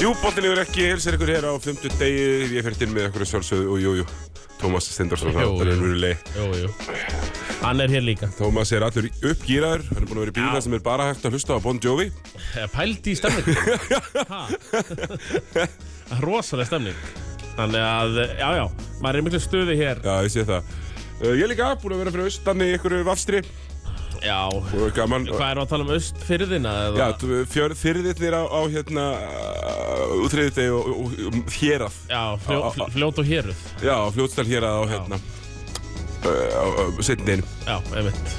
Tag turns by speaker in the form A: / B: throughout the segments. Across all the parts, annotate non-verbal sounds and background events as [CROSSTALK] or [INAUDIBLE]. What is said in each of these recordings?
A: Jú, bóttilegur ekki, hilsir ykkur hér á 50 degi, ég fyrir til með ykkur sjálfsögðu og jú, jú, Tómas Stendarsson,
B: Jú,
A: það er
B: jú.
A: raunveruleg.
B: Jú, jú. Hann er hér líka.
A: Tómas er allur uppgýraður, hann er búin að vera í bíla sem er bara hægt að hlusta á Bon Jovi.
B: Eh, Pældi í [LAUGHS] stemningu. Rosalega stemning. Þannig að, eh, já, já, maður er í miklu stuði hér.
A: Já, ég sé það. Uh, Ég er líka búin að vera fyrir austan í ykkur vafstri
B: Já.
A: og gaman.
B: Hvað er að tala um östfyrðina? eða?
A: Já, fyrðirnir á, á hérna, útriðið degi og, og, og hérað.
B: Já, fljó,
A: Á- á-
B: fljó, fljót og héruð.
A: Já, fljótstal hérað á hérna, uh, á setnin.
B: Já, einmitt.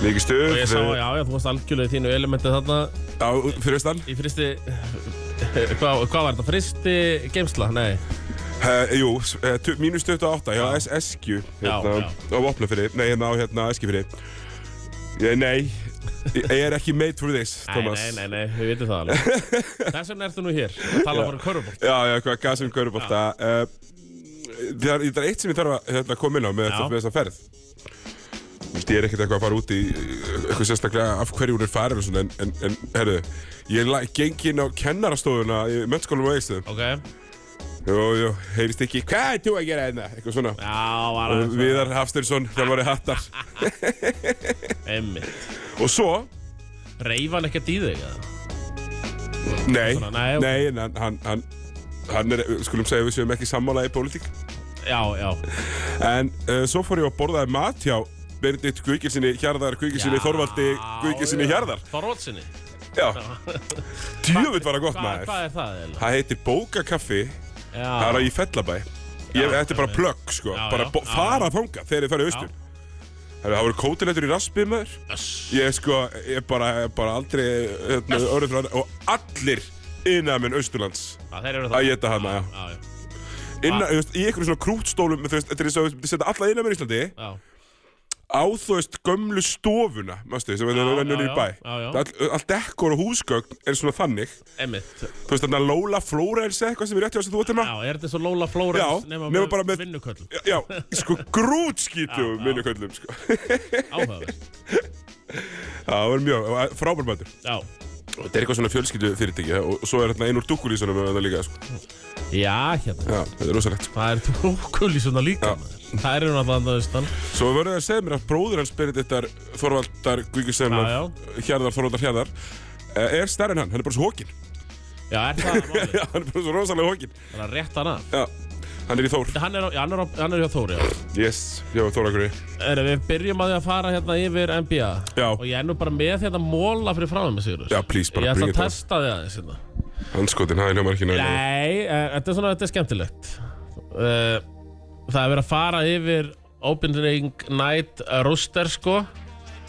A: Mikið
B: Og
A: stuð
B: ég sá,
A: uh,
B: já, já, þú varst algjörlega í þínu elementi þarna
A: á fyrir austan.
B: í fristi... [LAUGHS] Hvað, hvað var þetta? Fristi geimsla? Nei.
A: Uh, jú, s- eh, tu- mínus 28 hjá S- Eskju hérna,
B: Já,
A: á Vopnafyrri, nei hérna á hérna Eskifyrri ég, Nei, ég ég er ekki made for this,
B: Nei,
A: Thomas
B: nei, nei, nei, við vitum það alveg. [LAUGHS] Þess vegna ertu nú hér, að tala bara um körfubólt.
A: Já, já, hvað gasum körubólta uh, það, er- það er eitt sem ég þarf að hérna, koma inn á með, þetta,
B: Já.
A: með þessa ferð Þú veist, Ég er ekkert eitthvað að fara út í eh, eitthvað sérstaklega af hverju hún er farin og svona, en, en, en herðu, ég la- geng inn á kennarastofuna í mönnskólum á Eikstöðum
B: Ok, já,
A: Jú, jú, heyrist ekki, hvað er þú að gera hérna? Eitthvað svona
B: var
A: Og
B: aðeins.
A: Viðar Hafsteinsson, þjálfari hattar
B: Einmitt.
A: Og svo,
B: Reyf hann ekkert í þig, eða?
A: nei,
B: Svona, nei, ok.
A: nei, en hann, hann, hann, hann er, skulum segja við séum ekki sammála í pólitík
B: Já, já.
A: En uh, svo fór ég að borðaði mat hjá Benedikt Guðgilsinni Hjarðar, Guðgilsinni Þorvaldi, Guðgilsinni Hjarðar
B: Þorvaldsinni.
A: Já, djöfitt var það gott
B: Hva,
A: maður
B: hvað er það, eða?
A: Það heitir Bókakaffi, það er
B: Já,
A: í Fellabæ Ég, þetta er bara plögg, sko,
B: Já,
A: bara
B: já,
A: bo-
B: já.
A: fara þangað þegar þið farið austur Herru, Það voru kótilettur í raspi maður Ég sko, ég bara, ég bara aldrei hérna, orðið frá þetta Og allir innamenn Austurlands
B: Já, þeir eru það.
A: að geta hana, já.
B: Já, já.
A: Inna, þú veist, Í einhverjum svona krútstólum, þú veist, þetta er eins og þú setja alla innamenn í Íslandi
B: Já,
A: á þú veist gömlu stofuna, mástu, sem það
B: Já,
A: vennur
B: já,
A: í
B: já,
A: bæ.
B: já, já.
A: Allt all dekkor og húsgögn er svona þannig.
B: einmitt.
A: Þú veist, þarna Lola Flórens eitthvað sem er rétt hjá þess að þú ættir
B: Já,
A: maður.
B: er þetta svo Lola
A: Já,
B: Flórens nema,
A: nema bara með-
B: vinnuköllum?
A: Já, sko grútskítum minnuköllum, sko.
B: Áhugaverð.
A: Það var mjög, frábær matur.
B: Já.
A: Þetta er eitthvað svona fjölskyldu fyrirtæki og, og svo er þarna einur dukkulísunum með það líka, sko.
B: Já, hérna.
A: Já, þetta er rosalegt.
B: Það er tókul í svona líka,
A: Já.
B: maður. Það eru náttúrulega að austan.
A: Svo verður það að segja mér að bróður hans Benediktar Þorvaldar Guðgjusennar,
B: Já,
A: Hjarðar Þorvaldar Hjarðar, eh, er stærri en hann, hann er bara svo hókin.
B: Já, er
A: [LAUGHS]
B: það málið?
A: Já, hann er bara svo rosalega hókin.
B: Það er rétt hann af.
A: Já, hann er í Þór.
B: Hann er, á- já, hann er, á- hann er hjá Þóri, já.
A: Yes, já, Þóra Grey
B: Er, við byrjum að því að fara hérna yfir NBA.
A: Já.
B: Og ég er nú bara með þetta móla fyrir fráðum með Sigurður.
A: Já, please, bara
B: Ég ætla
A: bring it
B: að
A: on.
B: testa þig aðeins hérna.
A: Hanskotin, það er hljómar ekki nægna
B: Nei, eh, þetta er svona, þetta er skemmtilegt. Uh, það er verið að fara yfir opening night roster, sko.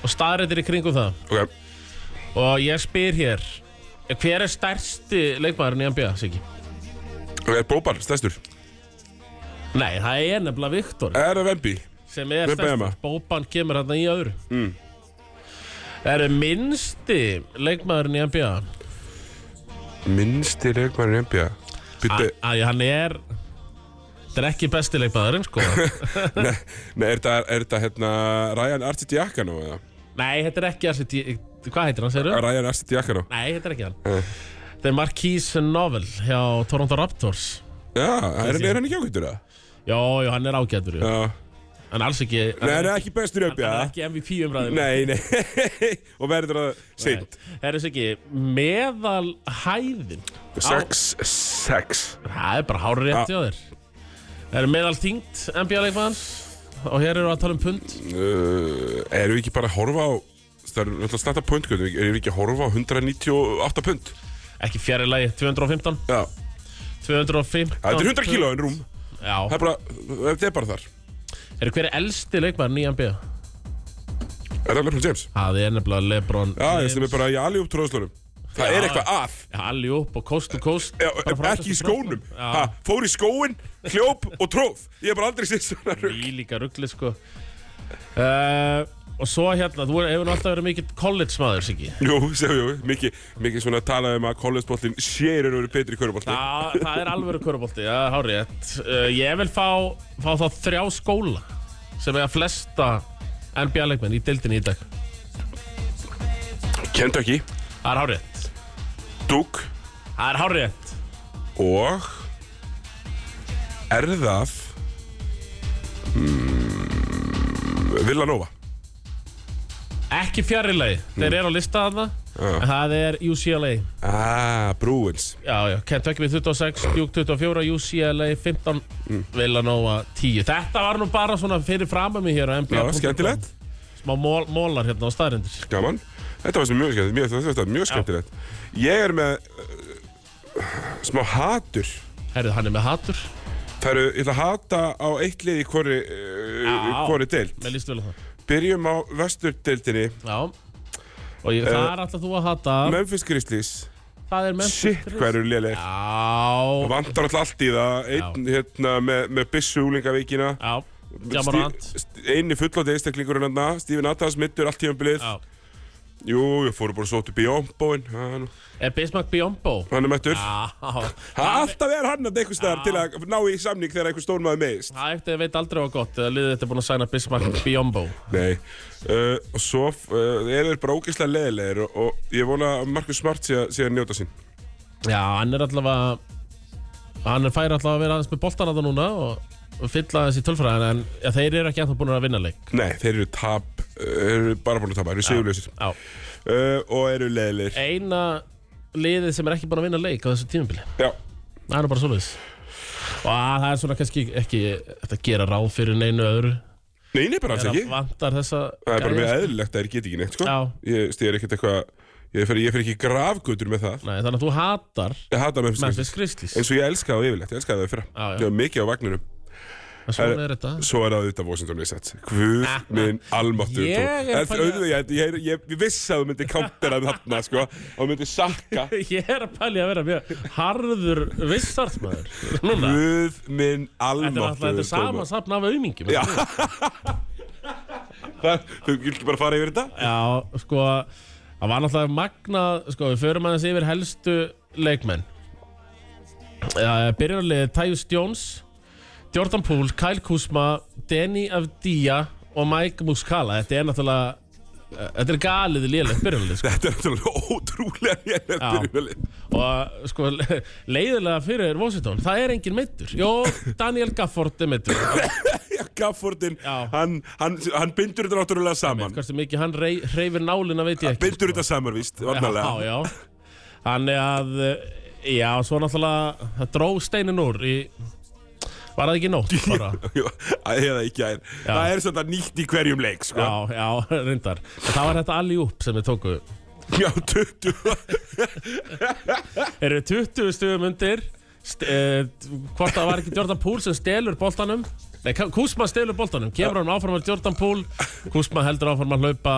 B: Og staðrættir í kringum það.
A: Ok,
B: Og ég spyr hér, hver er stærsti leikmaðurinn í NBA, Siggi?
A: er Bóbar stærstur?
B: Nei, það er nefnilega Viktor
A: Er það Vembi?
B: sem er
A: Við beðum
B: stærsti.
A: það.
B: Bóban kemur hérna í öðru. Mm. Er minnsti leikmaðurinn í NBA?
A: Minnsti leikmæri NBA Byttu,
B: Æ, hann er... Þetta er ekki besti leikmaðurinn, [LAUGHS] sko.
A: nei, er það, er það hérna Ryan Arcidiakano eða? Ah,
B: Nei, þetta er ekki Arsit... Hvað heitir hann, segirðu?
A: Ryan Arcidiakano
B: Nei, þetta er ekki hann.
A: Nei.
B: Þetta er Marquise Novel hjá Toronto Raptors.
A: Já, er, er hann ekki ákvæmdur það?
B: Jó, jó, hann er ágætur, jú.
A: Já
B: En alls ekki...
A: Nei, hann er ekki bestur í NBA
B: Hann er ekki MVP umræðin.
A: Nei, [LAUGHS] nei Og verður það seint
B: Það er þess ekki, meðal hæðin.
A: Sex, sex
B: Það er bara hárið rétt hjá þér. Það er meðal þingt NBA-leikmann og hér eru að tala um pund.
A: uh, Erum við ekki bara að horfa á Það er náttúrulega snart að pund Erum við ekki að horfa á 198 pund?
B: Ekki fjari lagi, 215.
A: Já
B: 215.
A: Þetta er 100 kíló en rúm Það
B: Já.
A: er bara, þetta er bara þar
B: Er hver er elsti leikmann í NBA?
A: Er það Lebron James?
B: Það er nefnilega Lebron.
A: Já, ég stemmi bara í aljúp tróðslunum. Það er eitthvað að.
B: Alli upp og kost og kost.
A: Já,
B: Bara frá
A: ekki í
B: þessu
A: skónum.
B: frá- Já.
A: Ha, fór í skóin, hljóp og tróð. Ég hef bara aldrei sett svona rugg.
B: Í líka ruggli sko uh, Og svo hérna, þú hefur nú alltaf verið mikill college maður, Siggi
A: Jú, segjum jú, mikið, mikið svona talað um að kollegspottin sér eru verið betri í köruboltin.
B: Já, Eh, það er alveg körubólti, já, hárið uh, Ég vil fá, fá þá þrjá skóla sem eiga flesta NBA-leikmenn í deildinni í dag
A: Kentucky,
B: Það er hárétt
A: Duke
B: Það er hárétt
A: og er það mm, Villanova
B: Ekki fjarri lagi, þeir eru á lista þarna En það er UCLA
A: Ah, Bruins
B: Já, já, Kentucky með 26, Duke 24, UCLA 15,
A: Mm.
B: Villanova 10 Þetta var nú bara svona fyrir framar mig hér á NBA
A: Já, skemmtilegt.
B: Smá mól, mólar hérna á staðrindir
A: Gaman Þetta var sem mjög skemmtilegt mjög, Þetta var mjög skemmtilegt Ég er með uh, smá hatur
B: Herrið, hann er með hatur
A: Það eru, ég ætla að hata á eitt lið í hvori, uh,
B: Já.
A: hvori deild
B: Með líst vel á það
A: Byrjum á vesturdeildinni
B: Já Og ég,
A: Eh,
B: það er alltaf þú að hata
A: Memphis Grizzlies
B: Það er Memphis
A: Shit,
B: Grizzlies.
A: hvað eru léleg
B: Já
A: Vandar alltaf allt í það Einn hérna með, með byssu úlingavíkina
B: Já, Jamarant
A: Sti- st- Einni fullóti einstaklingur en þarna Steven Adams mittur allt tímanbilið
B: Já
A: Jú, ég fóru bara sóttu Bjómbóin Hann
B: Er Bismarck Biombo?
A: hann er mættur
B: Já
A: Það alltaf er hann að einhvers staðar til að ná í samning þegar einhver stórmaður meðist
B: Það eftir veit aldrei á gott eða liðið þetta er búin að sæna Bismarck Biombo
A: Nei uh, Og svo uh, eru þeir bara ógeðslega leðilegir og, og ég vona að Marcus Smart sé, að- sé að njóta sín
B: Já, hann er allavega hann er færi allavega að vera aðeins með boltan að það núna og, og fylla þessi tölfræðin en ja, þeir eru ekki ennþá búin að vinna leik
A: Nei, þeir eru tap uh, eru bara búin að tapa, eru sigurlausir
B: Já,
A: uh, og eru leðilegir
B: eina liðið sem er ekki búin að vinna leik á þessu tímabili
A: Já,
B: það er nú bara svoleiðis og að, það er svona kannski ekki þetta gera ráð fyrir neinu öðru
A: nei, nei, bara alls
B: það
A: ekki
B: vantar þessa
A: Það er bara
B: gæja,
A: mjög
B: sko.
A: eðlilegt að þeir geti ekki neitt, sko
B: Já.
A: Ég styrir ekkert eitthvað Ég fer, ég fer ekki í grafgötur með það
B: Nei, þannig að þú hatar
A: Ég hata Memphis Grizzlies
B: Memphis Grizzlies
A: eins og ég elska það yfirlegt, ég elska það fyrra
B: Já, já.
A: Ég var mikið á vagninum
B: en svona er þetta [LAUGHS]
A: Svo er það auðvitað Washington Wizards Guð minn almáttur
B: Ah, Ég er
A: En
B: bara-
A: auðvitað, ég, ég, ég, ég vissi að þú myndir countera þarna, sko Og þú myndir sakka
B: ég er að pæli að vera mjög harður vissartmaður núna
A: Guð minn
B: Þetta er alltaf
A: almáttur
B: þetta er sama safn af auðmingjum
A: Já Það, sko. þú gildi bara að fara yfir þetta
B: Já, sko Það var náttúrulega magnað Sko, við förum aðeins yfir helstu leikmenn Já, Byrjunarliðið Tyus Jones Jordan Poole, Kyle Kuzma Danny Avdija og Mike Muscala Þetta er náttúrulega Þetta er galið lélegt byrjunarlið
A: [LAUGHS]
B: sko.
A: Þetta er náttúrulega ótrúlega lélega
B: Já.
A: byrjunarlið
B: og sko le- leiðilega fyrir Washington, það er engin meittur Jó, Daniel Gafford er meittur
A: [LAUGHS] Já, Gaffordin,
B: Já.
A: hann, hann, hann bindur þetta náttúrulega saman
B: Hversu mikið hann rey, reyfir nálina veit ég ekki sko.
A: Bindur þetta saman, víst,
B: Já,
A: varnalega
B: já Þannig að, eh, já, svo náttúrulega það dró steinin úr í Var það ekki í nótt bara?
A: Jú, [LAUGHS] Eða ekki að Það er svona nýtt í hverjum leik, sko
B: Já, já, reyndar En Það var þetta allir upp sem við tóku
A: Já, 20
B: Eru 20 stugum undir st eh, Hvort það var ekki Jordan Poole sem stelur boltanum Nei, Ka- Kuzma stelur boltanum Kemur hann áfram að Jordan Poole Kuzma heldur áfram að hlaupa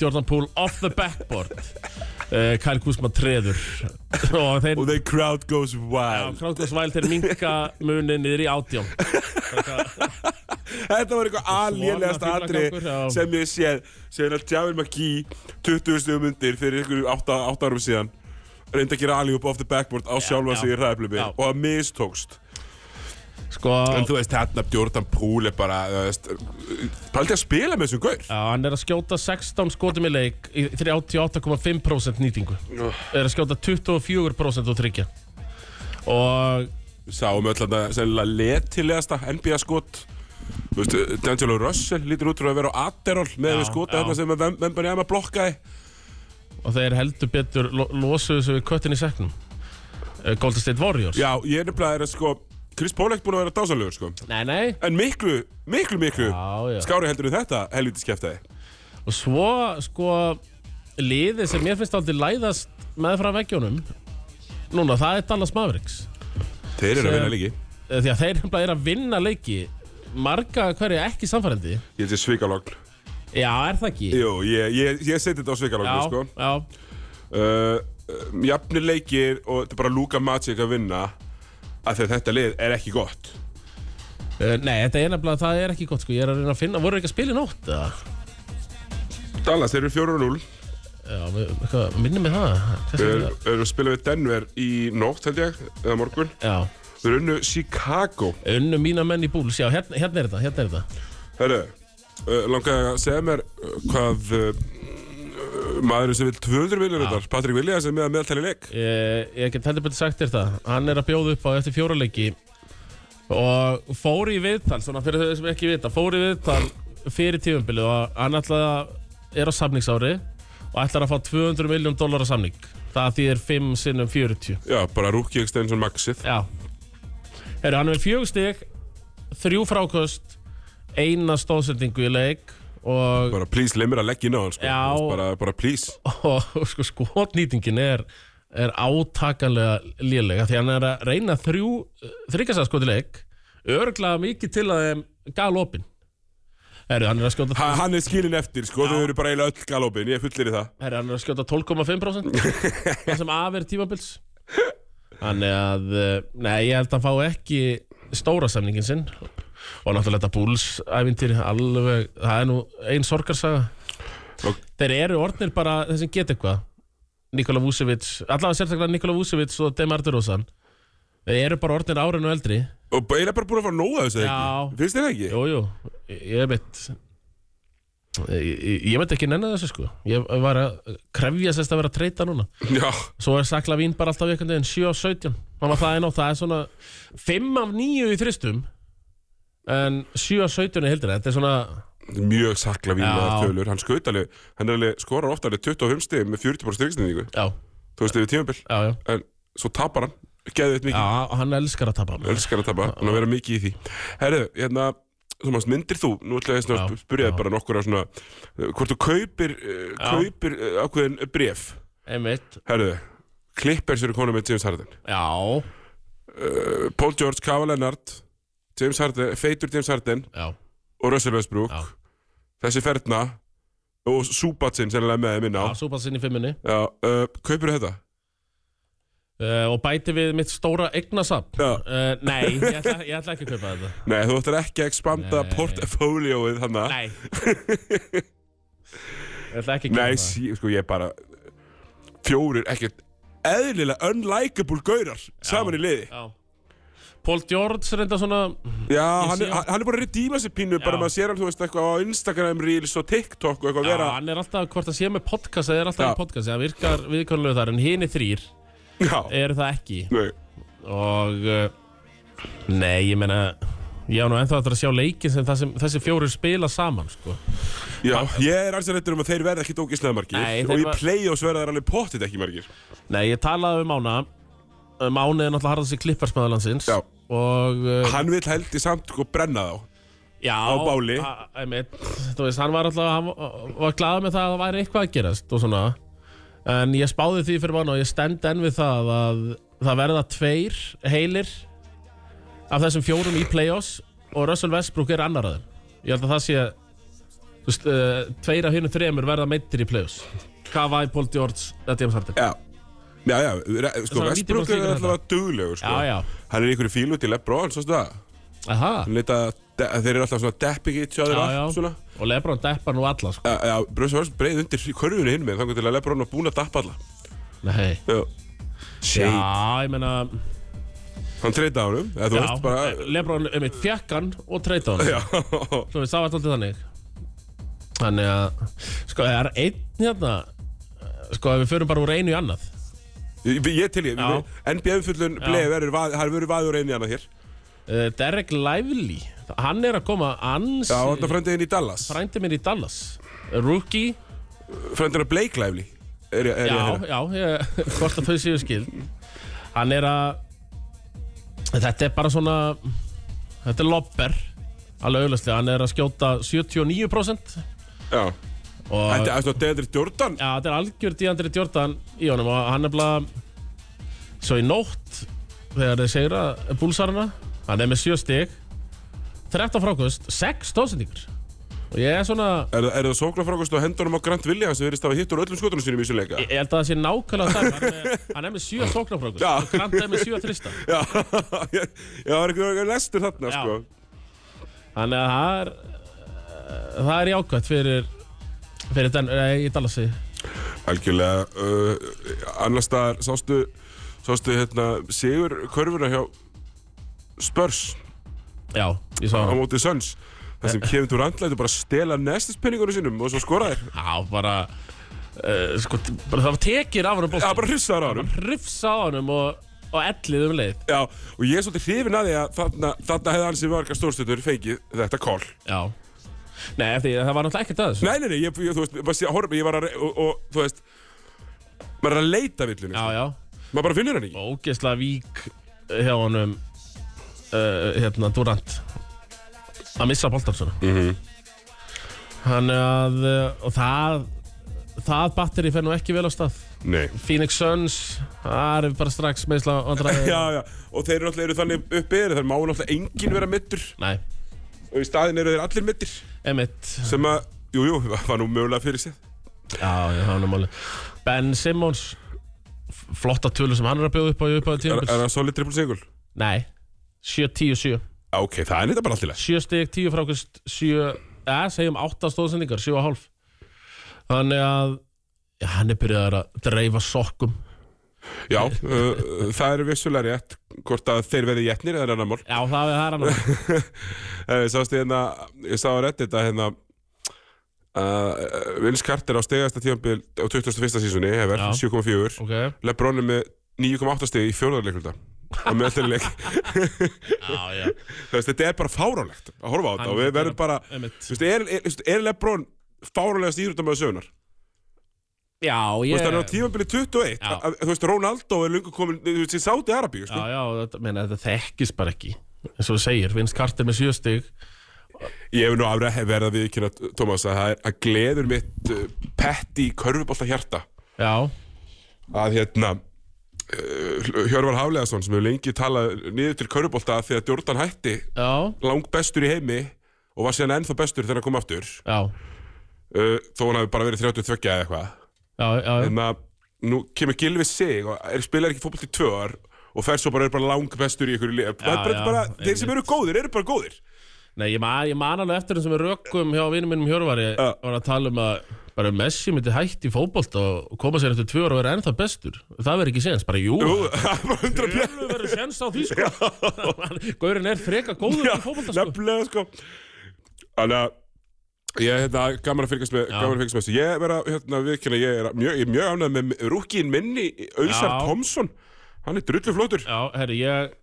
B: Jordan Poole off the backboard eh, Kyle Kuzma treður Og þeir
A: Og the crowd goes wild
B: Krákosvæl þeir minka munin niður í átjón
A: Þetta var eitthvað alíðlegast
B: Svona
A: atri
B: fíflagangur, já.
A: sem ég séð sem að Javel McKee 20 stugum undir fyrir einhverjum 8, 8 árum síðan reyndi að gera alíð upp off the backboard á sjálfa
B: já.
A: sig í ræðblömi
B: Já.
A: og að mistókst
B: Sko,
A: En þú veist, hérna Jordan Poole er bara þú veist, Paldi að spila með þessum gaur
B: já, hann er að skjóta 16 skotum í leik í 38,5% nýtingu er að skjóta 24% og tryggja og
A: Sáum öll að það sennilega letilegasta NBA skot Þú veist, D'Angelo Russell lítur út frá að vera á Adderall með við skota
B: já.
A: þarna sem að Vemban Jæma blokkaði
B: og þeir heldur betur lo losuðu þessu við köttin í seknum Eh, Golden State Warriors
A: Já, ég er nefnilega er að sko Chris Paul er ekki búin að vera dásanlegur sko
B: Nei, nei
A: En miklu, miklu, miklu
B: Já, já.
A: Skári heldur en þetta helvítið skeftaði
B: og svo sko liðið sem mér finnst aldrei læðast með frá veggjónum núna, það er Dallas Mavericks
A: Þeir eru að
B: Sem-
A: vinna líki
B: Eh, því að þeir nefnilega eru að vinna leiki marga hverju ekki samfærandi
A: Ég held ég svikalogn
B: Já, er það ekki?
A: Jú, ég, ég, ég seti þetta á svikalogn
B: já,
A: sko
B: já,
A: uh, uh, Jafnir leikir og þetta er bara Luka Magic að vinna Af því að þetta lið er ekki gott
B: Eh, Nei, þetta er nefnilega, það er ekki gott sko, ég er að reyna að finna, voru ekki að spila í nótt eða?
A: Dallas, þeir eru 4-0
B: Já, við- eitthvað, minnum mig það. Þess
A: Þeir
B: að-
A: eru eru að spila við Denver í nótt held ég Eða morgun
B: Já,
A: Þeir eru unnu Chicago
B: unnu mína menn í búls, já, hérna, hérna er þetta, hérna er þetta.
A: Herru, uh, langaði að segja mér uh, hvað uh, maðurinn sem vil 200 miljonir þar, Patrik Vilja sem er með meðaltæli leik.
B: Eh, Ég, ég get heldur betur sagt þér það Hann er að bjóða upp á eftir fjóraleiki Og fór í viðtal Svona fyrir þau sem ekki vita Fór í viðtal fyrir tífumbilið Og hann ætlaði að er á samningsári Og ætlar að fá 200 miljón dólar á samning Það þýðir 5 sinnum 40
A: Já, bara Rúki Ekstensson Maxið.
B: Já Heru, Hann er með fjög stig Þrjú frákost Eina stóðsendingu í leik Og,
A: Bara please, leið mér að leggja inn á hann, sko.
B: Já.
A: Bara, bara please.
B: og sko, skotnýtingin er er átakanlega lélega því hann er að reyna þrjú þryggasarskotileik örglega mikið til að þeim gal opinn Herru, hann er að skjóta
A: Ha, hann er skilin eftir, sko. Þau eru bara eiginlega öll galopin, ég fullir í það.
B: Herri, hann er að skjóta 12,5% Það sem af er tímabils Þannig að, eh, nei, ég held að hann fá ekki stóra samningin sinn og náttúrulega þetta búlsævintýri alveg, það er nú ein sorgarsaga
A: Og-
B: Þeir eru orðnir bara þeir sem geta eitthvað Nikola Vucevic, allavega sérstaklega Nikola Vucevic og Demar DeRozan Þeir eru bara orðnir árinu eldri
A: Og bara- eiginlega bara búin að fara nóga þessu, eða
B: Já.
A: ekki? Finnst þér það ekki?
B: Jú, jú, ég veit Ég, ég- ég veit ekki nenni þessu sko Ég var að krefja sérst að vera að treyta núna
A: Já.
B: Svo er Sakla Vín bara alltaf einhvern veginn 7 af 17 Hann var það einn og það er svona 5 af 9 í þristum En 7 af 17 er heldur Þetta er svona
A: Mjög sakla
B: Já.
A: vínaðar tölur. Hann skaut alveg, hann er alveg, skorar ofta alveg 25 stig með 40 bara
B: Já,
A: Þú veist, yfir tímabil.
B: já, já,
A: En svo tapar hann, geðið mikið.
B: já Hann elskar að tapa
A: Elskar að tapa, hann að vera mikið í því Herðu, hérna, Thomas, myndir þú Nú ætla ég svona að
B: Já,
A: spyrja
B: já.
A: þig bara nokkur á svona eh, Hvort þú kaupir, uh, kaupir uh, ákveðin bref
B: Einmitt,
A: Herðu, Clippers eru konum með James Harden
B: já,
A: uh, Paul George, Kava Leonard James Harden, feitur James Harden
B: já
A: Og Russell Westbrook
B: Já.
A: Þessi ferna Og Subatsin sennilega með þeim inn á
B: Já, súpa sinni í fimmunni
A: Já, uh, kaupir þetta?
B: uh, Og bæti við mitt stóra eignasap
A: Já.
B: uh, Nei, ég ætla, ég ætla ekki að kaupa [LAUGHS] þetta
A: Nei, þú ætlar ekki að expanda
B: Nei.
A: portfóljóið þannig
B: Nei Ég ætla ekki að kaupa
A: Nei,
B: það
A: sí, sko ég bara Fjórir, ekkert Eðlilega unlikable gaurar Saman í liði
B: Já Paul George reynda svona
A: Já, hann
B: sé
A: er,
B: hann.
A: hann er búin að redeema sér pínu Bara
B: Já.
A: maður sér hann, þú veist, eitthvað á Instagram Reels og TikTok og eitthvað
B: Já,
A: vera
B: hann er alltaf, hvort hann sé með podcast Það er alltaf
A: Já.
B: í podcast, það virkar viðkvæmlega þar En hini þrýr
A: Já,
B: eru það ekki
A: nei
B: Og uh, Nei, ég meina Ég á nú ennþá eftir að sjá leikin sem, það sem þessi fjórir spila saman sko.
A: Já, ég er alls að reytur um að þeir verða ekkit ógislega margir
B: Nei, þeir
A: Og í
B: var-
A: play-offs verða þeir alveg pottit ekki margir
B: Nei, ég talaði um Ána um Ána er náttúrulega harðast í klipparsmaðurlandsins
A: Já.
B: Og uh,
A: Hann vil held í samt og brenna þá
B: já,
A: á báli.
B: a- einmitt, Þú veist, hann var alltaf Hann var- var glaður með það að það væri eitthvað að gerast Og svona En ég spáði því fyrir mánu og ég stend enn við það að það verða tveir heilir af þessum fjórum í play-offs og Russell Westbrook er annar að þeim ég held að það sé þú veist, uh, tveir af hinnum þremur verða meittir í play-offs Kawhi, Paul George, eða James Harden
A: Já Já, já, re- sko,
B: Þessar
A: Vestbrook
B: 90%
A: er
B: líkur
A: alltaf duglegur, sko
B: Já, já.
A: Hann er í einhverju fílu til Lebron, svo stu það
B: Aha.
A: Hann leita, þeir eru alltaf svona depping each other
B: Já,
A: up,
B: já.
A: svona
B: og Lebron deppar nú alla sko.
A: Já, já, Bruce Willis breið undir körfunni hinn með þangar til að Lebron var búinn að dappa alla
B: Nei.
A: Já Shade
B: já, ég meina
A: Hann treyta á hennum, eða þú
B: já,
A: veist bara
B: Lebron um eitt fjekkan og treyta hann
A: Já, [LAUGHS]
B: Þú veist, það var alltaf þannig Þannig að Sko, það er einn hérna Sko, ef við förum bara úr einu í annað
A: ég, ég til ég
B: Já.
A: NBA-fullun
B: Já.
A: bleið verður, vað- hann verður vaður einn í annað hér
B: uh, Derek Lively Hann er að koma ans
A: Já, hann er frændið inn í Dallas
B: Frændi minn í Dallas Rookie
A: Frændið er Blake Lively er, ég- er hérna. ég að
B: Já,
A: heyra.
B: já, ég, [LAUGHS] hvort að þau séu skild Hann er að Þetta er bara svona Þetta er lobber Alveg auðvitað, hann er að skjóta 79%
A: Já,
B: og,
A: þetta er svona Deandre Jordan
B: Já, þetta er algjör Díandri Jordan í honum og hann er bara svo í nótt þegar þeir segra búlsarana hann er með 7 stig 13 frákvöst, 6 stóðsendingur og ég er svona
A: Er, er það sóknarfrákast á hendunum á Grant Williams sem verðist að hafa hitt úr öllum skotunum sínum í þessu leika?
B: ég held að það sé nákvæmlega það hann er, hann er með 7 sóknarfrákvöst
A: Já.
B: og Grant er með 7 þrista
A: Já, [LAUGHS] ég, ég var eitthvað lestur þarna,
B: Já.
A: sko
B: þannig að það er eh, það er jákvæmt fyrir fyrir den, nei, í Dallasi
A: Algjörlega uh, Annars staðar sástu, sástu hérna, sigur körfuna hjá Spurs
B: já, ég
A: á
B: sá hann
A: móti Suns Það sem Kevin Durant lætur bara stela nestispenningunum sínum og svo skora þér.
B: Já, bara, uh, sko, bara það var tekir af
A: Já,
B: honum boltan.
A: bara hrifsaður á hann.
B: Hrifsa á honum og, og ellið um leið.
A: Já, og ég er svolítið hrifin að því að þarna, þarna hefði hans í marga stórstundur fengið þetta kól.
B: Já. Nei, því að það var náttúrulega ekkert að þessu.
A: Nei, nei, nei, ég, ég, þú veist, ég, bara, horf, ég var að, re- og, og þú veist, maður er að leita villinu.
B: Já, já.
A: Maður bara finnur hann ekki.
B: Ógeðslega vík hjá honum, uh, hérna, Durant. Að missa boltan svona. Mm
A: Mhm.
B: -hmm. Þannig að, uh, og það, það batteri fer nú ekki vel á stað.
A: Nei.
B: Phoenix Suns, það er bara strax meðsla vandræði.
A: [LAUGHS] Já, já, og þeir eru náttúrulega eru þannig uppið, þeir má náttúrulega enginn vera mittur
B: Nei,
A: og í staðin eru þeir allir mittir
B: Emmett.
A: sem að, jú, [LAUGHS] jú, var nú mögulega fyrir sig.
B: Já, já, hann er máli. Ben Simmons, f- flotta tölu sem hann er að bjóða upp á í upphæðu
A: Er, er
B: tímabils.
A: það solid triple single?
B: Nei,
A: Já,
B: 7-10-7.
A: Ok, það er neitt bara allt í lagi.
B: 7 stig, 10 frákust, 7, eða segjum 8 stóðsendingar, 7,5. Þannig að, já, hann er byrjaður að dreifa sokkum.
A: Já, [LAUGHS] uh, það er vissulega rétt hvort að þeir verði jætnir eða annar mál.
B: Já, það er það er hann. alveg.
A: Eh, Ég sást ég hérna, ég sá að rétt þetta hérna uh, Vince Carter á stegasta tífambil á 21. sísunni hefur
B: Já.
A: 7,4
B: [LAUGHS] Ok,
A: Lebron er með 9,8 stegi í fjóðarleikulta og með allir
B: [LAUGHS]
A: leik
B: já, já,
A: Þú veist, þetta er bara fáránlegt að horfa á þetta
B: Hann
A: og við
B: er
A: verðum bara
B: Emmett.
A: Þú veist, er, er, þú veist, er Lebron fáralegast íþróttamöðu sögunar?
B: Já,
A: Þú
B: ég...
A: veist, hann er á tímabili 21
B: Já.
A: að, Þú veist, Ronaldo er lungu komin Þú veist, í Saudi Arabíu,
B: Já,
A: sko
B: já, þetta, menna, þetta þekkist bara ekki. Eins og þú segir, Vince Carter með 7 stig.
A: Ég hef nú afræð verið að viðkynna, Thomas að það er að gleður mitt uh, petti í körfubolta hjarta
B: Já,
A: að hérna uh, Hjörvar Hafleðarsson sem hefur lengi talað niður til körfubolta af því að Jordan hætti
B: já,
A: langbestur í heimi og var síðan ennþá bestur þegar hann kom aftur
B: já,
A: uh, þó hann hafi bara verið 32 eða eitthvað
B: já, já,
A: en að nú kemur Gilvi sig og er, spilar ekki fótbolt í tvö ár og fer svo bara, er bara langbestur í einhverju lið bara, bara,
B: já,
A: bara, þeir sem eru góðir eru bara góðir [LAUGHS]
B: Nei, ég man, ég man alveg eftir þessum við rökum hjá vinum minnum Hjörvari
A: Já.
B: var að tala um að bara Messi myndi hætt í fótbolt og koma sér eftir tvö ára og vera ennþá bestur það verður ekki séns, bara jú
A: Jú, bara 100 pjö-
B: Hjörlu verður séns á því sko [LAUGHS] Gaurin er freka góður í fótbolta sko
A: nefnilega sko þannig að Ég, hérna, gaman að fylgjast með, gaman að fylgjast með þessu. Ég verða, hérna, viðkynna, ég er mjög, ég er mjög ánægð með rúkinn minni, Ausar
B: Já.
A: Tomsson. Hann er drulluflótur.
B: Já, herri, ég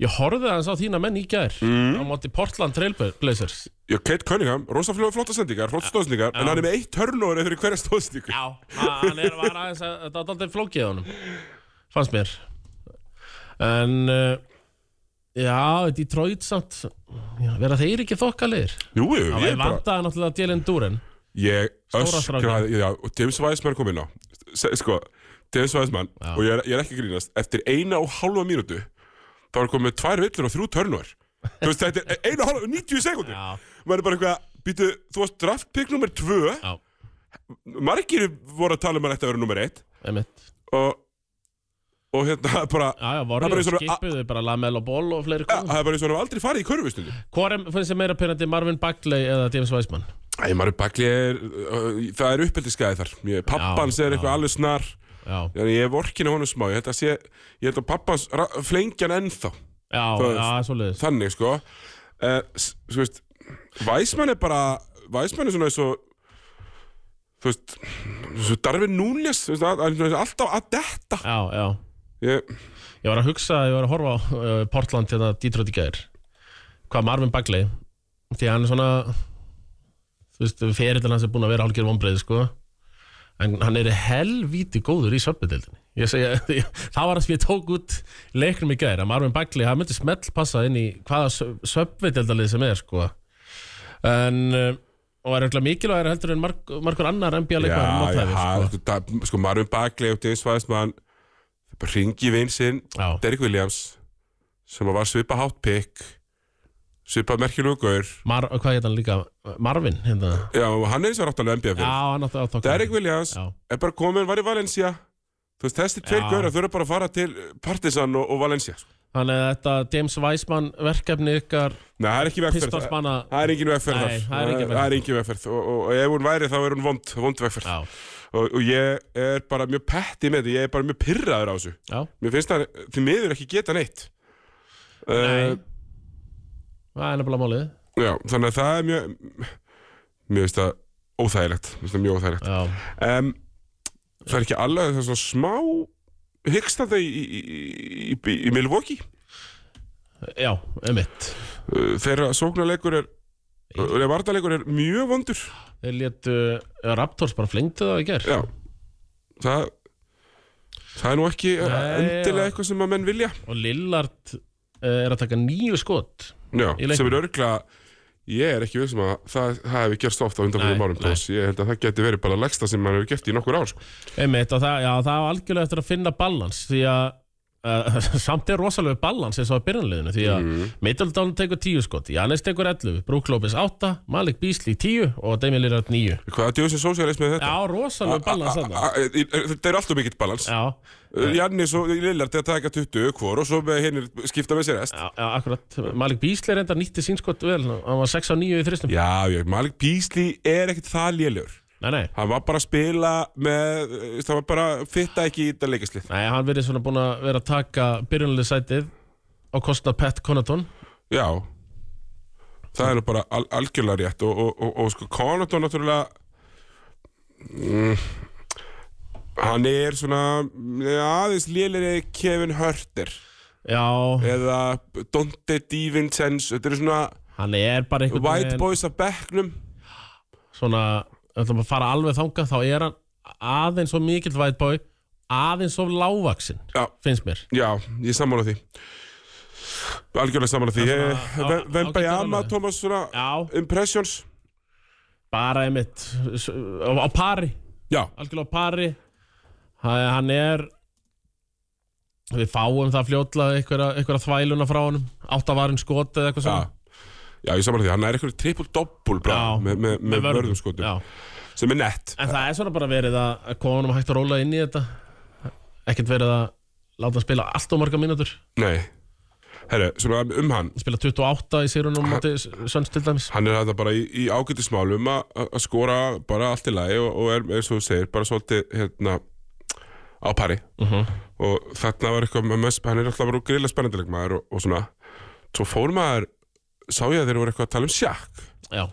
B: ég horfði aðeins á þína menn í gær
A: Mm.
B: á móti Portland Trailblazers
A: Já, Kate Cunningham, rosafljóða flottasendingar, flottastóðsendingar, en hann er með eitt törnóður eftir hverja stóðsendingu.
B: Já, hann er var aðeins að þetta var aldrei flókið á honum fannst mér en uh, já, Detroit samt já, vera þeir ekki þokkalegir
A: Jú, jú,
B: Já,
A: ég
B: ég
A: er bara,
B: vandaði náttúrulega Dylan Duren
A: ég
B: strákinn.
A: öskraði, já, og James Weisman kom inn á, Se- sko, James Weisman, og ég er, ég er ekki að grínast, eftir eina og hálfa mínútu, þá er komið tvær villur og þrjú törnóður. Þú veist, þetta er eina og hálfa, 90 sekundur.
B: Já,
A: maður er bara eitthvað, býtu, þú varst draftpick nummer 2,
B: já,
A: margir voru að tala um að þetta að vera nummer 1
B: einmitt
A: og, og hérna [LAUGHS] bara,
B: Já,
A: Það
B: já,
A: er bara
B: Warriors
A: eins og-
B: skipuðu bara Lamel og Ball og fleiri
A: að-
B: komum
A: það er bara eins og hann hafa aldrei farið í körfustundi.
B: Hvor er, finnst þið meira pyrrandi Marvin Bagley eða James Weisman?
A: Æ, maður er baklið, er, uh, það er uppeldisgæði þar, Ég- pappans
B: Já,
A: er
B: já.
A: eitthvað alveg snar,
B: Já, já,
A: þannig ég er vorkinu honum smá, ég held að sé, ég held að pappans ra- flengja hann ennþá, Það-
B: já, svoleiðis
A: þannig sko, uh, svo veist, Væsmann er bara, Væsmann er svona eins og, þú veist, svo Darvin Núnes, þú veist, að- hann er alltaf að detta.
B: Já, já
A: Ég,
B: Ég var að hugsa, ég var að horfa á uh, Portland hérna Detroit í gæðir Hvað Marvin Bagley Því hann er svona Þú veist, ferillin hans er búin að vera hálfgerð vonbreið, sko En hann er helvíti góður í söpbetildinni Ég segja, [LAUGHS] það var það sem ég tók út leiknum í gæðir að Marvin Bagley, hann myndi smell passa inn í hvaða söpbetildalið sem er, sko En uh, og er auðvitað mikilvægir heldur en marg, margur annar NBA leikmaður um
A: já,
B: mótæfi,
A: já, sko,
B: sko.
A: það, sko maður um baklega og James Weissmann bara ringi vinn sinn
B: Já.
A: Derrick Williams sem var svipa hátt pick svipa merkjulegu gaur
B: Mar, hvað heit hann líka? Marvin, hérna
A: já, og hann er eins og ráttalega NBA
B: Já,
A: fyrir
B: hann átti að tóka
A: Derrick Williams
B: Já.
A: er bara komin, var í Valencia þú veist, þessi tveir
B: Já.
A: gaur þau eru bara að fara til Partisan og, og Valencia sko.
B: Þannig að þetta James Weisman verkefni ykkar
A: Nei, það er ekki vegferð það
B: pistolsmanna
A: það er engin vegferð
B: Nei,
A: þar.
B: það er engin
A: það er engin vegferð og, og, og ef hún væri þá er hún vond, vond vegferð
B: Já,
A: og, og ég er bara mjög petti með þetta ég er bara mjög pyrraður á þessu
B: já,
A: Mér finnst það því miður ekki geta neitt
B: nei
A: uh,
B: Það er nefnilega málið
A: Já, þannig að það er mjög Mér finnst það óþægilegt Mér finnst það mjög óþægilegt
B: Já,
A: um, Það er ekki alveg það er svona smá Hyggstanda í, í, í, í, í Milwaukee
B: já, emitt
A: Uh, Þeirra sóknarleikur er Þeirra vartarleikur er mjög vondur
B: Þeir létu, eða Raptors bara flengdu það í ger
A: Já Það Það er nú ekki uh,
B: Nei,
A: endilega
B: já.
A: eitthvað sem að menn vilja
B: Og Lillard eh, er að taka nýju skot
A: Já,
B: Í leiknum.
A: sem er örgla Ég er ekki vissum að það, það hefur gerst oft á undanfjöldum
B: Nei,
A: árum Thomas. Ég held að það geti verið bara legsta sem maður hefur gert í nokkur ár sko.
B: Einmitt, og það, já, það var algjörlega eftir að finna balans Því að uh, [LAUGHS] samt er rosalega balans eins og að byrjanleginu Því að mm. Middleton tekur tíu skot Jannis tekur 11, Brook Lopez 8 Malik Beasley 10 og Damian Lillard 9
A: Hvaða djóðsins sósíalismi er þetta?
B: Já, rosalega balans þarna
A: Það er alltaf mikill balans
B: Já,
A: Uh, Jannis og Lillard er að taka 20 hvor og svo með hinn skipta með sér rest
B: já, já, akkurat Malik Beasley reyndar nýtti sínskot vel Hann var 6 á 9 í þristum
A: Já, já, Malik Beasley er ekkert það lélegur
B: Nei, nei
A: Hann var bara að spila með, uh, það var bara fitta ekki í þetta leikaslið
B: Nei, hann verið svona búin að vera að taka byrjunlega sætið á kostna Pat Conaton
A: Já, það er nú bara al algjörlega rétt og, og, og, og sko Conaton náttúrulega mm, Hann er svona ja, aðeins lélegri Kevin Hurter
B: Já,
A: eða Dante DiVincenzo, þetta eru svona
B: hann er bara einhvern
A: White Boys af bekknum
B: svona, ef það maður fara alveg þangað þá er hann aðeins svo mikill white boy aðeins svo lágvaksinn,
A: Já,
B: finnst mér
A: Já, ég er sammála því Algjörlega sammála því Eh,
B: svona
A: Ég-
B: á-
A: Ve- Wembanyama,
B: ágætt alveg.
A: Thomas, svona
B: Já,
A: Impressions
B: bara einmitt s- á, á pari,
A: Já,
B: algjörlega á pari hann hann er við fáum það fljótlega einhverja, einhverja þvæluna frá honum áttavarinn skot eða eitthvað
A: já
B: svona
A: Já, ég er sammála því, hann er eitthvað triple-double
B: Já,
A: með, með, með
B: vörðum.
A: vörðum skotum
B: Já.
A: sem er nett
B: En það er svona bara verið að að koma honum hægt að róla inn í þetta Ekkert verið að láta hann spila allt og marga mínútur
A: Nei, herru, svona um hann
B: Hann Spila 28 í sérunum móti Sönns til dæmis
A: Hann er þetta bara í, í ágættismálum að að skora bara allt í lagi og, og er, eins og þú segir, bara svolítið hérna á pari Mhm. og þarna var eitthvað með mest, hann er alltaf bara grilla spennandileg maður og, og svona svo fór maður, sá ég að þeir voru eitthvað að tala um sjakk
B: Já,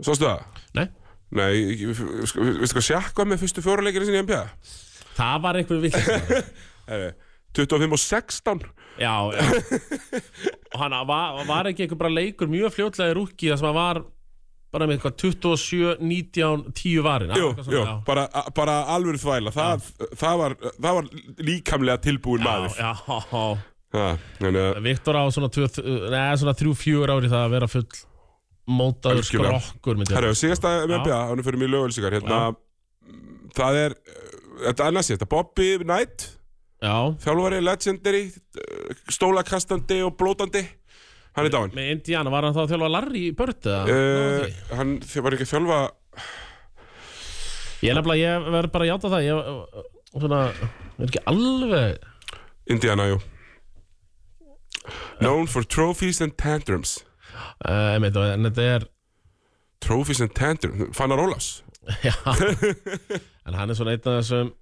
A: Sástu það?
B: nei
A: Nei, ég- sko, veistu hvað sjakk var með fyrstu fjóruleikirinn sinni í NBA?
B: Það var einhver vill
A: [LAUGHS]
B: Já,
A: Herri, 25 og 16
B: já Og hann var, var ekki einhver bara leikur mjög fljótlega í rúki Það sem hann var bara með eitthvað 27, 19, 10 varin
A: Jú, jú, bara, bara alveg þvæla það, það, var, það var líkamlega tilbúin maður
B: Já, já, já
A: Ha, eh, Þannig að
B: Viktor á svona, tvö- nei, svona 3-4 ári það að vera full Mótaður
A: Algjörlega.
B: skrokkur myndi ég
A: Herru, síðasta með NBA, hann er fyrir mjög lögulsíkar hérna, mm, það er eh, þetta er annars þetta, Bobby Knight
B: Já
A: þjálfari, legendary eh, stólakastandi og blótandi hann er dáinn
B: Með Indiana, var hann þá að þjálfa Larry í bördu?
A: uh, hann var ekki að þjálfa
B: ég nefnilega, ég verð bara að játa það Ég eh, svona, ég er ekki alveg
A: Indiana, jú known for trophies and tantrums
B: uh, meit, En þetta er
A: trophies and tantrums, Fannar Ólafs
B: já, En hann er svona einn af þessum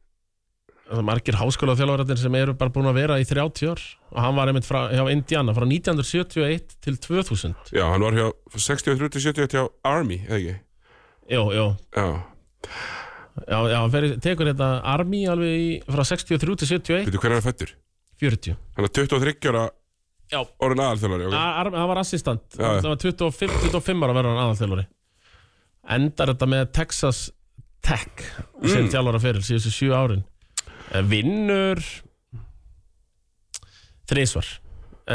B: þessum margir háskóla sem eru bara búin að vera í 30 ár og hann var einmitt frá, hjá Indiana frá 1971 til 2000
A: já, hann var hjá 63-70 hjá Army, eða ekki
B: Jó, jó,
A: já,
B: já, já hann fer, í- tekur þetta Army alveg í, frá 63 til 71
A: veitu hvernig hann er fættur
B: 40
A: hann er 23 ára
B: Já.
A: orðin aðalþjálfari okay?
B: Ar, Ar- hann var assistant
A: Já, já.
B: Það var 25, 25 ára að vera hann aðalþjálfari Endar þetta með Texas Tech
A: Mm.
B: sem þjálfara fyrir síðustu sjö árin Eh, Vinnur Þrísvar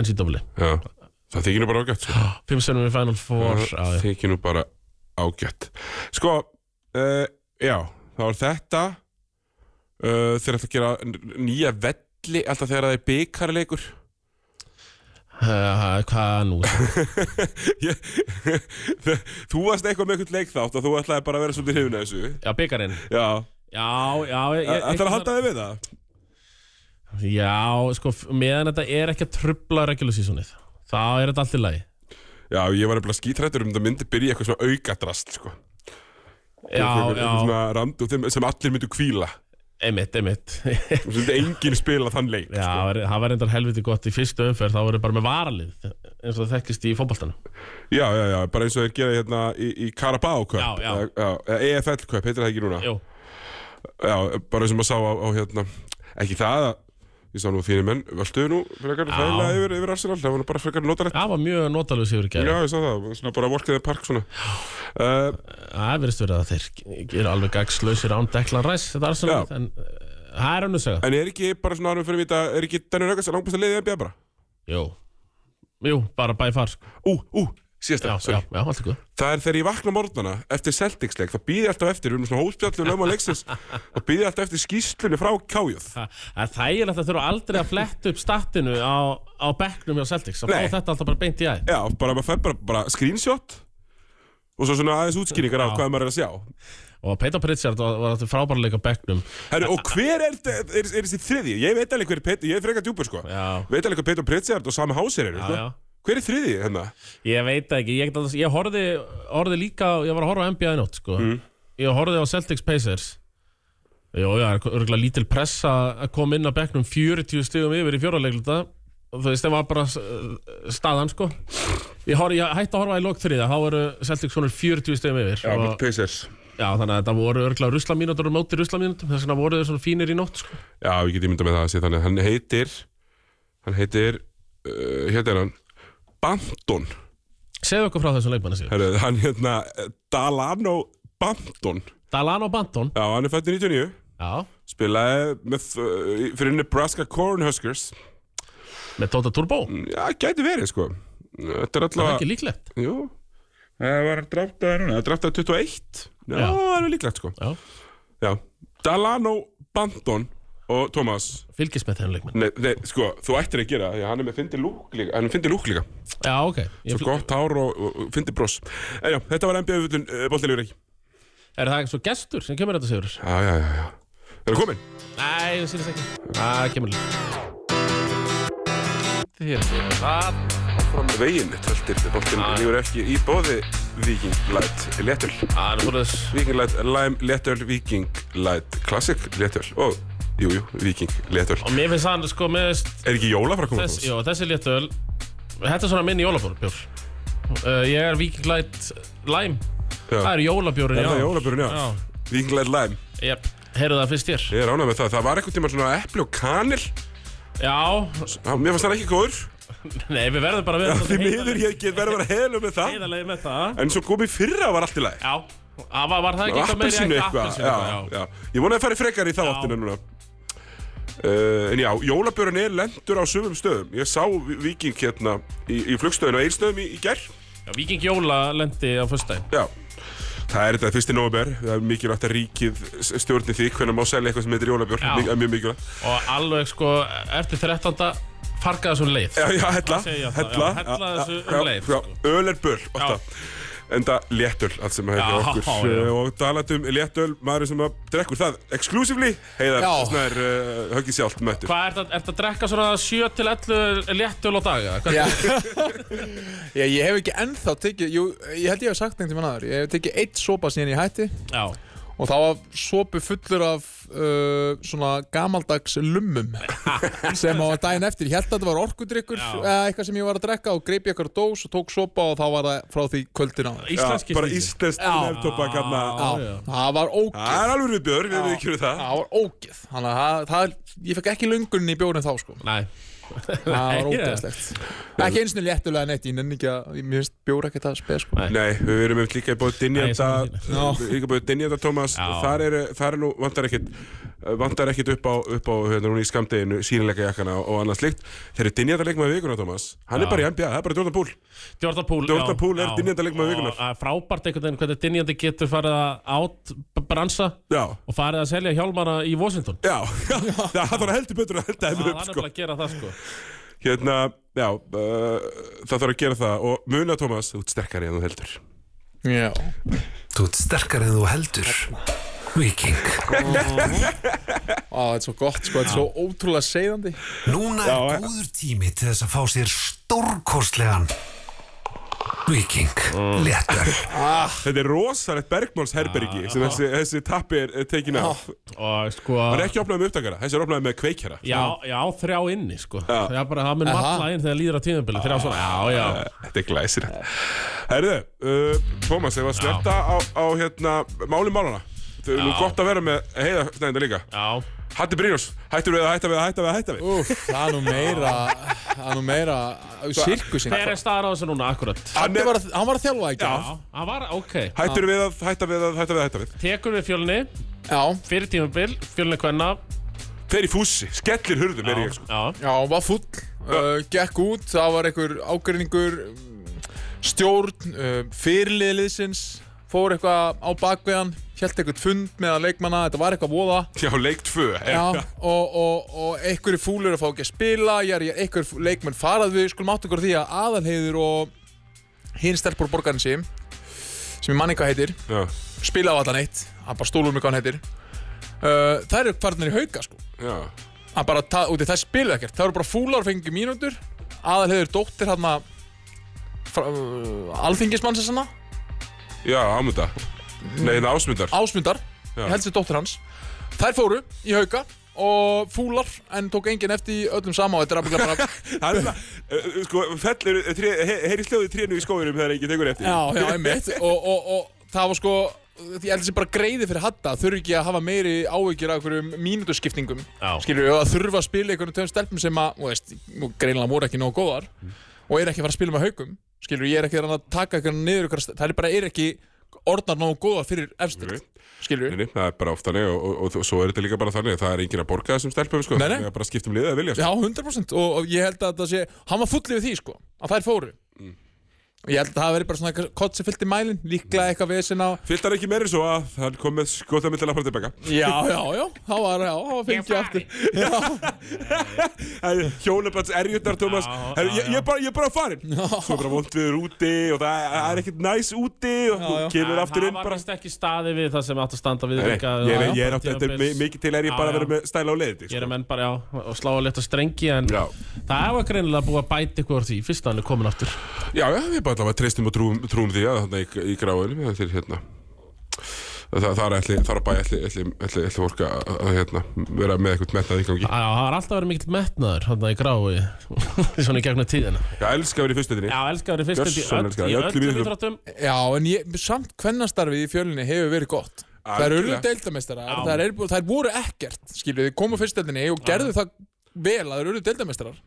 B: NCAA
A: Já, það þykir nú bara ágætt sko.
B: Fimm senum í Final Four já,
A: Það
B: já.
A: þykir nú bara ágætt Sko, uh, já þá er þetta uh, þeir ætla að gera n- nýja velli alltaf þegar það er byggarleikur [LAUGHS]
B: Eh, Hvað nú?
A: [LAUGHS] Þú varst eitthvað með einhvern leik þátt og þú ætlaði bara að vera svolítið hrifin að þessu
B: Já, byggarinn
A: Já,
B: Já, já ég- ég-
A: ætlaði að halda þig við það
B: Já, sko, f- meðan þetta er ekki að trubla regular seasonið Þá er þetta allt í lagi
A: Já, ég var eitthvað skítrættur um þetta myndi byrja í eitthvað svona aukadrast sko.
B: Já,
A: Eitthvað- eitthvað
B: já,
A: svona rand, sem allir myndu kvíla
B: Einmitt,
A: [LAUGHS]
B: einmitt Já,
A: Þú veist, enginn spila þann leik
B: það var- það var reyndar helviti gott í fyrstu umferð þá voru bara með varalið eins og það þekkist í fótboltanum
A: já, já, já, bara eins og þeir gera hérna í, í Carabao Cup
B: Já, já.
A: Eða- eða EFL Cup, heitir það ekki núna
B: Jú,
A: Já, bara eins og maður sá á, á hérna ekki það að ég sá nú þínir menn völduðu nú frekar þægilega yfir, yfir Arsenal það var nú bara frekar notalegt
B: það var mjög notalus yfir
A: Já,
B: gæri
A: ég sá það, svona bara volkaðið park svona uh,
B: Það verðist verið að þeir eru alveg gagslausir án Declan Rice þetta Arsenal
A: Já.
B: en uh, það er önnur saga
A: En er ekki bara svona árum fyrir vita er ekki Daniel Öggas langbæsta liðið NBA bara?
B: Jú, Jú bara by far sko.
A: Ú, ú, síðast
B: Já,
A: það,
B: já, já, allt er góð
A: Það er þegar ég vakna morgnana eftir Celtics-leik, þá býði ég alltaf eftir, við erum svona hóspjallu lögum á leiksins, þá býði ég alltaf eftir skýslunni frá kájuð.
B: Þa- Það er þægilegt að þurfa aldrei að fletta upp statinu á, á bekknum hjá Celtics að fá
A: Nei.
B: þetta alltaf bara beint í aðeins
A: Já, bara maður fær bara, bara screenshot og svo svona aðeins útskýringar af hvað maður er að sjá.
B: og Peter Pritchard var, var þetta frábæra leik á bekknum
A: Herru, og hver er, er, er þessi þriði? Ég veit alveg hver Petur, ég er frekar djúpur sko.
B: Já.
A: Veit alveg hver Petur Pritzjard og Sami Hásir eru,
B: Já,
A: sko.
B: já.
A: Hver er þriði hérna?
B: Ég veit það ekki, ég, get að- ég horfði, horfði líka, á- ég var að horfa á NBA í nótt sko. Ég horfði á Celtics Pacers Jó, já, örgulega lítil pressa að koma inn á bekknum 40 stigum yfir í fjóralegluta og þú veist, það var bara uh, staðan sko. Ég, horf, ég hætti að horfa í lok þriða, þá eru Celtics konur 40 stigum yfir og,
A: Pacers.
B: Já, þannig að þetta voru örgla ruslamínútur og móti ruslamínútum þess vegna voru þeir svona fínir í nótt sko.
A: Já, ég get ímynda með það að sé þannig. Hann heitir, hann heitir, uh, hérna er hann, Banton.
B: Segðu okkur frá þessum leikmanni sér
A: Herru, hann hérna, eh, Dalano Banton.
B: Dalano Banton
A: Já, hann er fættur 99.
B: Já,
A: Spilaði með, uh, fyrir Nebraska Cornhuskers.
B: með Tóta Turbo
A: Já, gæti verið sko. Þetta er
B: Það er
A: alltaf...
B: ekki líklegt
A: Jú Það var draftaði núna, það draftaði 21 Já,
B: Já.
A: það er líklegt sko
B: Já,
A: Já. Dalano Banton og Thomas
B: fylgist með þeim leikmann
A: Nei, nei, sko, þú ættir að gera það því að hann er með fyndi lúk líka Hann er fyndi lúk líka
B: Já, ok
A: Svo
B: Ég,
A: gott hár og, og, og fyndi bros En já, þetta var NBA fullun uh, boltilegur ekki
B: Er það svo gestur sem kemur þetta sigur?
A: Já, já, já, já Það er komin
B: Nei, það sýnist ekki Það kemur líka Hér, það
A: Fram veginn, töltir, boltin
B: Já.
A: lífur ekki í bóði Viking Light Letul
B: Það er svona þess
A: Viking Light Lime Letul Viking Light Classic Letul Og, jú, jú, Viking Letul
B: Og mér finnst hann, sko, með þess
A: Er ekki jóla frá að koma
B: Þess,
A: Thomas?
B: jó, þessi léttöl Þetta er svona minn jólabjór uh, Ég er Viking Light Lime
A: Já.
B: Það er jólabjórin
A: Er það jólabjörn, já.
B: Já.
A: Vinglæð læm.
B: Jep, heyrðu það fyrst hér
A: Ég er ánægð með það. Það var eitthvað tíma svona epli og kanil.
B: Já,
A: Á, Mér fannst það ekki góður.
B: nei, við verðum bara að vera
A: Því miður ég get verið að vera heilum með það.
B: Heiðarlega með það
A: En svo kom í fyrra var allt í lagi.
B: Já, það var, var það ekki eitthvað meira
A: Appelsínu eitthvað.
B: Appelsínu
A: Já,
B: eitthvað,
A: já. Ég vonaði að fara frekar í þá áttina núna. Uh, en já, jólabjörn er lendur á sumum stöðum. Ég sá viking hérna í, í flugstöðinu á Eilstöðum í, í gerð.
B: já. já Viking Jóla lendi á fyrstæðin
A: Já. Það er þetta fyrsti nóver, það er mikilvægt að ríkið stjórni því hvernig má selja eitthvað sem heitir jólabjór,
B: Já.
A: mjög mikilvægt.
B: Og alveg sko, eftir 13. fargaði þessu leið
A: Já, já, hella,
B: segi ég alltaf,
A: hella,
B: já, hella
A: já,
B: þessu
A: já,
B: um leið,
A: Já,
B: sko.
A: öl er böl, alltaf. Enda léttöl, allt sem hefur
B: Já,
A: okkur.
B: já.
A: Eh, Og talandi um léttöl, maður sem að drekkur það exclusively, heiðar,
B: Já.
A: snær, uh, höggið sjálft mættur.
B: Hvað er þetta, er þetta að drekka svona 7-11 léttöl á dag? eða? Hvað-
C: Já. Já, ég hef ekki ennþá tekið, jú, ég held ég hef sagt einhvern veginn aður, ég hef tekið eitt sopa síðan ég hætti
B: Já,
C: og það var sopu fullur af uh, svona gamaldags
B: [LAUGHS]
C: lummum sem á daginn eftir, ég held að þetta var orkudrykkur
B: Já.
C: eða eitthvað sem ég var að drekka og greip ég eitthvað dós og tók sopa og þá var það frá því kvöldin á.
B: íslenski
A: bara
B: stíll.
A: íslenskt nefntoppa, kannar.
C: Já,
B: já.
C: það var ógeð.
A: Það er alveg við björ, við erum ekki fyrir það.
C: Það var ógeð, þannig að það, það, ég fekk ekki lungunni í bjórin þá sko
B: Nei,
C: Það var
B: Nei, já.
C: ógeðslegt Ekki eins og léttulega neitt, ég nenni ekki að, mér finnst bjóra ekki það speð sko
B: Nei.
A: Nei, við erum eftir líka í bóð
B: Nei, ég
A: Dinjanda,
B: sammála
C: þínu.
A: líka í bóð Dinjanda, Thomas.
B: Já.
A: Þar er, þar er nú, vantar ekkit, vantar ekkit upp á, upp á, hérna, hún í skamdeginu, sínilega jakkana og, og annað slikt. Þegar Dinjanda leikmaði vikuna, Thomas, hann er bara í NBA, það er bara Jordan Poole.
B: Jordan Poole
A: Jordan
B: já,
A: Poole er
B: já.
A: dynjandi leikmaður
B: Og
A: vikunnar.
B: það er Frábært einhvern veginn hvernig dynjandi getur farið að átbransa
A: Já,
B: og farið að selja hjálmana í Washington
A: já, [LAUGHS] já, það var heldur betur að henda þeim
B: Það
A: upp,
B: er
A: sko.
B: bara að gera það sko
A: Hérna, já, uh, það þarf að gera það og muna, Tómas, þú ert sterkari en þú heldur.
C: Já,
D: Þú ert sterkar en þú heldur Viking
C: Á, þetta er svo gott sko, þetta er svo ótrúlega seiðandi
D: Núna er góður tími til þess að fá sér stórkostlegan Viking, léttöl
A: Þetta er rosalegt bergmálsherbergi sem þessi, þessi tappi er er tekin af
B: og sko
A: Það er ekki opnað með upptakara, þessi er opnað með kveikjara
B: já, já, þrjá inni sko
A: Já.
B: það er bara, það mun matla inn þegar líður á tíðanbili þrjá svona, já, já
A: Þetta er glæsilegt Herðu, uh, Tómas, ef að snerta á, á hérna, máli málana Þau eru nú gott að vera með heiða snæðinda líka
B: Já,
A: Hatti Brynjós, hættur við að hætta við að hætta við að hætta við
C: Úf, það er nú meira Það er nú meira Sirkusinn
B: hver er staðar á þessu núna akkurat?
A: Hann
C: Hann
A: er,
C: Sko, var að- hann var að þjálfa ekki
B: Já, það var, ok
A: hættur við að hætta við að hætta við að hætta við
B: Tekur við fjölni,
C: Já,
B: fyrir tímabil, fjölni kvenna
A: Fer í fússi, skellir hurðum er ég sko
B: Já,
C: já, hann var full uh, Gekk út, það var einhver ágreiningur Stjórn uh, Fyrirliðliðsins Fór eitthvað á bakveðan Hjælt eitthvað fund meðan leikmanna Þetta var eitthvað voða
A: Já, leik tvö er-
C: Já, og, og, og einhverju fúlur að fá ekki að spila, ég er, ég er einhverju leikmenn farað við, skulum átt okkur á því að aðalheiður og hinn stelpur borgarinn sem, sem ég manni hvað heitir,
A: Já,
C: spila á allan eitt, hann bara stólur mig hvað hann heitir, uh, þær eru farnir í hauka sko,
A: já,
C: hann bara, ta- út í þær spila ekkert, þær eru bara fúlar og fengi mínútur, aðalheiður dóttir hann að, uh, alþingismannsins hann
A: já, ámunda Nei, hérna ásmundar
C: Ásmundar,
A: Já.
C: ég held sér dóttir hans Þær fóru í hauka og fúlar en tók enginn eftir í öllum sama og þetta er afbygglega bara
A: Það er það, uh, sko, fellur, uh, tré- he- heyri hljóðið trénu í skóðurum þegar enginn tekur eftir
C: Já, já, einmitt og, og, og það var sko ég held þessi bara greiði fyrir hatta þurfi ekki að hafa meiri áhyggjur af einhverjum mínútuskiptingum
B: Já.
C: skilur við að þurfa að spila einhvern tveim stelpum sem að, þú veist, nú greinilega voru ekki nógu góðar og er ekki að fara að spila með haukum skilur við, ég er ekki að reyna að taka einhvern niður einhverjar- það er bara, er ekki orðnar nógu góðar fyrir efstir,
A: Nei.
C: skilur við
A: Nei, nei, það er bara oft þannig og, og, og, og svo er þetta líka bara þannig að það er enginn að borga þessum stelpum sko.
C: Nei, nei.
A: Það er bara að skipta um liðið að vilja sko.
C: Já, 100% og, og ég held að það sé Hann var fullið við því sko, að þær fóru
A: Mm.
C: Ég held að það veri bara svona eitthvað kott sem fyllt í mælin
A: Mm.
C: Líklega eitthvað vesen á
A: Fyllt hann ekki meiri svo að hann kom með skóðamillalapar tilbaka
C: Já, já, já, það var, já, það var fengið aftur Já,
A: Hjónabands erjutnar, Tómas
B: Já,
A: Herru,
B: já,
A: ég, ég, er bara- ég er bara farin Svo er bara vond viður úti og það er- það er ekkert næs úti og þú kemur aftur
B: það
A: inn
B: var
A: bara
B: vist ekki staði við það sem átt að standa við
A: Nei,
B: líka,
A: ég, ég, ég er
B: já,
A: átt þetta er mi-
B: tímabils.
A: mikið til er ég
B: Já,
A: bara að vera
B: já.
A: með stæla á leiði
B: Ég
A: sko.
B: er menn bara, já, og slá að leta strengi En
A: Já.
B: það var greinilega búið að bæta ykkur því Fyrst að hann er komin aftur
A: Já, já, við bara allavega treystum og trúum, trúum því að þarna í, í gráðunum það er hérna Það, það er ætli, það er bara ætli, ætli, ætli, ætli fólk að, að hérna, vera með eitthvað metnað í gangi.
B: Já, það var alltaf verið mikill metnaður Hann í grái, [LAUGHS] svona í gegnum tíðina
A: Ég elska að vera í fyrstutinni.
B: Já, elskar verið fyrst
A: Gjörsamlega elska það,
B: í
A: í öllum
B: öllum
A: íþróttum.
B: íþróttum
C: já en ég, samt kvennastarfið í fjölinni hefur verið gott Það eru
A: Algjörlega.
C: öllum deildameistara
B: Já.
C: það, er, það voru ekkert, skilur við, komu fyrstdeldinni og gerðu það vel að það eru öllum deildameistrar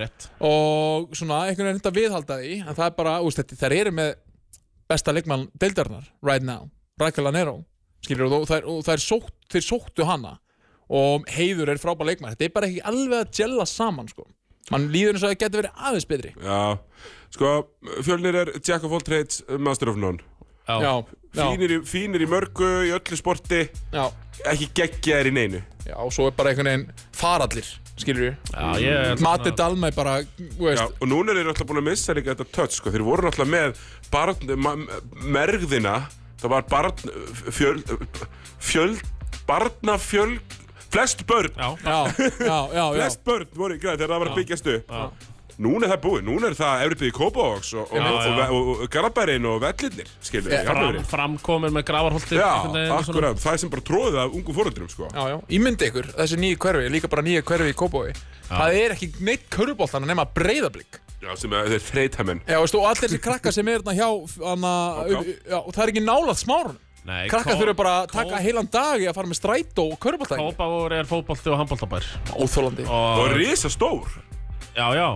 B: Rétt
C: og svona einhvern veginn reynda að viðhalda því en það er bara, úst, þetta, þær eru með besta leikmann deildarinnar right now, Raquel Anero skilur, og, þær, og þær, sótt, þeir sóttu hana og heiður er frábær leikmann þetta er bara ekki alveg að jella saman sko. mann líður eins og það getur verið aðeins betri
A: Já, sko, fjölnir er Jack of all trades, master of none
C: já, já,
A: fínir, í- fínir í mörgu, í öllu sporti
C: já,
A: ekki geggjaðir í neinu
C: já og svo er bara einhvern veginn farallir skilur við,
B: Já, ég
C: Mati Dalmæ bara þú
A: Já,
C: veist,
A: og núna er þeir alltaf búin að missa líka þetta touch sko. þeir voru alltaf með barn, ma, mergðina það var barn fjöl, fjöl barnafjöl flest börn
B: Já,
C: já, já, já, já.
A: flest börn voru í græð þegar það var að byggjast upp Núna er það búið, núna er það Everybody Kópavogs og, og,
B: Já,
A: og,
B: já.
A: og, og Garabærin og Vellirnir, skilur við,
B: fram,
A: Garabærin.
B: framkomin með gravarholti
A: Já, akkurat, það er sem bara tróðið af ungu fóröldurum, sko.
C: Já, já, ímyndi ykkur, þessi nýju hverfi, líka bara nýju hverfi í Kópói Það er ekki neitt körfuboltan að nema breyðablík
A: Já, sem að þeir þreyta menn.
C: Já, veistu, og allir þessi krakkar sem er þarna hjá hana,
A: já.
C: upp, já, og það er ekki nálað smárun
B: Nei,
C: Krakkar
B: Kó-
C: þurfa bara að
B: Kó-
C: taka heilan dag í að fara með strætó og körbóltæk
B: Kópavogur er fótbolti og handboltabær
C: Óþólandi
A: Og risa stór.
B: Já, já,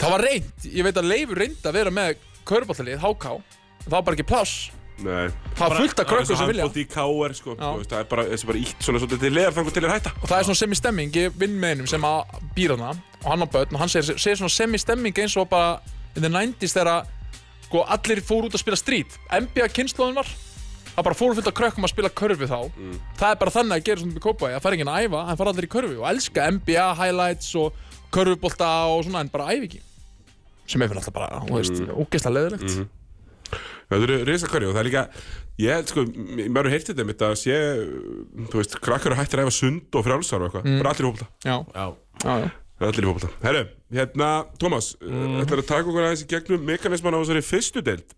C: Það var reynd, ég veit að Leifur reyndi að vera með körbóltalið, HK en Það var bara ekki pláss
A: Nei.
C: Það var fullt af krökkur sem vilja
A: Handbóti í KR, sko.
C: Já.
A: Þú veist, Það er bara, þessi bara ítt svona svolítið til leðar þangur til er hætta.
C: Og það er svona semistemming, ég vinn með einum sem að býr hana og hann á börn og hann segir, segir svona semistemming eins og bara in the 90s þegar að, sko, allir fóru út að spila strít NBA kynnslóðin var það bara fóru fullt af krökkum að spila körfi þá það er bara þannig að gera svona með kópa það fær enginn að æfa, hann fara allir í körfi og elska NBA highlights og körfubolta og svona en bara æfi ekki sem er fyrir alltaf bara, þú veist, ógeðslega leðilegt
A: Það eru risa hverju og það er líka, ég, sko, m- maður hefur heyrt þetta mitt að sé, þú veist, krakkar eru hættir að hefa sund og frjálsar og eitthvað. Bara allir hópa það.
C: já,
B: já
C: já, já,
A: Allir í fólkvölda. Herru, hérna, Tómas, mm. ætlar að taka okkur aðeins í gegnum mekanisman á þessari fyrstu deild.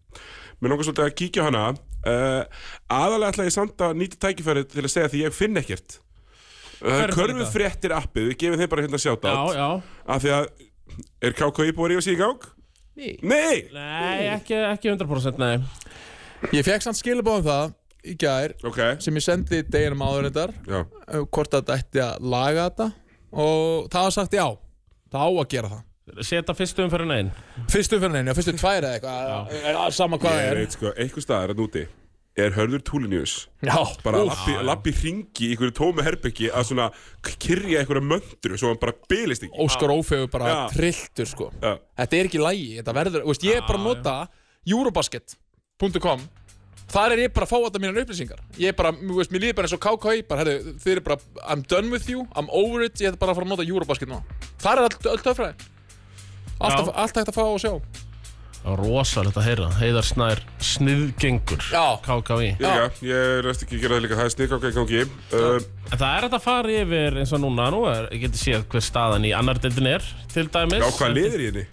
A: Mér langar svolítið að kíkja á hana. Uh, aðalega ætla ég samt að nýta tækifærið til að segja því ég finn ekkert. Uh,
B: Hver er það
A: Körfu
B: líka?
A: fréttir appið, við gefum þeim bara hérna sjátt
B: Já,
A: átt.
B: já.
A: Af því að, er KK íbúið í og síðan gang?
C: Nei.
A: Nei!
B: Nei, ekki, ekki 100% nei.
C: Ég fekk samt skilabóðum það í gær
A: Ok,
C: sem ég sendi deginum áður þetta
A: já.
C: uh, hvort að þetta ætti að laga þetta og það var sagt já það á að gera það
B: Seta um fyrstu umferðin einn.
C: fyrstu umferðin, já fyrstu tvær eða eitthvað er það sama hvað
A: Ég
C: það er
A: veit sko, einhver staðar að núti er Hörður Túlinius
C: já,
A: bara lappi, lappi hringi í einhverju tómi herbyggi að svona kyrja einhverja möndru svo hann bara bylist ekki.
C: Óskar Ófegur bara
A: Já.
C: trilltur sko
A: Já.
C: þetta er ekki lægi, þetta verður veist, ég er bara að nota eurobasket.com þar er ég bara að fá alltaf mínar upplýsingar ég er bara, þú veist, mér líður bara eins og KK bara, herri, þið eru bara, I'm done with you I'm over it, ég er bara að fara að nota eurobasket núna þar er allt, allt töfraði allt,
B: Já.
C: allt hægt að fá og sjá
B: Rósalegt að heyra. Heiðar Snær sniðgengur.
C: Já.
B: KKV.
A: Ég líka, ég rest ekki að gera það líka, það er snikkáka í gangi. Uh,
B: En það er hægt að fara yfir eins og núna nú er, ég geti séð hver staðan í annar deildin er til dæmis
A: já, hvað liðir í henni?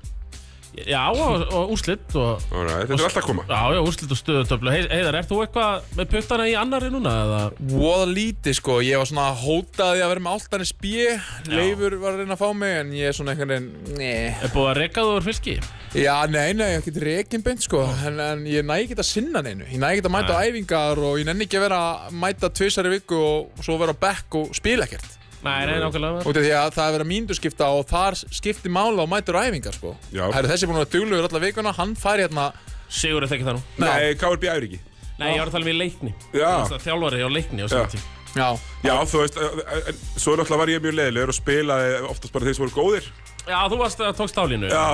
B: Já, og, og úrslit og,
A: Alright, þetta er alltaf að koma.
B: Já, já, úrslit og stöðutöflu Hei- Heiðar, ert þú eitthvað með puttana í annari núna? Eða?
C: voða lítið sko, ég var svona hótaði að vera með áltanis bjö Leifur var að reyna að fá mig en ég er svona einhvern veginn nei.
B: Er búið að reka þú úr fylki?
C: Já, nei, nei, ég get reikin beint sko en, en ég næ ekki að sinna neinu Ég næ ekki að mæta á æfingar og ég nenni ekki að vera að mæta tvisar í viku og svo vera á bekk og spila ekkert
B: Nei, nei, nákvæmlega
C: Út af því að það er verið að mínduskipta og þar skipti mála og mætur á æfingar sko
A: Já.
C: Það er þessi er búin að vera duglugur alla vikuna, hann fær hérna
B: Sigur er það ekki það nú
A: Nei, KRB æfir ekki.
B: Nei, ég var að tala um í leikni
A: Já.
B: Það er Þjálfari á leikni á
A: Já.
B: sinni tím
C: Já,
A: Já, þú veist, uh, uh, en svo náttúrulega var ég mjög leiðilegur og spilaði oftast bara þeir sem voru góðir.
B: Já, þú varst að tókst álínu
A: Já,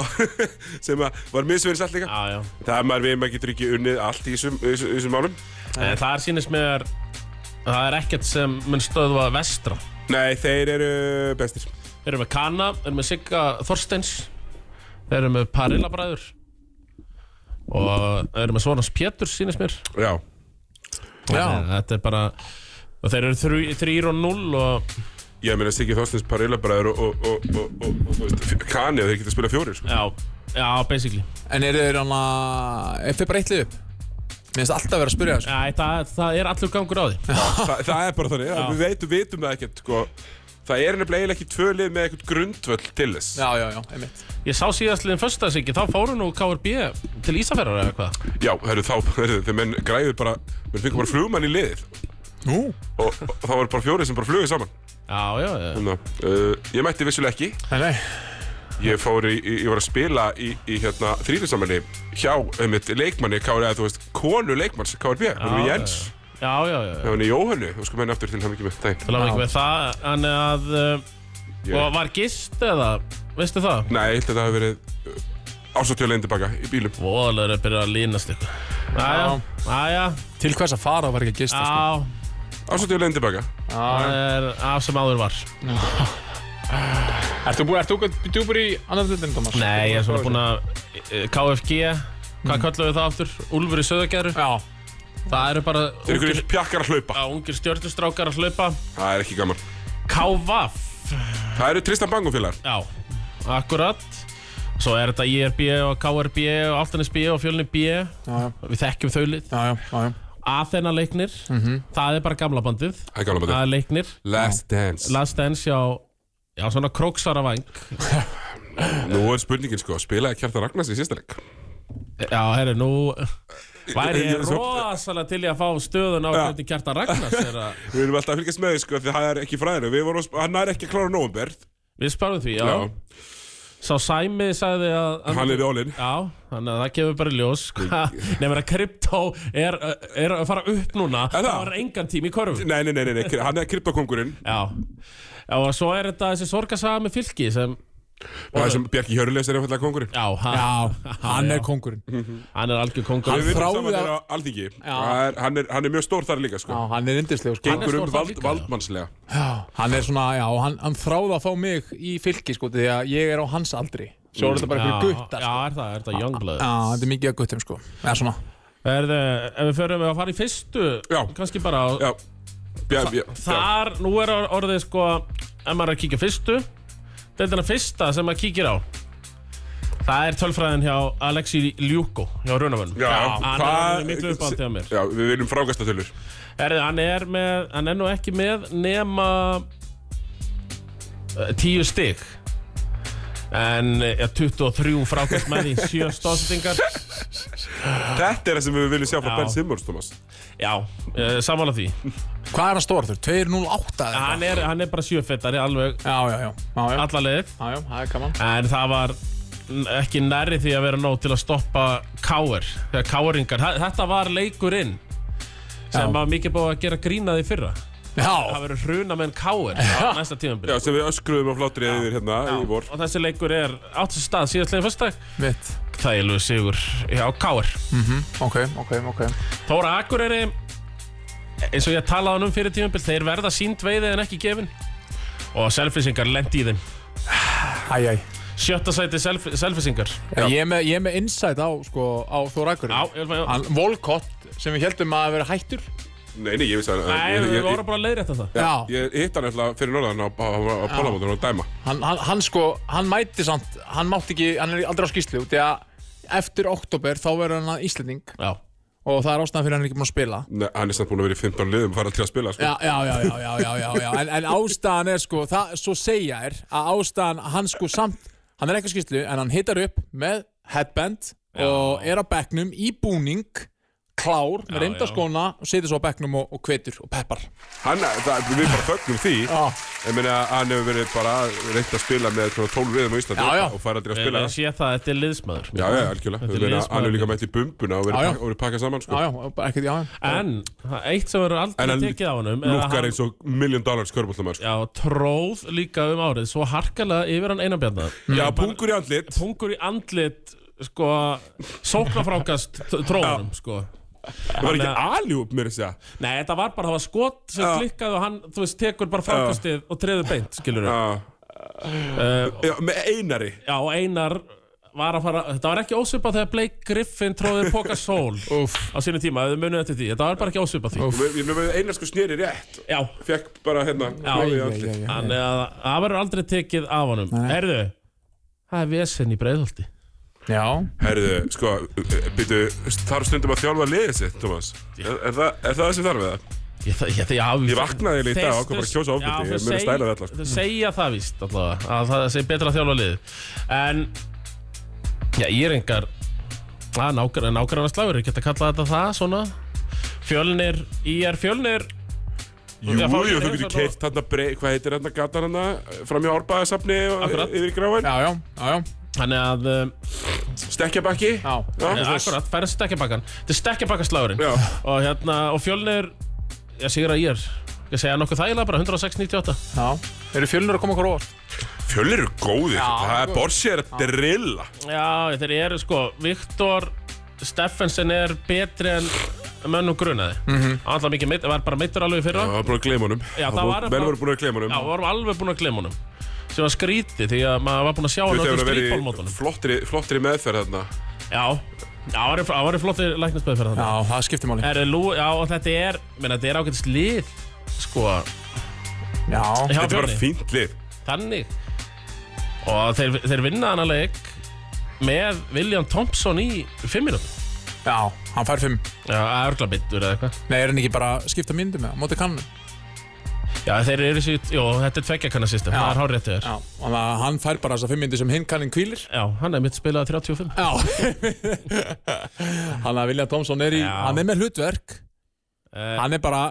A: [LAUGHS] sem að var misverðis allt líka.
B: já, já.
A: Það er maður við, maður getur ekki unnið allt í þessum, þessum, þessum málum.
B: En Eh, Það er sínist mér Það er ekkert sem mun stöðva vestra
A: Nei, þeir eru bestir.
B: Við erum með Kana, við erum með Sigga Þorsteins Við erum með Parilla bræður Og við erum með Svonans Péturs sínist mér Eh,
A: Já,
C: já,
B: Þetta er bara Og þeir eru þrjú- þrír og 0 og
A: ég meina Siggi Þorstins Parilla bræður og, og, og, og, og, og, þú veist, Kani og þeir geta spilað fjórir, sko.
B: Já, já, basically
C: en eru þeir hann að Er fyrir bara eitt lið upp? Mér finnst alltaf vera að spyrja þessu
B: Já, það, það er allur gangur á því
A: Þa, [LAUGHS] það er bara þannig,
B: Já.
A: við veitum, vitum það ekkert sko. Það er nefnilega eiginlega ekki tvö lið með eitthvað grundvöll til þess
C: Já, já, já, einmitt
B: Ég sá síðast liðin föstudagsíki Þá fóru nú KRB til Ísafjörðar eða hvað
A: Já, hörru, þá, [LAUGHS] hörru, þegar menn græðu bara menn fengur bara flugmann í liðið
C: Nú?
A: og, og þá var bara fjórið sem bara flugið saman
B: Já, já, já
A: Þannig, að, uh, Ég mætti vissulega ekki
C: Nei, nei
A: Ég fór í, í- ég var að spila í, í hérna, þrýðinsamæli hjá um, leikmanni, KRB, eða þú veist, konu leikmanns KRB, hann er Jens
B: Já, já, já, já.
A: Það var Jóhannu, þú sko menn aftur til hann ekki með daginn
B: Það ekki með það Þannig að uh,
A: Ég-
B: Og var gist eða Veistu það?
A: Nei, ég held að það hafi verið uh, ásátjölein tilbaka í bílum
B: Vóðalegur er byrjað að línast eitthvað Jæja, jæja
C: Til hvers að fara var ekki að gista sko.
B: Já,
A: Ásátjölein tilbaka
B: það er af sem áður var
C: Ert þú búið, ert þú djúpur í annan dildin, Thomas?
B: Nei, ég er svona búinn að eh, KFG, hvað kallum við það aftur? Úlfur í söðagerðu
C: Já,
B: Það eru bara
A: Þeir eru
B: ungir,
A: ykkur pjakkar að hlaupa
B: á, ungir stjörnustrákar að hlaupa
A: Það er ekki gaman.
B: KVAF
A: Það eru Tristan Bangofélagar.
B: Já, akkurat Svo er þetta IRB og KRB og Altanis B og Fjölni B
C: já, já,
B: Við þekkjum þau lit
C: já, já, já, já.
B: Athena leiknir,
A: Mhm.
B: það er bara gamla bandið
A: Það er gaman að
B: Það
A: þetta.
B: er leiknir
A: Last Dance.
B: Last Dance já, já svona króksvara vang
A: Nú er spurningin sko, spilaði Kjartan Ragnars í sísta leik?
B: Já, herru, nú væri ég
A: Svo-
B: rosalega til í að fá stöðun á hvernig Kjartan Ragnars er að
A: Við erum alltaf að fylgjast með því sko, því það er ekki fræðinu. Við vorum, að sp- hann er ekki að klára nóvumber.
B: Við spárum því, já.
A: Já.
B: Sá Sæmi sagði að...
A: Hann er í all-in.
B: Já, þannig að það gefur bara í ljós. [LAUGHS] Nefnir að kryptó er, er að fara upp núna.
A: Er það?
B: Það var engan tím í korfum.
A: Nei, nei, nei, nei, nei, kri- hann er kryptokongurinn.
B: Já. Já, og svo er þetta þessi sorgasaga með fylki sem...
A: Það sem Bjarki Hjörleis er einfallega kongurinn.
B: Já, hann,
C: já hann er kongurinn.
B: hann er algjör kongur.
A: Við vinnum
C: þráði
A: saman
C: að-
A: þér á Alþingi. Það er- Hann er, hann er mjög stór þar líka
C: Já,
A: sko.
C: hann er yndislegur, sko.
B: Hann er
A: Gengur um
B: stór þar
A: vald,
B: líka, já.
A: valdmannslega.
C: Já, hann er svona, já, hann, hann þráði að fá mig í fylki, sko, því að ég er á hans aldri. Svo er þetta bara
B: Já,
C: einhverju guttar,
B: já,
C: sko.
B: er það, er það youngblood.
C: Já, þetta er mikið að guttum, sko. Já, svona.
B: Erðu, ef við förum að fara í fyrstu,
A: Já.
B: kannski bara á
A: Já. Bjar, bjar, já.
B: Þar, nú er orðið sko Ef maður er að kíkja fyrstu deildina fyrsta sem maður kíkir á Það er tölfræðin hjá Alexi Ljúko hjá Runavörnum
A: Já,
B: Hann
A: hvað-
B: er miklu uppátt hjá mér
A: Já, við viljum frákastatölur
B: Herðu, hann er með, hann er nú ekki með nema eh, tíu stig en eh, já, 23 frákvæmt með því, 7 stóðsendingar
A: Þetta er það sem við viljum sjá frá
B: Já.
A: Ben Simmons, Thomas
B: Já, eh, samanlega því
C: Hvað er hann stór þurr? 208 eða
B: Hann
C: eitthvað?
B: er, hann er bara 7 fettari alveg
C: Já, já, já, já, já,
B: alla leið
C: já, já, það er gaman
B: en það var n- ekki nærri því að vera nóg til að stoppa káer, þegar káeringar Þa- þetta var leikurinn sem
C: Já.
B: var mikið búið að gera grínaði fyrra það
C: Já,
B: verður hruna með en káer á
A: [LAUGHS]
B: næsta
A: Já,
B: tímanbyrð
A: sem við öskruðum á flátri yfir hérna í vor
B: og þessi leikur er átt sér stað síðastlegin fyrstak
C: mitt
B: þægilegu sigur hjá káer
C: Ok, ok, ok
B: Þóra Akureyri eins og ég talaði hann um fyrir tímanbyrð þeir verða sínt veiði en ekki gefin og selfisingar lendi í þeim
C: Æj, æj
B: sjötta sæti self selfisingar
C: Ég er með, ég er með insight á, sko, á Þór Akurinn
B: Já, ég vil fæ-
C: Hann, Volkott, sem við heldum að vera hættur
A: Nei, nei, ég vissi að
B: Nei,
A: ég-
B: við
A: ég-
B: vorum bara að leiðrætta það
C: Já,
A: Ég hitt hann alltaf fyrir norðan á, á, á pálamótur og dæma
C: hann, hann, hann sko, hann mæti samt Hann mátti ekki, hann er aldrei á skýslu Því að eftir oktober þá verður hann að Íslending
B: Já,
C: Og það er ástæðan fyrir hann er ekki búin að spila
A: Nei, hann er samt búin að vera í 15 liðum og fara til að spila sko.
C: Já, já, já, já, já, já, já, já. En, en ástæðan er sko, það, svo segja er Að ástæðan, hann sko samt Hann er ekki á skýslu, en hann hittar upp Með headband og er á bekknum Í búning, klár
B: Já,
C: Með
B: já.
C: reyndaskóna og situr svo á bekknum Og, og kvetur og peppar
A: hann, það, Við bara fögnum því
C: Já.
A: Ég meina, hann hefur verið bara reynt að spila með svona 12 liðum á Íslandi
C: Já, já.
A: og fara aldrei að
B: ég
A: spila
B: ég sé það, þetta er liðsmaður
A: Já, já, algjörlega
B: Þetta
A: Ég meina, Hann
B: er liðsmaður.
A: hefur líka mætt í bumbuna og verið,
C: Já, já.
A: pakka, og verið pakkað saman sko.
C: Já, já, bara ekkert, já, já
B: En, það- eitt sem verður
A: En
B: aldrei
A: hann
B: tekið á honum er að
A: Lukkar
B: hann-
A: eins og million dollars körbóltamæður sko.
B: Já, tróð líka um árið Svo harkalega yfir hann einan bjarnar
C: Mm.
A: Já, pungur í andlit
B: Pungur í andlit Sko, sóknarfrákast tróðunum sko.
A: Það var ekki
B: Þannig
A: aljúp mér að segja
B: Nei, þetta var bara, það var skot sem
A: Já.
B: klikkaði og hann, þú veist, tekur bara frákastið og treður beint, skilur við
A: Já. Uh, Já, með einari
B: Já, og Einar var að fara Þetta var ekki ósvipað þegar Blake Griffin tróði Poca
A: [LAUGHS]
B: Soul á sínu tíma, þau munið eftir því Þetta var bara ekki ósvipað því
A: Og við- Ég með einar sko snýri rétt
B: Já,
A: Fekk bara hérna klóið í andlit.
C: já, já.
B: Þannig að það verður aldrei tekið af honum Herðu, það er vesen í breiðholti
C: Já,
A: Herðu, sko, býtu, þarf stundum að þjálfa liðið sitt, Thomas Er, er, það, er það það sem þarf við það?
B: Ég, það, ég, það, já,
A: Ég vaknaði eiginlega í dag og ákvað bara að kjósa ofbeldi. Ég mun að stæla við alla, sko.
B: Þau segja það víst allavega að það sé betra að þjálfa liðið En Já, ég er engar nágrann, nágrann slagur, ég get að kalla þetta það svona Fjölnir, IR Fjölnir
A: Jú,
B: Já, fá-
A: jú, þú getur keitt þarna brei, hvað heitir þarna gatan hana, fram í árbæðasafni og
B: Akkurat.
A: yfir í gráin,
C: já, já, já, já.
B: Þannig að, um,
A: stekkjabakki.
C: Já.
B: ja,
A: Já,
B: akkurat, færa stekkjabakkan Þetta er stekkjabakkaslagurinn
A: já,
B: og hérna, og fjölnir ég sigur að ég er, ég segja nokkuð þægilega bara 106.98
C: já. Eru fjölnir að koma okkur óvart?
A: fjölir eru góðir,
C: Já,
A: það er
C: góð.
A: borsi er að drilla.
B: já, þeir eru sko, Viktor Steffensen er betri en mönnum grunaði
A: Mhm.
B: mm -hmm. alltaf mikið, meitt, var bara meittur alveg í fyrra
A: Það var búin að gleyma honum.
B: Já, það var
A: Menn
B: bara-
A: voru búin að gleyma
B: já, við
A: honum.
B: varum alveg búin að glemma honum sem var skrítið því að maður var búin að sjá
A: Þú
B: hann á
A: veist, það
B: öllum
A: hefur
B: strítbólmótunum
A: verið flottri, flottri meðferð þarna.
B: já, já, það var- það var flotti læknisbæði fyrir þannig
C: Já, það skiptir máli.
B: Er, lú, já, og þetta er, menn, þetta er ágætist lið sko,
C: Eh. Já,
B: hjá
A: Þetta er
B: Fjölni.
A: bara fínt lið.
B: þannig og þeir, þeir vinna hann að leik með William Thompson í fimm mínútum
C: já, hann fær fimm.
B: já, örgla bittur eða eitthvað
C: Nei, er hann ekki bara að skipta myndum með það? Móti kannu?
B: já, þeir eru sér, jú, þetta er tveggja kannar sýstum
C: Já.
B: það er hár réttið þér já.
C: Já, þannig að hann fær bara þessar fimm myndir sem hinn kannin kvílir.
B: hann er mitt spilað 35
C: [LAUGHS] Já. hann að William Thompson er í,
B: Já.
C: hann er með hlutverk.
B: Eh.
C: Hann er bara,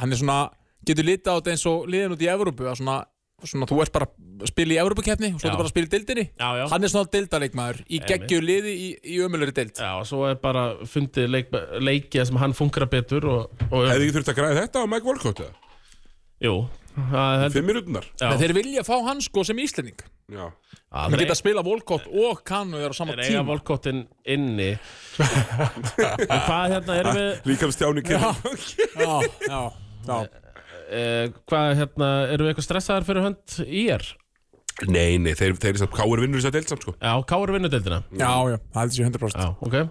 C: hann er svona, getur litið á þetta eins og liðin út í Evrópu, að svona, svona þú ert bara að spila í Evrópukeppni og svo
B: Já.
C: ertu bara að spila í deildinni.
B: já, já,
C: Hann er svona deildarleikmaður í
B: Einmitt.
C: geggju liði í, í ömulöri deild.
B: já, og svo er bara fundið leik, leikið sem hann fungra betur og, og
A: Hefði ekki þurft að græða þetta á Mike Walcott, eða?
B: jú, það er
A: Fimm minútunar?
B: Já.
C: En þeir vilja fá hann sko sem Íslending.
A: Já.
C: Hann geta að spila Volkott og Kanu er á sama
B: er eiga
C: tíma
B: volkottin inni en hvað hérna erum við
A: Líkam Stjáni kynna.
C: Já, já, já
B: eh, hvað hérna, erum við eitthvað stressaðar fyrir hönd í er
A: Nei, nei, þeir, þeir, þeir, þeir vinnur þess að deilt samt, sko.
B: já, káur vinnudeldina
C: Já, já, það heldur sér 100%
B: já, ok
C: uh,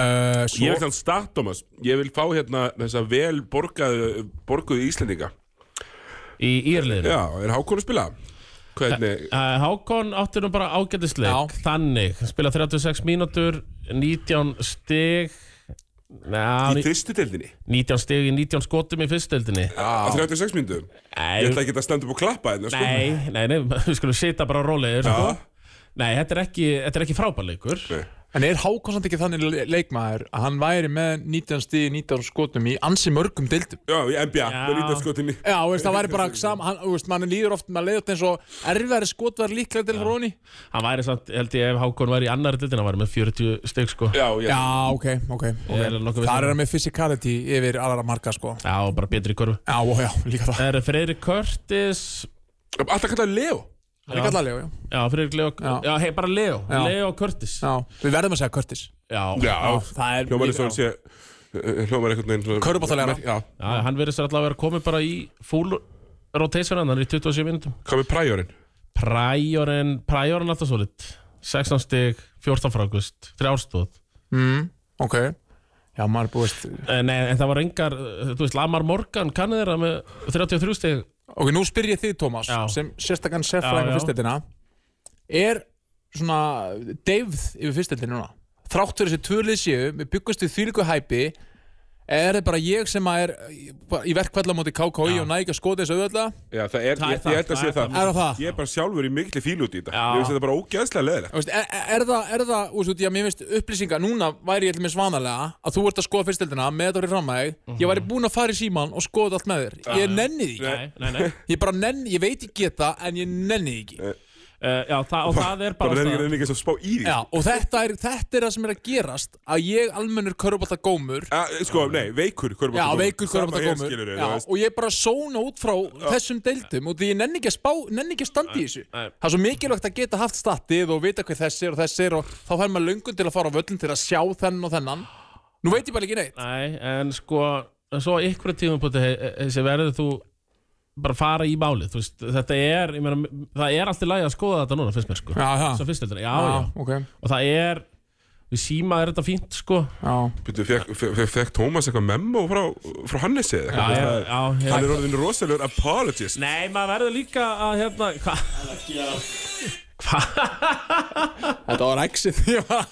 A: Ég
C: Svo,
A: vil þannig stað, Thomas. Ég vil fá hérna þessa vel borgað, borguðu Íslendinga.
B: Í Írliðinu?
A: Já, er Hákon að spila? Hvernig,
B: Eh, Hákon átti nú bara ágætisleik
C: Já.
B: Þannig, spila 36 mínútur 19 stig Næ,
A: í fyrstu deildinni?
B: 19 stig í 19 skotum í fyrsteldinni
A: Á 36 mínútum? Ég ætla
B: Nei,
A: ekki að standa upp og klappa hérna, sko.
B: nei, nei, nei, [LAUGHS] við skulum sita bara rólegir
A: Já.
B: sko. Nei, þetta er ekki, þetta er ekki frábærleikur
A: Nei.
C: En er Hákon samt ekki þannig le- leikmaður að hann væri með 19 stíð, 19 skotum í ansi mörgum deildum?
A: Já, í NBA,
B: Já.
A: með lítið skotinni.
C: Já, þú veist, það væri bara sam, hann, þú veist, mann líður oft, maður leiður oft eins og erfiðari skot var líklega til hróni.
B: Hann væri samt, held ég, ef Hákon væri í annar dildin Hann væri með 40 stig sko
A: Já, já.
C: Já, ok, ok.
B: Ég er nokkuð viss um.
C: Það er hann með physicality yfir aðra marga, sko.
B: Já, og bara betri í korfu
C: Já, ó, já, líka það.
B: Það eru Freyri Curtis
A: Alltaf kallað Leo.
C: Það er kallarlega, já.
B: Já, Freyri Leo Já,
C: Já.
B: hei, bara Leo,
C: Já.
B: Leo Curtis
C: Já, við verðum að segja Curtis.
B: Já,
A: Já,
C: það er
A: hljómar eins og hann sé, eh, hljómar einhvern veginn svona...
C: Körfuboltalegana.
A: Já,
B: Já, hann verður sér allavega að vera komið bara í full rotation hann, hann er í 27 minnum
A: hvað með præjórinn?
B: Præjorinn, Præjorinn alltaf svo lit 16 stig, 14 frákust, 3 árstóð
C: Mm, ok. Já, maður er búist.
B: Eh, Nei, en það var engar, eh, þú veist, Lamar Morgan kannu þeirra með 33 stig
C: Ok, nú spyr ég þig, Tómas,
B: Já.
C: sem sérstakann
B: Já,
C: sérfræðingur
B: já.
C: fyrstildina. Er svona deyfð yfir fyrstildinu núna? Þrátt fyrir þessi tvölið séu, við byggumst við þýliku hæpi, er það bara ég sem að er bara í verkfælla móti KKI og næg að skoða þessu auðvölda?
A: Já, það er,
B: Það er
A: ég,
B: það,
A: ég held að
B: það
A: sé
B: er
A: það.
B: það.
C: Er það það?
A: Ég er bara sjálfur í mikli fíl út í þetta.
B: Já.
A: Ég finnst þetta bara ógeðslega leðilegt.
C: Þú veist, Er, er, er það, er það, úr, því að mér finnst upplýsingar, núna væri ég til mér svanalega að þú ert að skoða fyrstildina með þetta orðið fram að þig, ég
B: Mhm.
C: væri búinn að fara í síman og skoða allt með þér. Ég nenni því.
B: Nei,
C: ekki.
B: nei, nei
C: Ég bara nenni, ég veit ég geta, en ég nenni því ekki.
B: Eh, Já, það, og það er bara
A: Bara reynir
B: ástæðan.
A: reynir ekki eins og spá í því.
C: Já, og þetta er, þetta er það sem er að gerast að ég almennur körbólta gómur
A: Ja, sko, nei, veikur
C: Já,
A: körfuboltagómur.
C: veikur
A: Sama
C: körbólta
A: hér,
C: gómur
A: skilurðu,
C: já,
A: þú veist.
C: og ég bara sóna út frá þessum deildum og því ég nenni ekki að spá, nenni ekki að standa í þessu
B: nei.
C: Það er svo mikilvægt að geta haft statið og vita hvað þessi er og þessi er og þá fær maður löngun til að fara á völlin til að sjá þennan og þennan Nú veit ég bara ekki neitt
B: Nei, en sko en svo ykkur tíðum púti þessi verður þú bara fara í málið, þú veist, þetta er ég meina, það er alltaf lægi að skoða þetta núna finnst mér sko,
C: Já, já.
B: svo fyrst heldur, já,
C: Já,
B: já
C: ok
B: og það er, við síma er þetta fínt sko
C: Já,
A: Býttu, fekk, fekk, fekk Tómas eitthvað memo frá, frá Hannesi eða
B: Já,
A: eitthvað? Það-
B: já, já, já.
A: Hann er orðin rosalegur apologist
B: Nei, maður verður líka að hérna hva?
C: [LAUGHS] þetta var exit [LAUGHS] Ég var-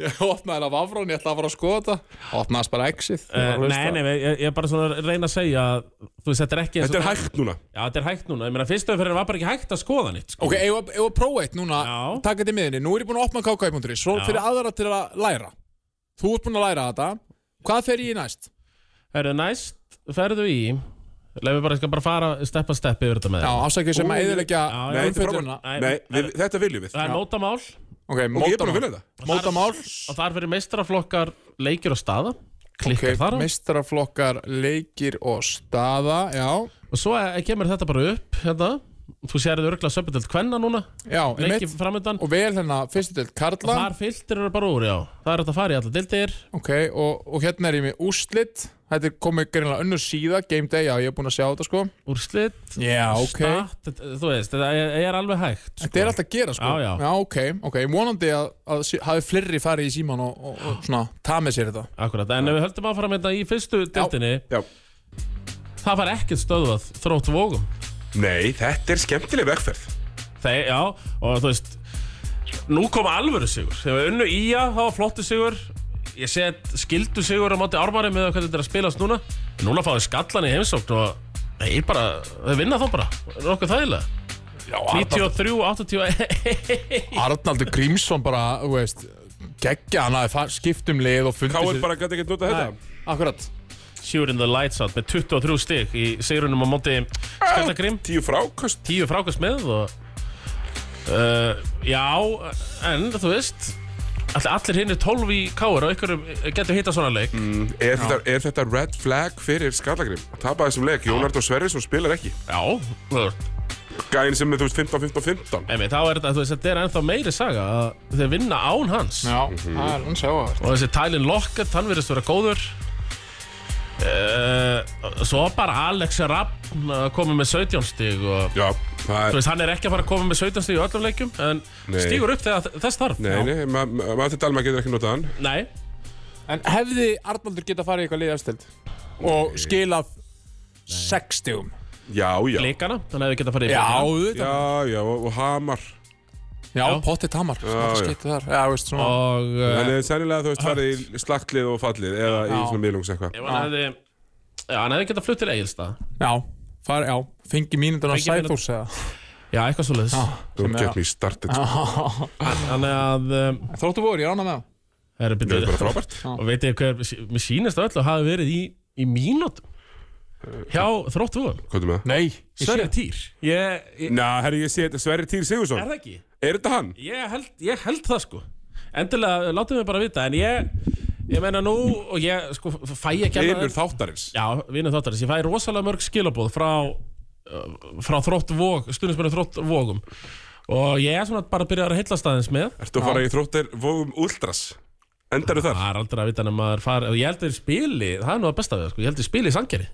C: ég opnaði að vafrón, ég ætla að fara að skoða þetta Opnaðast bara exit Ég var
B: Uh,
C: að hlusta.
B: nei, nei, ég, ég er bara svona að reyna að segja að, Þú veist, þetta er ekki eins og-
A: Þetta er hægt núna
B: Já, þetta er hægt núna, ég meina fyrstu fyrir var bara ekki hægt að skoða nýtt sko.
C: Ok, ef að- ef að prófa eitt núna,
B: Já.
C: taka þetta í miðinni Nú er ég búinn að opna kkip.is Svo
B: Já.
C: fyrir aðra til að læra Þú ert búinn að læra þetta Hvað fer ég í næst?
B: Herru, næst ferðu í Leifum bara, ég skal bara fara stepp að steppi yfir þetta með
C: Já,
B: þér.
C: afsækja sem að
B: já,
C: eðilegja
B: já.
A: Nei, þetta er
C: umfjöldunna
A: frábært. Nei, við, þetta viljum við
B: Það er mótamál
C: Ok,
A: Og ég er búin að
C: mótamál
A: vilja það
C: Mótamál
B: og þar fyrir meistraflokkar leikir og staða klikkar
C: Ok,
B: þar á.
C: meistaraflokkar, leikir og staða Já,
B: og svo eh, kemur þetta bara upp hérna. Þú sérðu örgla söpindelt kvenna núna
C: já,
B: leikir
C: einmitt
B: framöndan
C: Og vel hérna, fyrstu deild
B: og
C: Karla
B: þar fylgtir eru bara úr, já Það er þetta að fara í alla dildir
C: Ok, og, og hérna er ég með úslit Þetta er komið greinlega önnur síða, game day Já, ég er búinn að sjá þetta sko
B: úrslit
C: Já, ok
B: stat, þú veist, þetta er, er alveg hægt
C: Þetta er alltaf að gera sko
B: Já, já.
C: ok, ok, vonandi að, að sé- hafi fleiri farið í síman og, og, og svona tað með sér þetta
B: Akkurat, en ef við höldum áfram þetta í fyrstu dildinni
A: Já.
B: Það var ekkert stöðvað þrótt vógum
A: Nei, þetta er skemmtileg vegferð
B: Þeir, Já, og þú veist Nú kom alvöru sigur Þegar við unnu ía, það var flottu sigur Ég set skildu sigur á móti ármari með hvernig þetta er að spilast núna En núna fáið skallan í heimsókn og þeir bara, þeir vinna þá bara Það er okkur þægilega
C: Já,
B: 93, 81
C: Arnaldur Grímsson bara, þú veist geggja hann að skipt um lið og fundið
A: Káir bara gæti ekki nota þetta
C: Akkurat
B: Shooting the lights out með 23 stig í sigurunum á móti Skallagrim
A: Tíu frákast
B: tíu frákast með og uh, já, en þú veist all- allir hinn er 12 í káur og einhverjum eh, getur hitta svona leik
A: er þetta, er þetta red flag fyrir Skallagrim? Að tapa þessum leik, Jónard og Sverrisson spilar ekki
B: já, þú veist,
A: Gæin sem er, þú veist, 15-15-15
B: emi, þá er þetta þú veist, þetta er ennþá meiri saga að þeir vinna án hans
C: Já, Mhm. það er hann sjávært
B: og þessi Tylin Lockett, hann verðist vera góður uh, svo bara Alex Rappn komið með 17 stig og
A: Já, það
B: Þú
A: er
B: veist, hann er ekki að fara að koma með 17 stíg í öllum leikjum en
A: Nei.
B: stígur upp þegar þess þarf
A: Nei, nei, ma- ma- maður þetta alveg getur ekki notað hann
B: Nei.
C: En hefði Arnaldur geta farið í eitthvað lið efstild og skilað 60
A: já, já,
B: blikana Hann hefði getað farið í
C: Já,
B: blikana
C: auðvitað.
A: já, já, og, og Hamar
C: Já, pottitt hamar, svona
A: já.
C: skeittu þar Já, veist, svona
B: Og uh,
A: Þannig að sennilega þú veist farið í slagtlið og fallið eða í
C: Já.
A: svona miðlungs eitthvað
B: ef hann hefði Já, hann hefði getað flutt til Egilstað
C: Já, far, já, fengi mínútur af
B: Fengi mínútur.
C: Sæþórs eða
B: Já, eitthvað svoleiðis
A: Þú get mér startið sko.
C: [LAUGHS]
B: Þannig að um,
C: Þróttu voru, ég rána með það
B: er,
A: Það er bara frábært
B: Og veit ég hver, mér sýnist að öllu hafi verið í, í mínútum Hjá þróttu vóðum
A: Hvað er með það?
C: Nei,
B: Sverri Týr ég, ég,
A: Ná, herri, ég sé þetta Sverri Týr
B: Er
A: Sigursson
B: það ekki?
A: Er þetta hann?
B: Ég held, ég held það sko Endilega, látið mig bara vita En ég, ég meina nú Og ég sko fæ ekki annað en-
A: Einur þáttarins
B: Já, vinur þáttarins, ég fæ rosalega mörg skilaboð frá, uh, frá þrótt vóg, stundismennu þrótt vógum og ég er svona bara að byrja að heilla staðins með
A: Ertu að fara í þróttir Vógum Ultras? Endaru þar?
B: Það er aldrei að vita nema maður fara og ég held að þeir spili, það er nú að besta við það, sko, ég held að þeir spili í sangeri,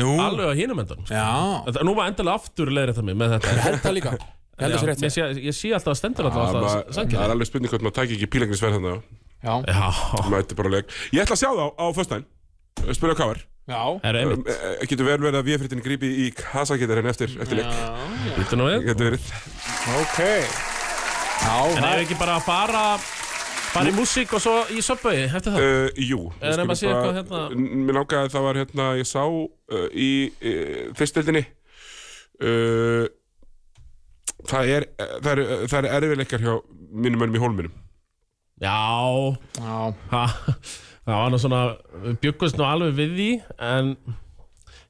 C: Nú,
B: alveg á hinum endanum sko.
C: já,
B: Þetta- Nú var endilega aftur leiðir þetta mig með
C: [LAUGHS]
B: þetta
C: held það líka Ég held það sér
B: Já,
C: rétt
B: ég, sé, ég sé alltaf að stendur alltaf
A: Það
B: alltaf
A: ma- það er
B: sangeri
A: alveg spurning hvort maður tækir ekki pílengnisverð þannig
C: Já,
B: Já,
A: Mæti bara á leik Ég ætla að sjá þá á föstudaginn Spurðu á káar
C: já,
B: það er einmitt,
A: Eh, Getur vel verið að viðfrittin grípi í kassakettarinn eftir, eftir leik
B: býttu nú við
A: Getur verið
C: ok Já,
B: En
C: það
B: er ekki bara að fara, fara í músík og svo í söpbögi eftir það?
A: Uh, jú
B: Eða
A: við
B: nema
A: skulum
B: sé
A: bara-
B: eitthvað hérna-
A: N- Mér langaði það var hérna Ég sá uh, í uh, fyrstöldinni uh, Það er Það er, það er erfiðleikar hjá mínum mönnum í hólminum
B: Já,
C: Já,
B: Ha, það var nú svona við bjuggumst nú alveg við því en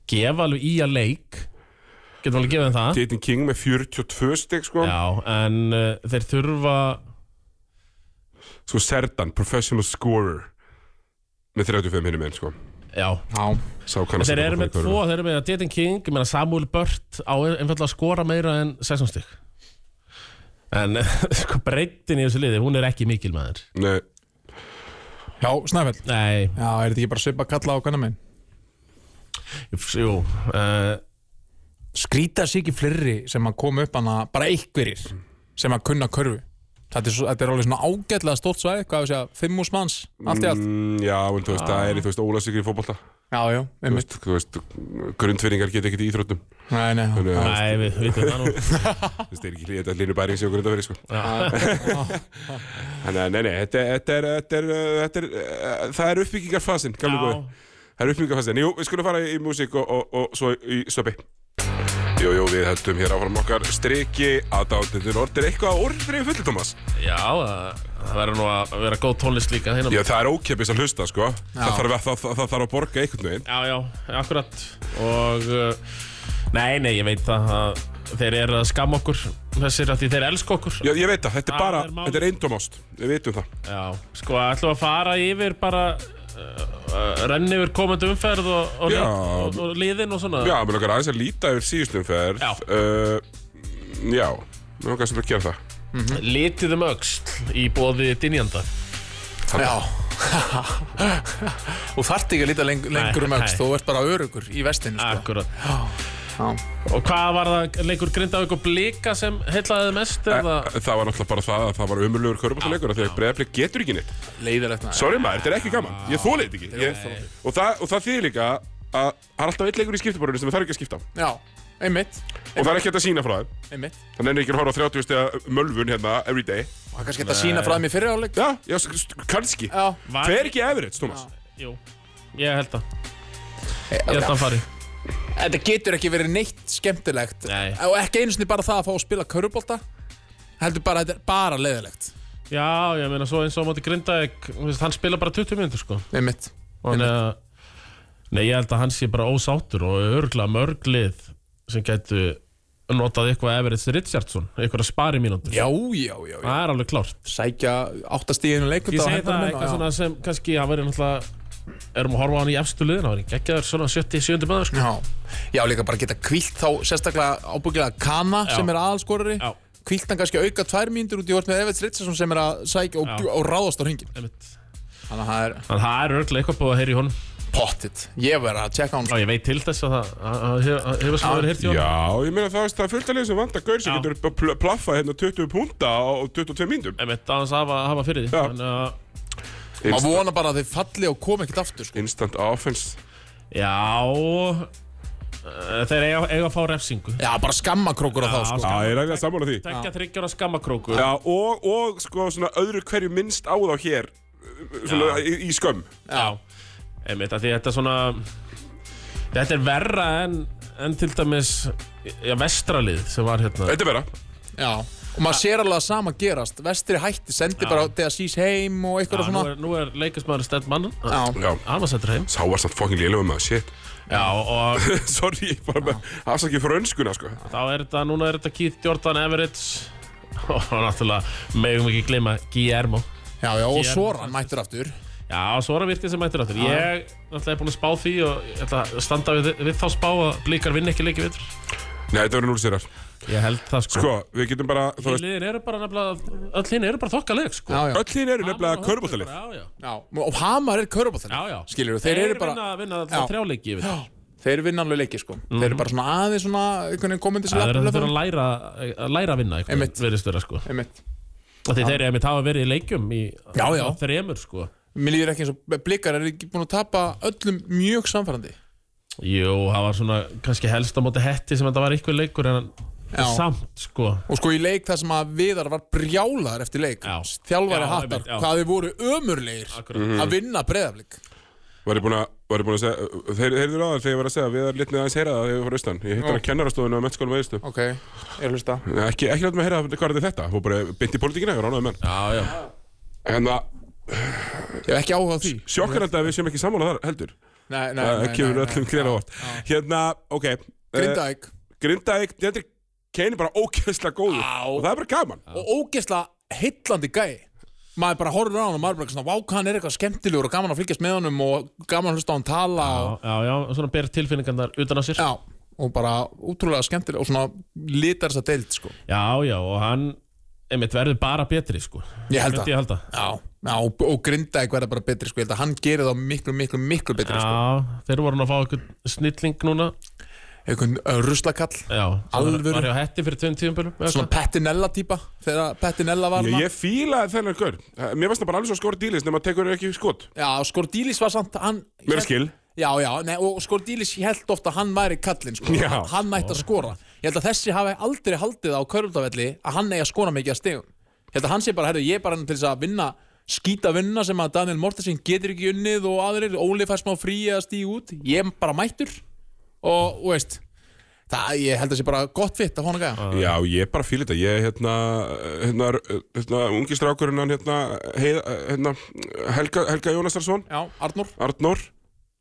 B: gefa alveg í að leik getum alveg gefið þeim það
A: Titin King með 42 stygg sko
B: já, en uh, þeir þurfa
A: Sko Serdan, professional scorer Með 35 hinnum einn sko
B: já,
C: já,
A: Sá kannast
B: þeir
A: að
B: eru
A: það
B: með
A: var
B: tvo, þeir eru með Dietin King, ég meina Samuel Burt á einfallega að skora meira en 16 stygg en [LAUGHS] sko breytin í þessu liði, hún er ekki mikil maður
A: Nei,
C: já, Snæfell
B: nei,
C: Já, er þetta ekki bara svipa kalla á hvernig minn?
B: jú uh,
C: Skrýta sig ekki fleiri sem að koma upp hana bara einhverjir sem að kunna körfu Þetta er, svo, þetta er alveg svona ágætlega stórt svæði, hvað við segja, fimm hús manns, allt í allt
A: mm, já, en þú veist,
B: Ah.
A: það er í, þú veist, ólasikri í fótbolta
C: Já, já,
A: Þú
C: einmitt
A: veist, þú veist, grundfyrringar geta ekkert í íþróttum
C: Nei, nei, já.
A: Þannig að,
B: nei, við vitum það nú
A: þú veist, þeir eru ekki þetta línu bæring sem okkur þetta verið, sko
B: já,
A: [LAUGHS] Þannig að, nei, nei, þetta, þetta, er, þetta, er, uh, þetta er, uh, það er uppbyggingarfasin, gamlu góði. Það er uppbyggingarfasin. Jú, við skulum fara í músík og, og, og svo í stöpi. Jú, jú, við heldum hér áfram okkar striki að dátendur orð. Er eitthvað að orðrið fullu, Thomas?
B: já það, það verður nú að vera góð tónlist líka hérna
A: Já, það er ókepis að hlusta, sko. Það þarf, að, það, það, það þarf að borga einhvern veginn.
B: Já, já, akkurat og uh, nei, nei, ég veit það að þeir eru að skamma okkur þessir að því þeir elska okkur
A: Já, ég veit það, þetta er
B: Það
A: bara,
B: er málið.
A: þetta er eindomást. Við vitum það.
B: Já, sko, ætlum við að fara yfir bara uh, uh, renni yfir komandi umferð og, og,
A: Já.
B: og, og liðin og svona
A: Já, mér langar aðeins að líta yfir síðustum ferð.
B: Já.
A: Uh, já, mér langar sem að gera það.
B: Litið um öxl í bóði dynjanda
C: já. [LAUGHS] Þú þarft ekki að líta leng lengur um
B: Nei,
C: öxt,
B: nei.
C: þú ert bara örugur í vestinu, sko
B: Akkurat
C: Já.
B: Og hvað var það, leikur grindaði ykkur blika sem heillaði þig mest
A: Æ,
B: eða?
A: Eh, Það var náttúrulega bara það að það var umurlegur körpáttaleikur af því að breyðaflik getur ekki neitt
C: Leiðilegt, nei
A: Sorry maður, þetta er ekki gaman, ég þóli þetta ekki Ah. ég, og, það, og það þýðir líka að það er alltaf einn leikur í skiptiborðinu sem það þarf ekki að skipta á.
C: Já, einmitt,
A: og það er ekki hægt að sína frá þeim
C: einmitt
A: þannig er ekki að horfa á 30 stega mölvun hérna every day
C: Það er kannski hægt að sína frá þeim í fyrri áleik
A: Já, já, s- s- kannski
C: Já,
B: Var-
A: Hver er ekki average, Thomas?
B: Jú, ég held það Ég held að hann fari
C: Eh, Þetta getur ekki verið neitt skemmtilegt
B: Nei.
C: og ekki einu sinni bara það að fá að spila körubólta heldur bara að þetta er bara leiðilegt
B: Já, ég meina svo eins og á móti Grindavík, þú veist, hann spila bara 20 minnir sko
C: einmitt
B: og hann er Nei, ég held að hann sé bara ósáttur og örgla mörglið sem gætu notað eitthvað Everett Richardson, eitthvað spari mínútur
C: Já, já, já, já.
B: Það er alveg klárt
C: Sækja áttastíðinu leikum
B: Ég segi það eitthvað svona sem kannski hann verið náttúrulega erum að horfa á hann í efstu liðin, hann verið geggjaður svona 70-70 maður sko
C: Já, já, líka bara geta kvílt þá sérstaklega ábyggilega Kana
B: Já.
C: sem er aðalskorari
B: Já.
C: kvílt hann kannski auka tvær mínútur út í vort með Evert Ritsason sem er að sækja og,
B: Já.
C: og ráðast á hringin
B: einmitt.
C: Þannig að það er
B: Þannig að það er örgla eitthvað búið að heyra í honum
C: pottitt Ég verð að tjekka hann
B: Já, ég veit til þess að það að- að- að- að- hefur sem verið heyrt í
A: Já,
B: honum
A: ég meina það, það er fullt að liða sem vantar gaur sem
B: Já.
A: getur pl plaffa hérna 20 punta á 22 mínútum
B: Einmitt, aðeins að hafa, hafa fyrir því
A: Já.
B: Þannig að-
C: Má vona bara að þeir falli og komi ekkert aftur sko.
A: Instant offense
B: Já Eh, Þeir eiga, eiga að fá refsingu
C: Já, bara skammakrókur á þá, sko.
A: Já, ég er eiginlega sammála því
B: Tekja þryggjóra skammakróku
A: Já, og, og sko svona öðru hverju minnst á þá hér svona í, í skömm
B: Já Einmitt, af því þetta er svona Þetta er verra en, en til dæmis já, vestralið sem var hérna
A: Þetta er vera
C: Já. Og maður sér alveg að sama gerast. Vestri hætti, sendi bara þegar sís heim og
B: Já,
C: eitthvað
B: nú,
C: svona.
B: er, nú er leikismæður stend mann
C: Já.
A: Já,
B: Hann var settur heim
A: sá var samt fokkin lélöfum með það, shit
B: Já, og
A: [LAUGHS] Sorry, ég bara með afsakið fyrir önskuna, sko
B: þá er þetta, núna er þetta Keith Jordan Everett [LAUGHS] og náttúrulega megum ekki gleyma Guillermo
C: Já, já, og
B: Hér- Sko.
C: Soran mættur aftur.
B: Já, svo er að virkið sem mættir áttur Ég náttúrulega er búin að spá því og ég ætla að standa við, við þá spá að blíkar vinn ekki leiki vitur
A: Nei, þetta verður núl sérar
B: Ég held það sko,
A: Sko, við getum bara, þú veist,
B: Liðin eru bara nefnilega, öll hinn eru bara þokkaleg sko
C: Já, já.
A: öll hinn eru nefnilega körbóttalið
B: Já, já,
C: já. Og Hamar er körbóttan.
B: já, já.
C: Skilur þeir eru bara...
B: vinna, vinna alltaf
C: Já.
B: þrjáleiki yfir þetta.
C: Þeir vinna alveg leiki sko Þeir eru bara svona aðeins svona einhvern veginn komandi
B: Það
C: sér
B: er þetta
C: löpunum.
B: að læra að læra að vinna einhvern
C: Einmitt.
B: veginn, verðist vera sko
C: Einmitt.
B: Af Því þeir eru einmitt hafa verið í leikjum í
C: Já, já.
B: á þremur sko
C: Mér líður ekki eins og blikar er ekki búin að tapa öllum mjög samfærandi
B: Jú, það var svona kannski helst á móti hetti sem þetta var ykkur leikur en
C: Já.
B: samt sko
C: Og sko í leik það sem að Viðar var brjálaður eftir leik
B: Já.
C: Þjálfari
B: Já,
C: hattar,
B: einmitt, já.
C: hvað þið voru ömurlegir að vinna breyðaflik
A: Var ég búin að, var ég búin að segja, uh, þeir eru ráðar þegar ég var að segja Við erum litnið aðeins heyra það þegar við fyrir austan Ég hitt hann að kennarastofinu á mennskólum eðistu
C: Ok, ég hlusta
A: Ekki, ekki látum að heyra hvað er þetta Hún bara byndi í pólitíkina, ég var ránaði menn
B: Já, já,
A: Hérna,
C: Ég hef ekki áhuga á því
A: sjokkarandi að við séum ekki sammála þar heldur
C: Nei, nei,
A: Það
C: nei,
A: kemur
C: nei,
A: öllum
C: nei.
A: greina vort Hérna, ok eh,
C: Grindavík
A: Grindavík, Dendrik Kane er bara ógeðslega góður Og það er bara gaman
C: og ógeðslega heillandi gæi maður bara horfður á hann og maður bara svona vá hvað hann er eitthvað skemmtilegur og gaman að fylgjast með honum og gaman að hlusta á hann tala
B: já,
C: og
B: já, já, svona ber tilfinningarnar utan á sér
C: Já, og bara útrúlega skemmtileg og svona litar þess að deild sko.
B: Já, já, og hann einmitt verður bara betri, sko
C: Ég held
B: Myndi
C: það
B: ég halda
C: Já, já og, og Grindavík verða bara betri sko. Ég held að hann gerir þá miklu, miklu, miklu betri sko.
B: Já, þeir voru að fá einhvern snilling núna
C: Einhvern uh, ruslakall
B: Já, sem
C: Alvöru?
B: var hjá Hetti fyrir tveim tíum
C: Svona Pettinella típa Þegar Pettinella var
A: Ég,
C: hann
A: ég fílaði þennan gaur Eh, Mér varst það bara alveg svo skóri dílis Nefn að tekur ekki skot
C: Já, Skordílis var samt hann,
A: Mér er skil
C: Já, já, nei, og Skordílis held ofta að hann væri kallinn sko.
A: Já.
C: Hann mætti að skora Ég held að þessi hafi aldrei haldið á Körldafelli að hann eigi að skora mikið að stegum Ég held að hann sé bara, herru, ég er bara hann til þess að vinna skýta vinna sem að Daniel Mortensen getur ekki unnið og aðrir, Óli fær smá frí að stíða út, ég er bara mættur og, og veist það, ég held að sé bara gott fitt af honum gæja
A: Já, ég bara fíla þetta Ég, hérna, hérna, hérna Ungi strákurinn hann, hérna, hei, hérna Helga, Helga Jónastarsson
C: Já, Arnór
A: Arnór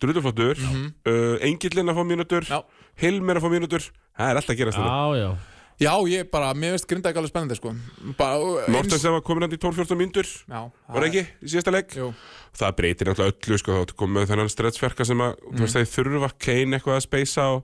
A: Drulluflottur mm -hmm. uh, Engillinn að fá mínútur
C: Mhm. Já.
A: Hilmir að fá mínútur Það er alltaf að gera þetta
B: Já, já,
C: Já, ég bara, mér veist grinda ekki alveg spennandi sko bara,
A: Mortens sem var komin hann í 12-14 mínútur
C: Já,
A: Var það ekki í síðasta leik?
C: Jú,
A: það breytir náttúrulega öllu sko, þá komum við þennan stretchverka sem að þú veist þeir þurfa Kane eitthvað að speysa og,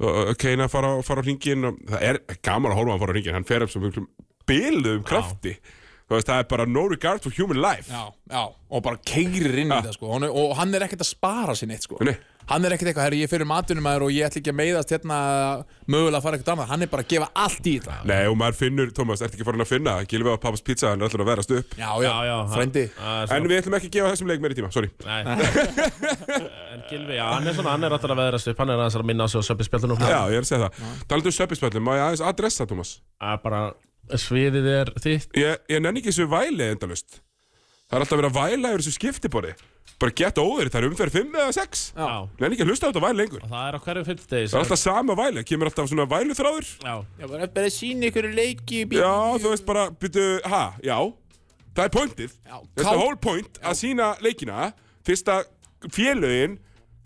A: og og Kane að fara, á- fara á hringin og það er gaman að horfa á hann fara á hringin hann fer upp sem einhverjum biluðum krafti þú veist það er bara no regard for human life
C: já, já, og bara keirir inn í það sko Hon, og hann er ekkert að spara sér neitt sko
A: Nei.
C: hann er ekkert eitthvað, herri, ég fyrir matunum aður og ég ætla ekki að meiðast hérna eða mögulega að fara eitthvað annað, hann er bara að gefa allt í þetta
A: Nei og maður finnur, Thomas, ertu ekki farin að finna Gilvi á pappas pizza, hann er alltaf að verast upp
C: Já, já,
B: já, já hann-
C: frændi
B: Það er
A: En
B: svona-
A: við ætlum ekki að gefa þessum leik meiri tíma, sorry
B: Nei [LAUGHS] En Gilvi, já, hann er svona, hann er alltaf að veðrast upp Hann er aðeins að minna á sig og söpja spjallunum
A: Já, ég er að segja það Talandi um söpispöllum, má ég aðeins adressa, Thomas
B: Það er bara, sviðið er þitt
A: Ég, ég nenni ekki þessu væli endalust Það er alltaf verið að væla yfir þessu skiptiborði Bara gett óður, það er umferð 5 eða 6
B: Já
A: Nenni ekki að hlusta á þetta væli lengur
B: Og það er á hverjum fimmtudegi
A: Það er alltaf sama væli, kemur alltaf svona væluþráður
B: Já,
C: Já, bara, bara síni ykkur leiki
A: Já, þú veist bara, byrju, ha, já Það er pointið
C: Já,
A: Þetta
C: ká-
A: er whole point að sína leikina Fyrst að félögin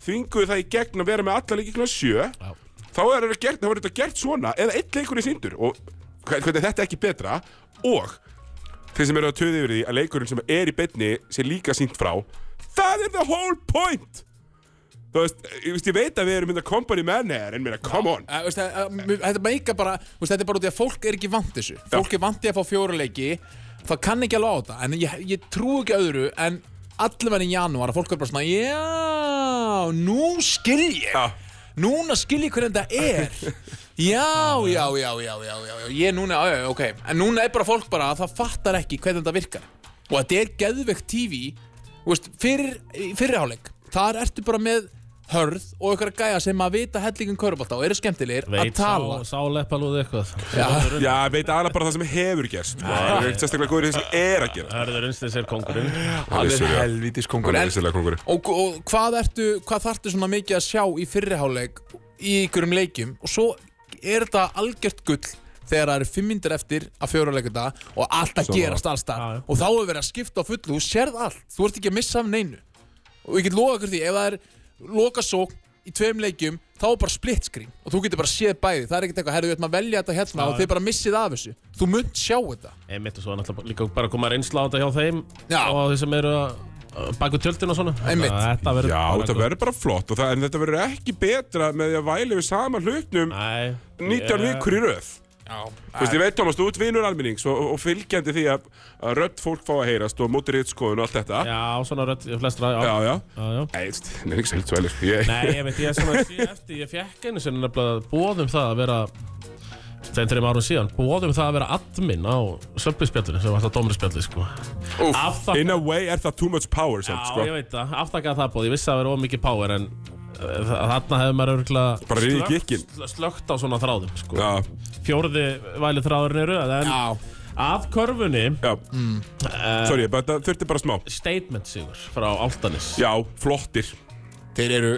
A: þvinguðu það í gegn að vera með alla leiki klokkan sjö
B: Já.
A: Þá er þetta gert, þá er þetta gert svona eða einn leikur í síndur og hver- hvernig er þetta ekki betra og þeir sem eru að töði yfir því að leikurinn sem er í beinni sé líka sínt frá Það er the whole point Þú veist, ég, veist, ég veit að við erum mynda company man here en meina, come on
C: Æ, veist, að, að, eh, þetta meika bara, veist, þetta er bara út í að fólk er ekki vant þessu fólk er vant í að fá fjóra leiki það kann ekki alveg á þetta en ég, ég trú ekki öðru en allavega í janúar að fólk er bara svona já, nú skil ég
A: Já.
C: núna skil ég hvernig þetta er já, já, já, já, já, já, já. ég núna, já, já, ok en núna er bara fólk bara að það fattar ekki hvernig þetta virkar og þetta er geðvegt TV þú veist, fyrir, fyrirháleik þar ertu bara með hörð og ykkur gæja sem að vita hellingum körubolt á og eru skemmtilegir að
B: Veit
C: tala
B: sá, sá leppalúð eitthvað
C: Já.
A: Já, ég veit aðalega bara það sem hefur gerst sko. Það er ekki sérstaklega góður í því sem er að gera
B: Hörður Unstins er kongurinn
C: Hann er
A: vissulega.
C: helvítis kongur
A: Hann er
C: En-
A: vissulega kongur
C: Og, og hvað, ertu, hvað þarftu svona mikið að sjá í fyrriháleik í ykkurum leikjum og svo er þetta algjört gull þegar það eru fimm myndir eftir að fjóruleikur dag og allt að
A: Sammála.
C: gerast
B: Já, já.
C: allstað og þá er verið að skipta á fullu, þú sérð allt þú ert ekki að missa af neinu og ég get loka ykkur því, ef það er lokasók í tveim leikjum, þá er bara split screen og þú getur bara séð bæði, það er ekkert eitthvað herðu, við ætlum að velja þetta hérna og
B: já.
C: þið bara missið af þessu þú munt sjá þetta
B: Einmitt og svo er náttúrulega líka bara að koma reynsla á þetta hjá þeim
C: Já.
B: Og þeir sem eru baku tjöldin og svona
C: Einmitt.
B: Þannig að Þetta verður
A: Já,
B: bara
A: þetta
B: gott.
A: verður bara flott og það, En þetta verður ekki betra með því að væli við sama hlutnum
B: Nei
A: 19
B: ég-
A: vikur í röð Þú veist, ég veit, Thomas, þú ert vinur almennings og, og fylgjandi því að, að rödd fólk fá að heyrast og mótir hitskoðun og allt þetta Já,
B: Já, svona rödd flestra Já,
A: já, já.
B: já, já.
A: Nei, það er ekki svolítið svælir ég,
B: Nei, ég veit, ég er svona sé eftir, ég fekk einu sem nefnilega bóðum það að vera þeim þreim árum síðan, bóðum það að vera admin á söpbispjallinu sem var alltaf dómurispjalli, sko.
A: Úf,
B: Afþakka-
A: In a way er það too much power sem,
B: Já,
A: sko.
B: ég veit það, aftakað það bóð, ég vissi að það verið ómikið power en uh, þarna hefur maður örgulega
A: Bara riðið í gikkinn.
B: slögt á svona þráðum, sko.
A: Já,
B: Fjórði væli þráðurinn eru, en
C: Já,
B: að körfunni,
A: já, sorry, bara, það þurfti bara smá
B: statement sigur frá Altanis.
A: Já, flottir,
C: þeir eru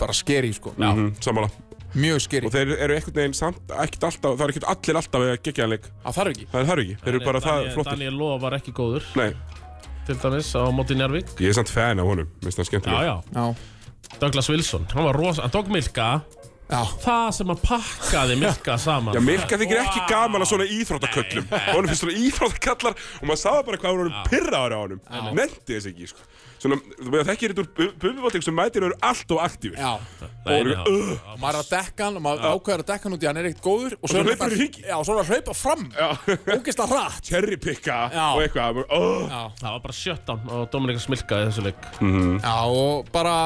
C: bara skeri sko,
A: mm sammála
C: mjög skeri
A: Og þeir eru einhvern veginn samt, ekkert alltaf, það er ekkert allir alltaf að gegja leik
C: það þarf ekki
A: Það er það ekki, þeir eru bara það flottir
B: Daniel Lóa var ekki góður,
A: Nei,
B: til dæmis, á móti Njarvík.
A: ég er samt fan af honum, minnst það
B: Já,
A: skemmtilega
B: já,
C: Já.
B: Douglas Wilson, hann var rosa, hann tók Milka
C: Já.
B: það sem hann pakkaði Milka saman
A: Já, Milka þykir ekki gaman að svona íþróttaköllum Honum finnst svona íþróttakallar Og maður sá bara hvað honum pirraður á honum Nefndi þess ekki, sko Svona, þú veist, þekkir þetta úr bumbibótting sem mætir og eru allt og aktífir
C: Já,
B: Nei, nei, já.
C: og maður er að dekka hann og maður ákveður að dekka hann út í að hann er ekkert góður og
A: svo
C: svo, er hann
A: hleypur
C: bara-
A: í hringi.
C: Já, og svo er hann að hlaupa fram ógist að hratt
A: Cherrypicka
C: Já.
A: og eitthvað oh.
B: það var bara shutdown og Dominikas Milka í þessu leik
C: Já, og bara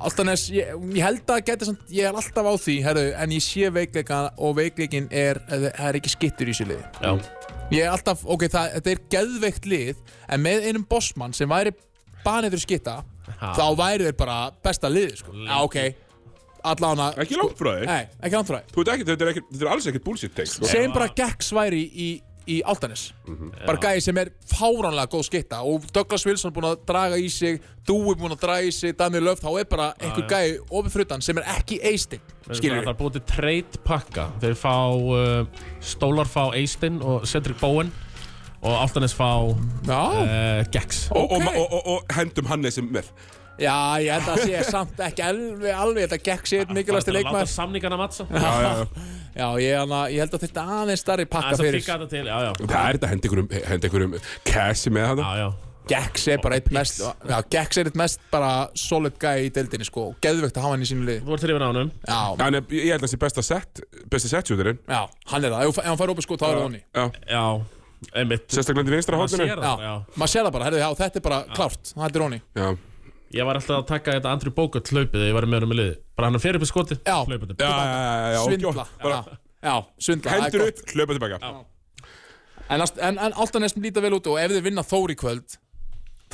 C: Altanes, ég, ég held að geti samt, ég er alltaf á því, herru, en ég sé veikleika og veikleikin er, eh, það er ekki skittur í þessu liði.
B: já,
C: Ég er alltaf, ok, það, þetta er geðveikt lið, en með einum bossmann sem væri banetur skitta,
B: Ha.
C: þá væri þeir bara besta liði, sko. Já, ok, allan að...
A: Ekki langt frá þér
C: Nei, ekki langt frá þér.
A: Þú veit ekki, þetta er, ekki, þetta er alls ekkert bullshit take sko.
C: segjum bara Gex væri í, í Altanes bara gæði sem er fáránlega góð skitta og Douglas Wilson búin að draga í sig Dúi búin að draga í sig Daniel Löf þá er bara einhver gæði ofið frutan sem er ekki eistinn skilur
B: það er búið til trade pakka þeir fá, uh, Stólar fá Eistin og Cedric Bowen og Altanis fá uh,
C: já,
B: Gex
A: og, og,
C: ok.
A: og, og, og hendum Hannesi með
C: já, ég held að sé samt ekki alveg, alveg þetta Gex er mikilvægsti
B: Láta
C: leikmaður
B: samningana matsa
A: já, já, já.
C: já, ég, hana, ég held að þetta aðeins starri pakka
B: Það er að
C: fyrir
B: fika þetta til, já, já
A: Það er þetta að henda einhverjum- henda einhverjum Cassi með hann
B: Já, já,
C: Gex er bara eitt mest já, Gex er eitt mest bara solid gæði í deildinni sko og geðvögt að hafa hann í sínu lið
B: þú ert hrifin á honum
C: já,
A: Hann er, ég held að það sé besta set Besta setjúðurinn
C: já, hann er það, ef ef hann fær opið sko þá er það honni
A: Já,
B: Já, einmitt
A: sérstaklega í vinstra
B: Maður
A: hóttinu
B: sér það, já
C: maður sér það bara, herrðu, já, þetta er bara klárt, þetta er honni
A: Já,
B: Ég var alltaf að taka þetta Andrew Bogut hlaupið þegar ég var með honum í liði Bara hann fyrir upp í skoti,
C: Já.
B: hlaupið
A: já, já, já, já ok.
C: svindla
A: Bara
C: já, já, svindla, það er
A: hendur
C: gott.
A: upp, hlaupa tilbaka
C: en, allt- en, en Altanes líta vel út og ef þeir vinna Þór í kvöld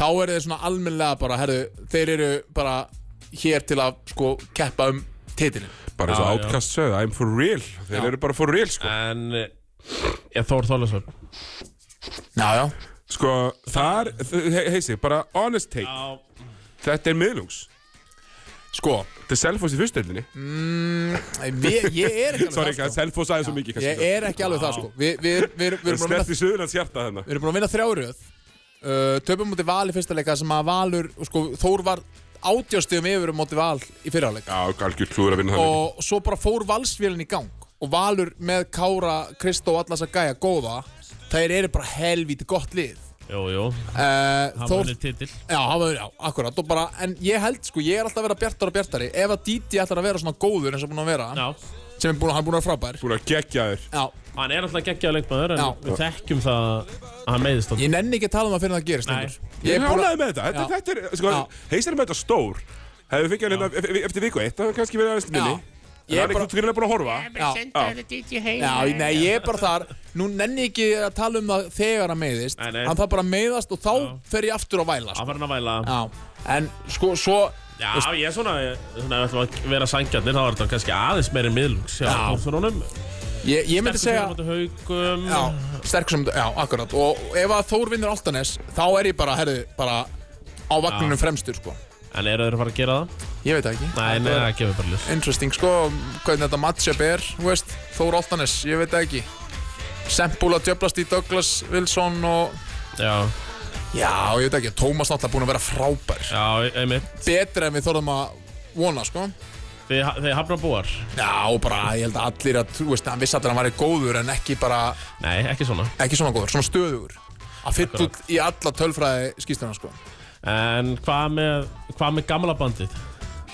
C: þá eru þeir svona almennlega bara, herðu, þeir eru bara hér til að sko keppa um titilin
A: Bara eins
B: Já,
A: og
B: já.
A: Outcast sögðu, I'm for real Þeir
C: Já.
A: eru bara for real, sko
B: En eh, ég Þór Þorlásson
C: já, já,
A: Sko, þar, he- heisi, bara honest take
B: Já,
A: Þetta er miðlungs
C: sko
A: Þetta er Selfoss í fyrstendinni
C: við, ég er [LAUGHS] ekki alveg
A: Sorry,
C: það
A: hvað, Selfoss aðeins svo mikið,
C: sko. ég
A: kannski
C: er ekki alveg það sko við, við, við, við,
A: Það er
C: erum búin að
A: snert
C: vinna-
A: í Suðurlands hjarta þarna
C: við erum búin að vinna þrjáröð uh, töpum mútið val í fyrsta leika sem að valur, sko, Þór var átjástum yfir mútið val í fyrra leika
A: Já, algjör klúður að vinna þannig
C: og svo bara fór valsvélin í gang og Valur með Kára, Kristó og allas að gæja góða þær eru bara helvíti gott lið
B: jú, jú
C: uh,
B: Hann
C: Þór,
B: vunni titil
C: já, hann var, já, akkurat og bara, en ég held sko, ég er alltaf að vera bjartar og bjartari ef að Díti ætlar að vera svona góður eins og búin að vera,
B: Já,
C: sem er búin, hann er búin að vera frábær
A: Búin að gegja þér
C: já,
B: hann er alltaf geggjað leikmaður En
C: Já.
B: við þekkjum það að hann meiðist á
C: ég nenni ekki að tala um það fyrir það gerist
B: Nei.
C: lengur.
A: Ég er
C: búin að-
A: ánægð með þetta,
C: Já.
A: þetta, þetta er, sko, heisir með þetta stór Hefðu fengið hann hérna ef- ef- eftir viku eitt, það hefði kannski verið aðeins minni
C: Já.
A: En
C: Ég
A: hann er
C: bara-
A: ekki greinlega búin að horfa
C: Já.
E: Sentaðu DJ heima
C: Já, nei, ég er bara þar Nú nenni ég ekki að tala um það þegar að meiðist
B: Nei, nei.
C: Hann þarf bara að meiðast og þá fer ég aftur að væla sko.
B: Hann var hann að væla
C: Já, en sko, svo
B: Já, ég er svona, ég- svona ef við ætlum að vera sangjarnir, þá er þetta kannski aðeins meiri miðlungs hjá Þórsvörunum.
C: Ég, ég myndi segja
B: Sterkur fyrir haugum.
C: Já, sterkur sem, já, akkurat Og ef að Þór vinnur Altanes Þá er ég bara, herðu, bara á vagnunum fremstur, sko
B: En eru þeir að fara að gera það?
C: Ég veit það ekki
B: Nei, nei, það gefur bara ljus.
C: Interesting, sko, hvernig þetta matchup er Þú veist, Þór Altanes, ég veit það ekki Sempúl að djöflast í Douglas Wilson og
B: Já,
C: Já, ég veit ekki, Tómas náttúrulega búin að vera frábær
B: já, einmitt.
C: Betra en við þorðum að vona, sko
B: Þið, ha- þið hafna búar?
C: Já, og bara, ég held að allir að, þú veist, hann vissi allir að hann væri góður en ekki bara,
B: Nei, ekki svona.
C: ekki svona góður, svona stöðugur að fylla út í alla tölfræði skýsturna, sko
B: En hvað með, hvað með gamla bandið?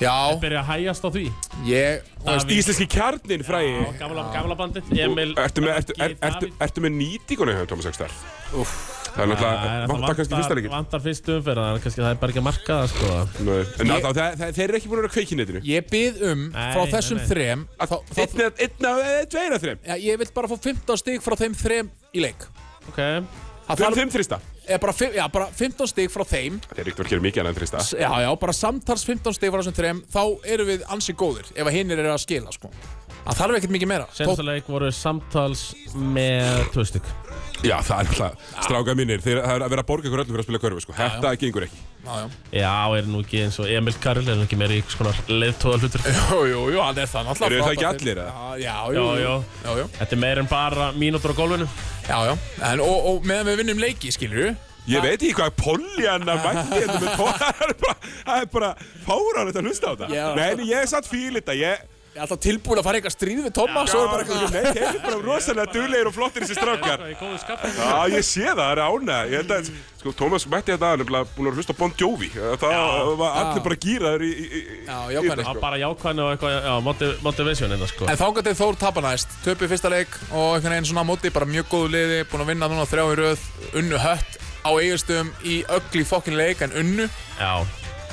C: Já,
B: Byrja að hægjast á því?
C: ég, þú veist,
B: Davíð.
A: Íslenski kjarnin, frægi
B: Já, gamla, gamla bandið, Emil,
A: Ertu með, ertu, er,
B: Raggi,
A: ertu,
B: Davíð.
A: ertu með nýtíkunni hjá Thomas Ekstar? Það er
B: Nei,
A: náttúrulega,
B: það
A: vantar kannski fyrsta leikin
B: Vantar fyrstu umferð, þannig að kannski það er bara ekki að marka það, sko.
A: Nei, En ég... það, það, þeir eru ekki búin að vera kveikinetinu
C: ég bið um frá
B: Nei,
C: þessum
B: nei, nei.
C: þrem þá, þá,
A: Einn eða, einn eða, eða, tveir eða þreim
C: já, Ég vil bara fá 15 stig frá þeim þrem í leik
B: Ok,
C: Það
A: Þau
C: þarf,
A: eru þeim þrista
C: er bara, fi- já, bara 15 stig frá þeim
A: Þeir eru ekkert að gera mikið annað en þrista
C: Já, já, bara samtals 15 stig frá þessum þrem Þá erum við ansi góðir ef að hinnir eru að skila, sko Það þarf ekkert mikið meira
B: senasta leik voru samtals með tvö stygg.
A: Já, það er náttúrulega stráka mínir Þeir það er að vera að borga ykkur öllum fyrir að spila körfu sko. Þetta gengur ekki
C: Já, já
B: Já, er nú ekki eins og Emil Karl, er nú ekki meira í einhvers konar leiðtóða hlutur.
C: Jú, jú, jú, hann er það náttúrulega
A: Eru það ekki
C: frábær til-
A: allir, eða?
C: Já,
B: Já,
C: já, jú,
B: já.
C: já, já,
B: Þetta er meira en bara mínútur á gólfinu.
C: já, já. En, og, og meðan við vinnum leiki, skilur við
A: Ég veit ekki hvað Pollyanna mætti þetta með tóra [LAUGHS] Það er bara fáran þetta að hlusta á þetta
C: Já.
A: Nei, en ég er satt fíl þetta Ég,
C: Ég er alltaf tilbúin að fara eitthvað stríð við Thomas
A: já,
C: og
A: svo
C: er bara eitthvað
A: Nei, þeir eru bara rosalega duglegir og flottir þessi strákar
B: í góðu skapinu.
A: Já, ég sé það, það er ána Ég held að, sko, Tómas mætti þetta aðeins búin að hlusta á Bon Jovi Það var allir bara gýraður í, í, í
C: Já, jákvæðni,
B: Já,
C: sko
B: bara jákvæðinu og eitthvað, já, motiv- motivation einna, sko.
C: En þángat til Þór tapa næst, töpu í fyrsta leik og einhvern veginn svona á móti, bara mjög góðu liði, búin að vinna núna þrjá í röð, unnu hött á eigustöðum í ögli fokkin leik en unnu.
B: Já,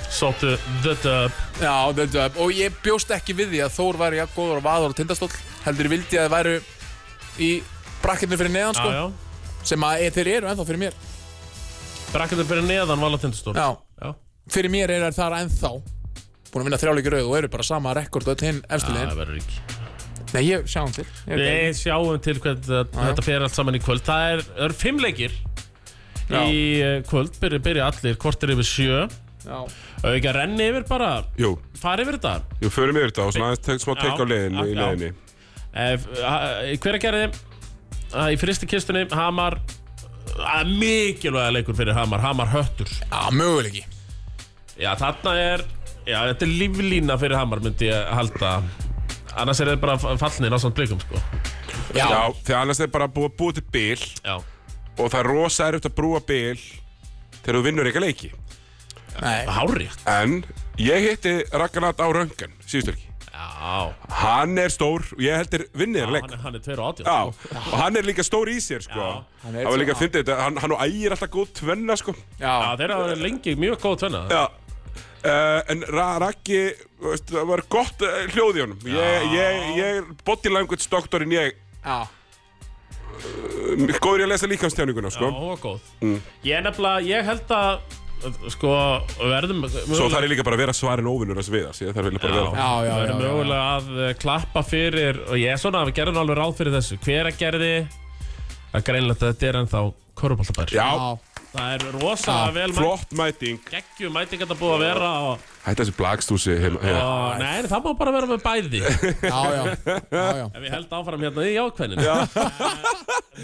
B: sóttu the dub.
C: Já, þetta er, og ég bjóst ekki við því að Þór væri jafn góður á vaður og tindastóll, heldur ég vildi að það væru í brakkinu fyrir
B: Já,
C: neðan, sko,
B: já.
C: sem að e, þeir eru ennþá fyrir mér.
B: Brakkandur fyrir neðan vala tindastól.
C: Já,
B: Já,
C: fyrir mér eru þær þar ennþá búin að vinna þrjáleiki rauð og eru bara sama rekord öll hinn efstu
B: það
C: liðin.
B: verður ekki.
C: Nei, ég sjáum til. Ég,
B: Við sjáum til hvernig þetta- þetta fer allt saman í kvöld Það er, það eru fimm leikir
C: Já.
B: í eh, kvöld, byrja, byrja allir kortir yfir sjö
C: Já.
B: og ekki að renni yfir bara,
A: Jú,
B: fara yfir þetta
A: jú, förum yfir þetta og svona aðeins tek- smá
B: Já,
A: teik á leiðinni, í
B: já.
A: leiðinni
B: Ef- ha- Hver að gera þið í fristi kistunni Hamar Eh, að mikilvæga leikur fyrir Hamar, Hamar höttur
C: Já, möguleiki.
B: Já, þarna er já, þetta er líflína fyrir Hamar myndi ég halda annars er þetta bara fallnir á samt blikum sko.
C: Já,
A: Já, þegar annars er bara búið, búið til bil
B: Já,
A: og það er rosa erfitt að brúa bil þegar þú vinnur eitthvað leiki
C: nei.
B: hári
A: En ég hitti Ragnarat á Röngan síðustu ekki
B: Já,
A: Hann er stór og ég heldur vinnið er leik
B: hann, hann er 2 og 80
A: Já, og hann er líka stór í sér sko
B: Já,
A: Það
C: er
A: var líka
C: svona-
A: að fyndi þetta, hann, hann og ægir alltaf góð tvenna sko
B: Já, þeir hafa verið lengi mjög góð tvenna
A: Já Uh, en Ra Raggi, veist, það var gott uh, hljóð í honum Ég, ég, ég er body language doktorinn Ég
C: Já,
A: er góður í að lesa líkamstjáninguna
B: Já,
A: sko.
B: hún var góð Ég er nefnilega, ég held að sko, verðum
A: Svo þarf ég líka bara að vera svarinn óvinnur að sviða Ég þarf bara að vera
C: já, já, já,
B: verðum
C: já, já.
B: mögulega að eh, klappa fyrir og ég er svona að við gerðum alveg ráð fyrir þessu hver að gerði það er greinlegt að þetta er ennþá korfbóltabær
A: Já, Ah,
C: Já,
B: það er rosa
C: Já,
B: vel mætt
A: flott mæting
B: geggjum mæting að það búið að vera og,
A: Hætti þessi blagstúsi heima hérna. heima.
B: og nei, það má bara vera með bæði
A: [LAUGHS]
B: ef
C: já, já, já, já.
B: ég held áfram hérna í jákvæðinu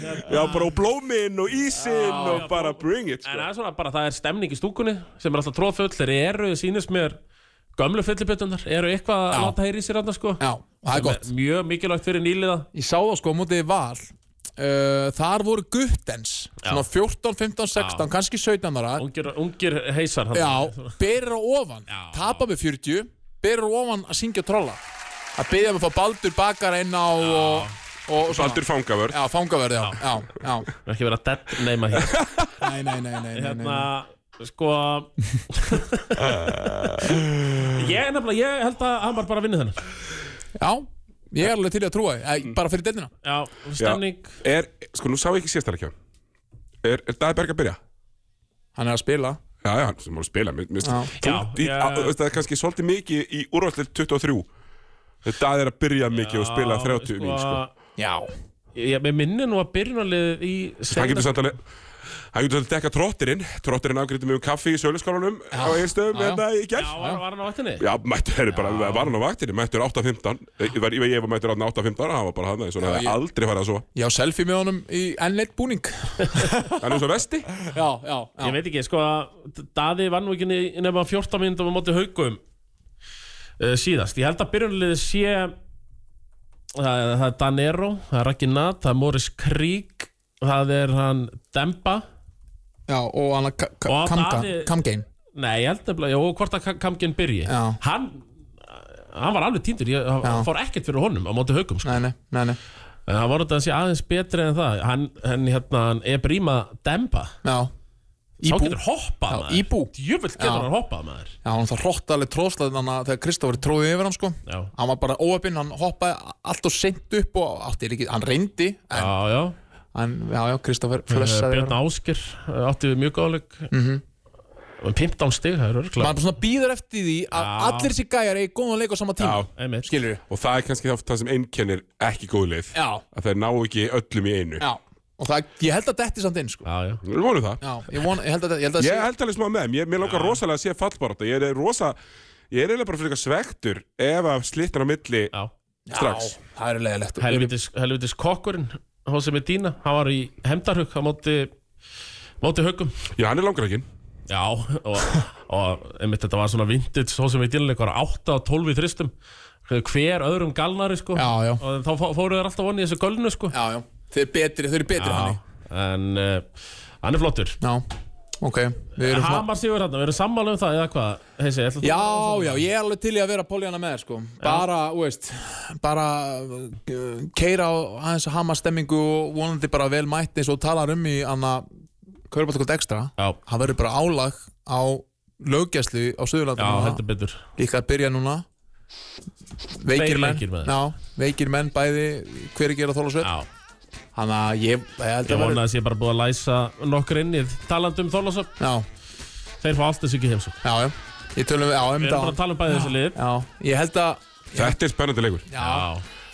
A: Já, bara og blóminn og ísinn og
B: já,
A: bara
B: blóm-
A: bring it
B: en
A: sko.
B: það er svona bara, það er stemning í stúkunni sem er alltaf tróðfull, þeir eru, sýnist mér gömlu fyllibjötunar, eru eitthvað að
C: Já.
B: láta heyri í sér annars sko
C: já, það er gott
B: mjög mikilvægt fyrir nýliða
C: Ég sá það sko á mótið val uh, Þar voru guttens Svona 14, 15, 16, kannski 17 ára
B: ungir, ungir heisar hann.
C: Já, berir á ofan
B: Já.
C: Tapa með 40 Berir á ofan að syngja og trolla Að byggja með að fá Baldur bakar inn á og, og, og
A: Baldur fangavörð
C: Já, fangaverði, já, já, já.
B: ekki vera dead neyma hér
C: Nei, nei, nei, nei, nei, nei.
B: hérna, sko ég er nefnilega, ég held að hann var bara að vinna þennan
C: Já, ég er alveg til í að trúa því Æ, Bara fyrir deildina
B: já, stemning já.
A: Er, sko, nú sá ég ekki sérstæðarkjá Er, er Dæði Berg að byrja?
C: Hann er að spila
A: já, já, hann sem voru að spila mér, mér,
C: Já.
A: þú,
B: Já,
A: í,
B: já.
A: á, þú veist, það er kannski svolítið mikið í úrvallir 23 þetta er að byrja mikið og spila 30 mín, sko.
C: Já
B: Ég, ég minni nú að byrjunarlið í
A: hann getur
B: seinasta-
A: samt alveg hann getur samt að dekka trottirinn trottirinn afgriði mjög um kaffi í söluskálanum á einstöðum
C: já, já.
A: hérna í
B: Já,
A: gerð
B: var, var hann á vatninni?
A: Já, mættur, það er bara, var hann á vaktinni, mættur 8.15 Ég var, ég ég var mættur 8.15, hann var bara hann Svona,
C: Já,
A: það
C: ég-
A: er aldrei farið að svo
C: Já, selfie með honum í N1 búning
A: Hann er svo vesti
C: Já, já,
B: Ég
C: já.
B: veit ekki, sko að Daði var nú ekki ne- nema 14 minnum á móti haugum uh, síðast. Ég held að byrjunarliðið sé það, er- það er Danero, það er Raggi Nat, það er Morris Krík, það er hann Demba.
C: já og hann að
B: Og
C: Kamga,
B: Daði-
C: Kamgein
B: Nei, ég held nefnilega, og hvort að Ka- Kamgin byrji.
C: Já.
B: Hann, hann var alveg týndur, ég hann fór ekkert fyrir honum á móti haugum, sko.
C: Nei, nei, nei, nei
B: En hann var þetta að sé aðeins betri en það. Hann, hann hérna, hann Ebrima Demba.
C: Já,
B: Sá
C: Íbú.
B: getur hoppað,
C: Já,
B: maður.
C: Íbú.
B: Djöfull
C: Já.
B: getur hann hoppað, maður.
C: já hann það hróttaleg tróðslað þannig að þegar Kristófur tróði yfir hann sko
B: Já.
C: Hann var bara óöpinn, hann hoppaði allt og seint upp og átti ekki, hann reyndi en,
B: Já, já.
C: en, Já, já, Kristófur
B: Eh,
C: flössaði yfir
B: Björn
C: hann.
B: Ásker eh, átti við mjög góðleik mm
C: Mhm.
B: -hmm. 15 stig, það er örgla
C: Maður bara svona býður eftir því að
B: Já.
C: allir þessi gæjar eigi góðan leik á sama tíma
A: Já.
B: einmitt
C: Skilur
A: Og það er kannski oft það sem einkennir ekki góð lið
C: Já,
A: Að þeir ná ekki öllum í einu
C: já Og það, ég held að detti samt inn sko
B: já, já.
A: Við vonum það
C: Já, ég, von, ég held að, ég held að
A: Ég held alveg smá með þeim, ég- mér langar rosalega að sé fallbarátta Ég er rosa, ég er eiginlega bara fyrir svektur Ef að slittan á milli
B: já.
A: strax
C: Já, það er leiðilegt
B: Helvitis, helvitis kokkurinn Hosei Medina, hann var í hemdarhug á móti móti hugum
A: Já, hann er langar ekki
B: já, og, og einmitt þetta var svona vintage Hosei Medina leikur 8 og 12 í þristum hver öðrum galnari sko
C: Já, já.
B: og þá fó- fóru þeir alltaf vonni í þessu gölnu sko
C: Já, já, þeir eru betri, þeir eru betri hann
B: en uh, hann er flottur
C: Já, ok Við erum svona
B: Hamar sigur hérna, við erum sammála um það eða hvað, heisi, ætlar þú-
C: Já, já, ég er alveg til í að vera Pollyanna með þér sko Bara, þú veist Bara uh, keira á aðeins hama stemmingu og vonandi bara vel mætt eins og þú talar um í anna Körbáttakvöld ekstra
B: já,
C: Það verður bara álag á löggæslu á
B: já
C: Suðurlandinu
B: heldur betur
C: Líka að byrja núna Veikir
B: Tveir
C: menn
B: leikir með þér.
C: Já, veikir menn bæði Hver er gera þólasveit
B: já
C: Þannig að ég, ég held
B: Ég
C: að
B: vona
C: verður
B: að sé bara búið að læsa nokkur innið Talandi um Þorlásöf,
C: Já,
B: þeir fá allt þessu ekki heimsum
C: já, já Ég tölum við, já, um
B: Við erum bara að
C: það
B: tala um bæði þessu lið
C: Já, ég held að
A: Þetta er spennandi leikur
C: Já,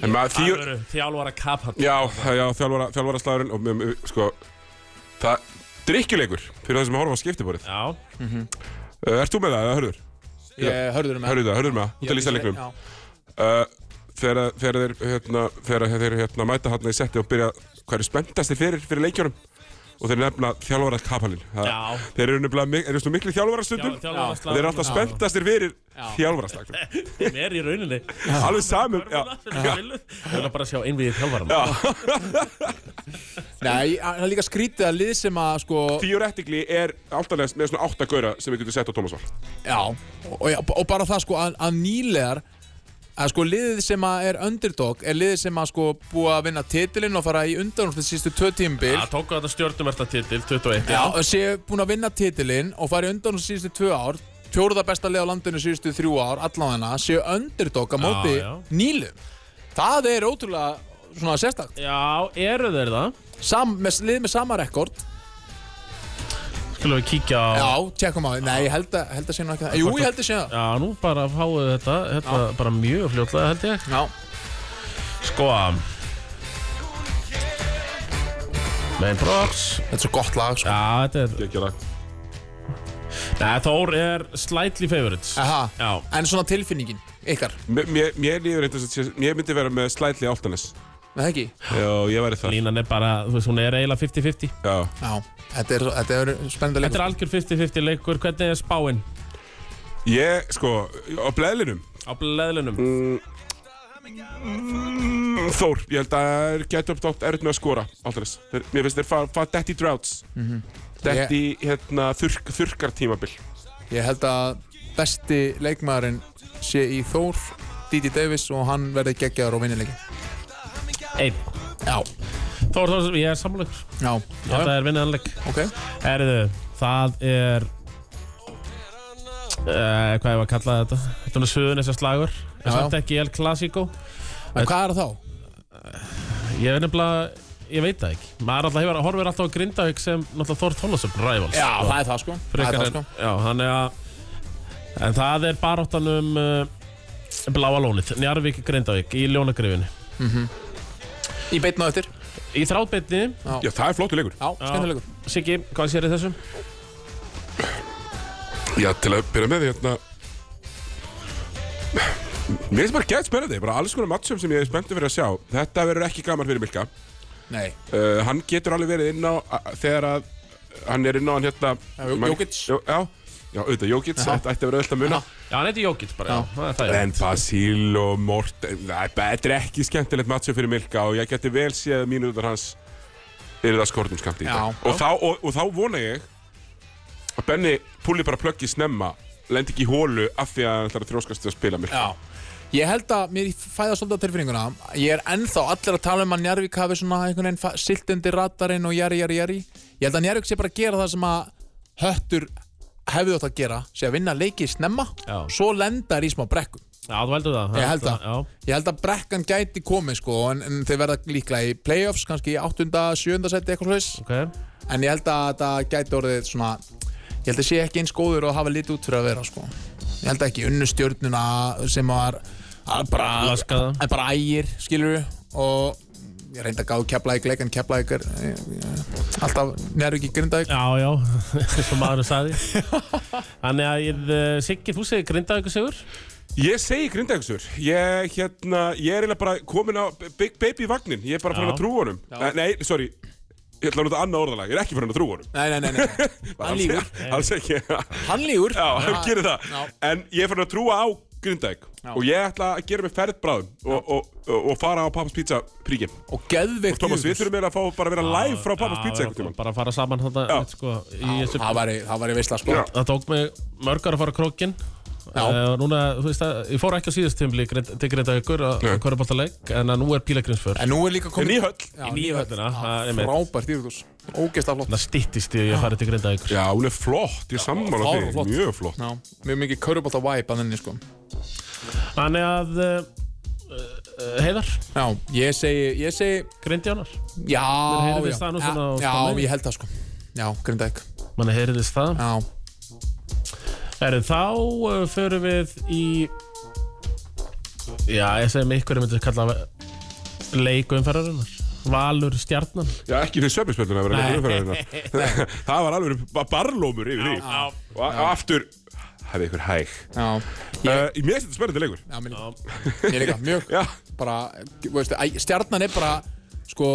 A: En maður, því,
B: Alvöru, þjálfara kapall
A: Já, það- já þjálfara, þjálfara slagurinn og mjög- mjög, sko, það drikkjuleikur fyrir það sem að horfa á skiptiborið.
B: Já,
A: Uh, ert þú með það eða hörður?
C: ég hörður um
A: Hörður það, hörður með það, út að lýsa leiknum.
C: Já,
A: Uh, þegar, þegar þeir, hérna, þegar þeir hérna, mæta hann í setti og byrja hvað er spenntastir fyrir, fyrir leikjunum og þeir nefna þjálfara kapalinn.
B: Já.
A: Þeir eru nefnilega, mik- eru svona miklu þjálfara stundum.
B: þjálfara
A: Þeir eru alltaf spenntastir fyrir þjálfara slagnum.
B: Þeim er í rauninni Þeir
A: Alveg samum, [LAUGHS] já.
B: eru bara að sjá innviðið þjálfara
A: já.
C: Nei, það er líka skrítið að lið sem að sko
A: Theoretically er általega með svona átta gauðra sem við getum sett á Thomas Val.
C: Já, og, og, já, og bara það sko að, að nýlegar að sko liðið sem að er underdog er liðið sem að sko búið að vinna titilinn og fara í undanúrslit sístu tvö tímabil
B: Það tóku þetta stjórnumerta titil 21
C: Já, og sé búin að vinna titilinn og fara í undanúrslit sístu tvö ár fjóruða besta lið á landinu sístu þrjú ár allavegna, séu underdog að móti
B: já.
C: nýlum Það er ótrúlega svona sérstakt
B: Já, eru þeir það?
C: Sam, með, lið með sama rekord
B: Skulum við kíkja á
C: Já, tjekkum á því Nei, ég held að, held að sé nú ekki það Jú, ég held að sé það
B: Já, nú bara fáið þetta, þetta bara mjög fljótlega held ég
C: Já,
B: Sko Main Brox
C: þetta er svo gott lag sko.
B: Já, þetta er
A: Gekkja lagt.
B: Nei, Þór er slightly favorites
C: Aha,
B: Já.
C: en svona tilfinningin ykkar,
A: Mér- Mér mér líður einhvers að ég myndi vera með slætli áltanis.
C: með það ekki?
A: Já, ég væri það.
B: Línan er bara, þú veist, hún er eiginlega 50-50
A: Já.
C: Já, þetta er, þetta er spennandi
B: Þetta
C: leikur
B: er algjör 50-50 leikur, hvernig er spáin
A: Ég, sko, á blæðlinum,
B: á
C: Mm.
B: leðlunum?
A: Þór, ég held að það getur upp dátt erut með að skora áltanis. Mér finnst þeir fara far detti droughts. Detti, hérna, þurrk, þurrkartímabil.
C: Ég held að besti leikmaðurinn sé í Þór, Didi Davis og hann verði geggjaður og vinnileiki
B: Einn
C: Já,
B: Þór, Þór, ég er samlugur
C: já, já,
B: Þetta er vinnaðanleik
C: ok
B: Erðu, það er uh, Hvað ég var að kalla þetta? Þetta er nú suðun þessar slagur
C: Já,
B: Samt ekki El Clasico
C: En hvað er það þá?
B: Ég er nefnilega ég veit það ekki Maður alltaf hefur, horfir alltaf á Grindavík sem náttúrulega Þór Þólasöp rivals
C: Já, það er það sko Það er
B: frekar
C: það
B: en,
C: sko
B: já, hann er að en það er baráttan um uh, bláa lónið, Njarvík Grindavík í Ljónagrifinu
C: Í beitna á eftir
B: í þráðbeinni,
A: Já, það er flottu leikur.
C: Já, skemmtilegur
B: Siggi, hvað sér í þessum?
A: Já, til að byrja með því, hérna... Mér finnst bara gett spennandi, bara alls konar mattsum sem ég er spenntið fyrir að sjá. Þetta verður ekki gaman fyrir Milka.
C: Nei,
A: Uh, hann getur alveg verið inn á, a- þegar að hann er inn á hann hérna...
C: Jó-
A: man-
C: Jókits.
A: Jó- Já, já, auðvitað Jókits, þetta ætti að vera auðvitað að muna.
B: Já, hann heiti Jókic bara, já, það er það
A: En Basíl og Morten, það er betra ekki skemmtilegt mattsum fyrir Milka og ég geti vel séð að mínútur hans eru það skortum um skammt í
C: Já.
A: dag. Og, þá- og, og þá vona ég að Benni púli bara plöggi snemma, lendi ekki í hólu af því að hann ætlar að þróskast til að spila Milka.
C: já Ég held að mér fæða svolítið á tilfinninguna Ég er ennþá allir að tala um að Njarvík hafi svona einhvern veginn fa- siglt undir radarinn og jari, jari, jari Ég held að Njarvík sé bara að gera það sem að höttur hefði átt að gera sé að vinna leiki snemma
B: Já.
C: svo lendar í smá brekkum
B: Já, þú heldur það
C: Ég held það.
B: Já,
C: Ég held að brekkan gæti komið sko en, en þeir verða líklega í playoffs kannski í 8. 7. seti eitthvað slags
B: ok
C: en ég held að þetta gæti orðið svona ég held að sé ekki eins góður og hafa lítið út fyrir að vera sko. ég held ekki unnu stjórnuna sem var að bara,
B: Laskaða.
C: að bara ægir skilur og ég reyndi að gáðu keflæk leik en keflæk er eh, eh, alltaf neður ekki grindaðik
B: Já, [LAUGHS] já, eins og maðurinn
C: [LAUGHS]
B: sagði Þannig að ég, eh, Siggi, þú segir Grindavík sigur
A: Ég segi Grindavíksur, ég, hérna, ég er eiginlega bara komin á Big Baby vagnin, ég er bara farin
B: Já.
A: að trúa honum. Eh, Nei, sorry, ég ætla að nota annað orðalag, ég er ekki farin að trúa honum.
C: nei, nei, nei, nei. hann lígur
A: Alls ekki.
C: hann lígur
A: Já, hann [LAUGHS] gerir það
C: já.
A: En ég er farin að trúa á Grindavík Og ég ætla að gera mig ferð bráðum og, og, og, og fara á Pappas Pizza príkjum
C: og geðveikt
A: Thomas, við
C: djöfull.
A: þurfum eiginlega að fá bara að vera live frá Pappas
B: Já,
A: Pizza
B: já,
A: einhvern tímann
B: Bara að fara saman þetta,
A: Já.
B: sko, í þessu
C: það væri, það væri veistla sko
A: Já.
B: Það tók mig mörgar að fara krókin
C: Já.
B: Uh, núna, þú veist að, ég fór ekki á síðust tímli til Grindavíkur að
A: Nei.
B: korrubáltaleik en að nú er pílagrinsför
C: en nú er líka
A: En
C: komið
A: í höll
C: Já,
B: í nýju höllina, það er mitt.
C: frábært yfirkurs ógeðslega flott
B: það stýttist ég að fara til Grindavíkur
A: Já, hún er flott, ég er sammála
C: fáránlega
A: því
C: flott.
A: Mjög flott
C: Já, mjög mikið körubálta væp að henni sko
B: Þannig að uh, uh, Heiðar,
C: já, ég segi, ég segi
B: Grindjánar
C: Já,
B: Mér heyrðist
C: já,
B: það nú svona á
C: já,
B: skamminni.
C: ég held það sko Já, Grindavík
B: manni heyriðist það
C: Já,
B: Herri, þá uh, förum við í Já, ég segi mig ykkur ég myndi kalla leikumferðarinnar Valur stjarnan
A: Já, ekki fyrir söpinspjölduna að vera
B: Nei.
A: neitt umferðarinnar Það var alveg ba- barlómur yfir því
B: já.
A: Og a- aftur Hafið ykkur hæg
C: já,
A: Uh, Mér finnst þetta spennandi leikur
C: já, mér líka Mér líka, mjög
A: Já,
C: bara, þú veist, æ, stjarnan er bara sko,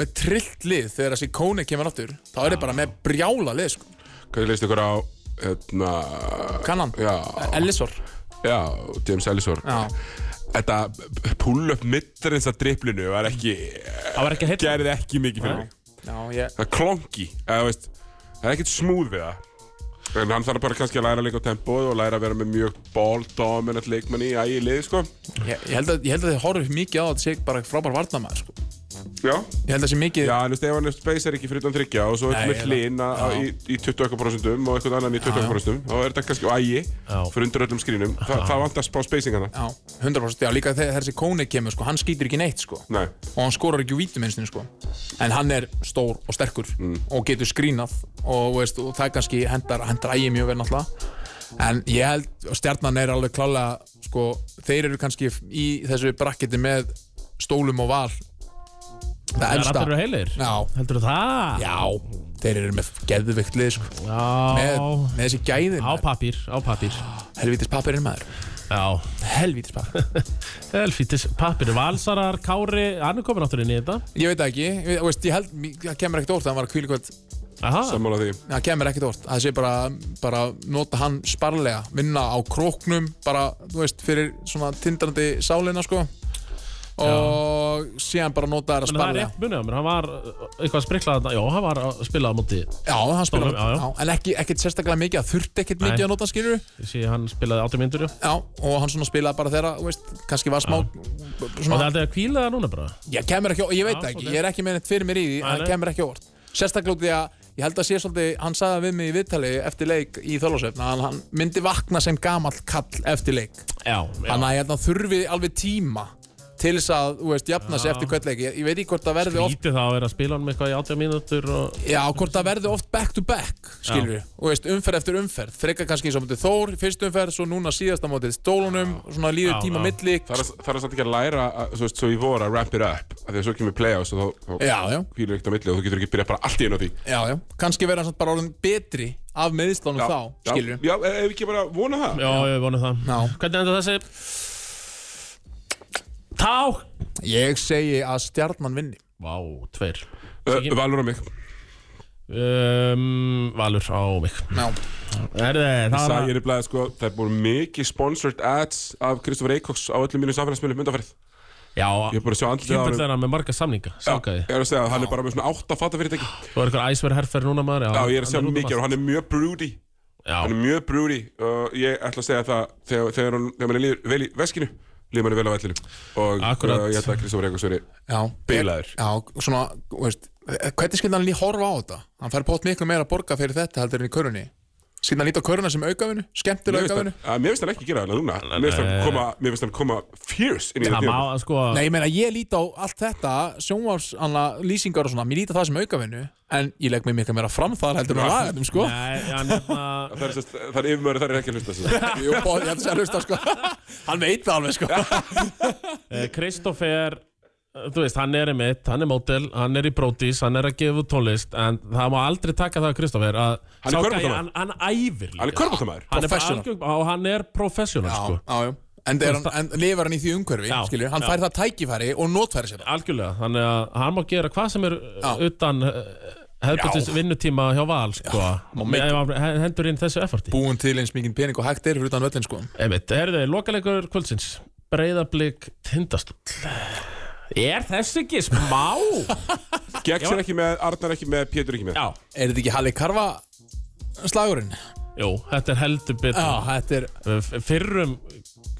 C: með trillt lið þegar þessi kóni kemur áttur þá er þið bara með brjála lið sko.
A: hvað leist ykkur á Hérna
C: Kannan,
A: Já,
C: Ellisor
A: já, James Ellison
C: Já,
A: Þetta pull-up mittarins að driplinu var ekki
B: Það var ekki að heita
A: gerði ekki mikið fyrir mig
C: já, ég
A: það er klonki eða, þú veist, það er ekkert smúð við það en hann þarf bara kannski að læra að leika á tempóið og læra að vera með mjög ball-dominant leikmann í ægi liði sko
C: Ég, ég, held að, ég held að þið horfum mikið á að þetta sé bara frábær varnamaður sko.
A: já,
C: Ég held að sé mikið
A: já en þú veist, ef hann er space er ekki fyrir utan þryggja og svo
C: Nei,
A: er með
C: ég-
A: hlinn að- að- í, í 20% og eitthvað annan í 20% þá er þetta kannski á ægi
B: Já.
A: fyrir undir öllum skrínum Þa, það vantast á spacingana
C: Já, 100% Já, líka þegar þessi kóni kemur sko, hann skýtur ekki neitt sko.
A: Nei.
C: og hann skorar ekki úr vítum einsinu sko. en hann er stór og sterkur og getur skrínað og, veist, og það kannski hendar, hendar ægi mjög vel náttúrulega en ég held og stjarnan er alveg klálega sko, þeir eru kannski í þessu brakketi með stólum og val það
B: Það er
C: elsta
B: allir eru heilir
C: já,
B: Heldur það?
C: já, þeir eru með geðvikt lið sko. með,
B: Já
C: með þessi gæði
B: Á papír, á papír
C: helvítis pappirinn maður
B: Já
C: helvítis pappir
B: Elfítis papír Valsarar, Kári, hann er komin áttur inn í þetta
C: ég veit það ekki, ég, veit- veist, ég held, það kemur ekkert orð það var kvílikvöld
B: Aha
A: sammála því
C: það kemur ekkert orð það sé bara, bara nota hann sparlega vinna á króknum bara, þú veist, fyrir svona tindrandi sálina sko og síðan bara nota
B: En það
C: það
B: er
C: sparlega
B: rétt munið á mér, hann var uh, eitthvað að sprikla þetta, já, hann var að spila á móti,
C: já, hann spila
B: Stórum, já, já.
C: en ekki, ekkert sérstaklega mikið það þurfti ekkert
B: Nei.
C: mikið að nota skilur
B: ég sé hann spilaði áttum myndur, já.
C: já, og hann svona spilaði bara þeirra þú veist, kannski var smá
B: Og það er
C: svona,
B: alltaf að kvíla það núna bara.
C: ég kemur ekki, ég veit
B: Já,
C: það ekki
B: ok.
C: ég er ekki með neitt fyrir mér í því,
B: Nei,
C: það
B: nei.
C: kemur ekki á orð sérstaklega út því að ég held að sé svolítið, hann sagði við mig í viðtali eftir leik í Þorlásöfn að hann myndi vakna sem gamall kall eftir leik
B: Já, já.
C: Þannig að hérna þurfi alveg tíma til þess að, þú veist, jafna sig
B: Já.
C: eftir hvern leik ég, ég veit ekki hvort það verði oft
B: Lítið það að vera að spila hann með eitthvað í 80 mínútur og...
C: Já, hvort það verði oft back to back, skilur við og veist, umferð eftir umferð, frekar kannski eins og mútið Þór, fyrst umferð, svo núna síðasta mútið Stólunum, svona líður
B: Já,
C: tíma
B: já.
C: milli
A: Það er, það er samt ekki að læra, að, svo, veist, svo í voru að ramp it up af Því að svo kemur playoffs og þá, þá
C: Já, já.
A: hvílur ekkert á milli og þú getur ekki byrjað bara allt í einu á því
C: Já, já, kannski verða hann bara orðin betri af meðislánum
A: Já,
C: þá, skilur við
A: Já, já, ef ekki bara vona það
B: Já, ég vonu það
C: Já.
B: Hvernig enda þessi? Tá!
C: Ég segi að stjarnan vinni
B: Vá, tveir
A: Ö, Uh, Valur á mig
B: um, Valur á mig
C: Já,
B: Erði, það
A: Sæði
B: var
A: er blæðið sko, það er búin mikið sponsored ads af Kristofur Eikóks á öllum mínum samfélagsmiðlum undanferð.
B: Já,
A: Ég er búin að sjá andlið á honum.
B: kjöndvöldlega með marga samninga Sákaði
A: Ég er að segja að hann er bara með svona átta fatafyrirtæki.
B: Þú er eitthvað æsverð herrferð núna maður
A: Já, ég er að
B: hann
A: sjá
B: út um
A: mikið og
B: allt.
A: hann er mjög broody. Hann er
B: Já,
A: mjög broody. Uh, ég ætla að segja það þegar, þegar, hann- þegar mann líður vel í veskinu, líður mann vel á vellinu. Og
B: Akkurat.
A: uh, ég ætla að Kristofur Eikóks veri
C: já
A: bilaður.
C: Já, svona, þú veist, hvernig skildi hann líka horfa á þetta? Hann fær pót miklu meira að borga fyrir þetta heldur en í körunni Skildi hann líta á köruna sem aukavinu, skemmtilega
A: Mér finnst hann-
C: aukavinu
A: að- mér finnst hann ekki gera það núna. Mér finnst hann koma, mér finnst hann koma fierce inn í
B: það
A: þetta.
B: má
A: tímabil.
B: sko
C: Nei, ég meina, ég líti á allt þetta, sjónvars, annað, lýsingar og svona, mér líti á það sem aukavinu En ég legg mig miklu meira fram þar heldur en að laga þeim, sko
B: Nei, hann hérna
A: Það er sem sagt- það er yfirmöður, það er ekki að hlusta. sem sagt.
C: [LAUGHS] Jú, bó, ég ætla að segja að hlusta, sko [LAUGHS] Hann veit það alveg, sko
B: Eh, Kristoffer eh, þú veist, hann er einmitt, hann er mótel hann er í brótis, hann er að gefa út tónlist en það má aldrei taka það að Kristoffer
A: Hann
B: að
A: er
B: sá gæi,
A: körfuboltamaður.
B: hann, hann æfir líka
A: Hann er körbáttamæður.
B: hann er bara
C: professional.
B: algjör- og hann er professional
C: Já,
B: sko.
C: já, já En, er hann, en lifar hann í því umhverfi,
B: Já,
C: skilju, hann
B: já.
C: fær það tækifæri og notfæri sér það.
B: algjörlega, þannig að hann má gera hvað sem er já.
C: Já.
B: utan hefðbundis
C: Já.
B: vinnutíma hjá Val sko.
C: má
B: Með-
C: meika.
B: ef hann he- hendur inn þessu efforti
C: Búin til eins mikið pening og hægt er fyrir utan völlin, sko.
B: einmitt, herðu, lokaleikur kvöldsins breyðablík tindastúll er þessi ekki smá?
A: Gekks er ekki með, Arnar er ekki með, Pétur er ekki með.
B: [LAUGHS] já,
C: Er þetta ekki Halli Karfa slagurinn?
B: jú, þetta er heldur betur
C: Já, þetta er
B: F- fyrrum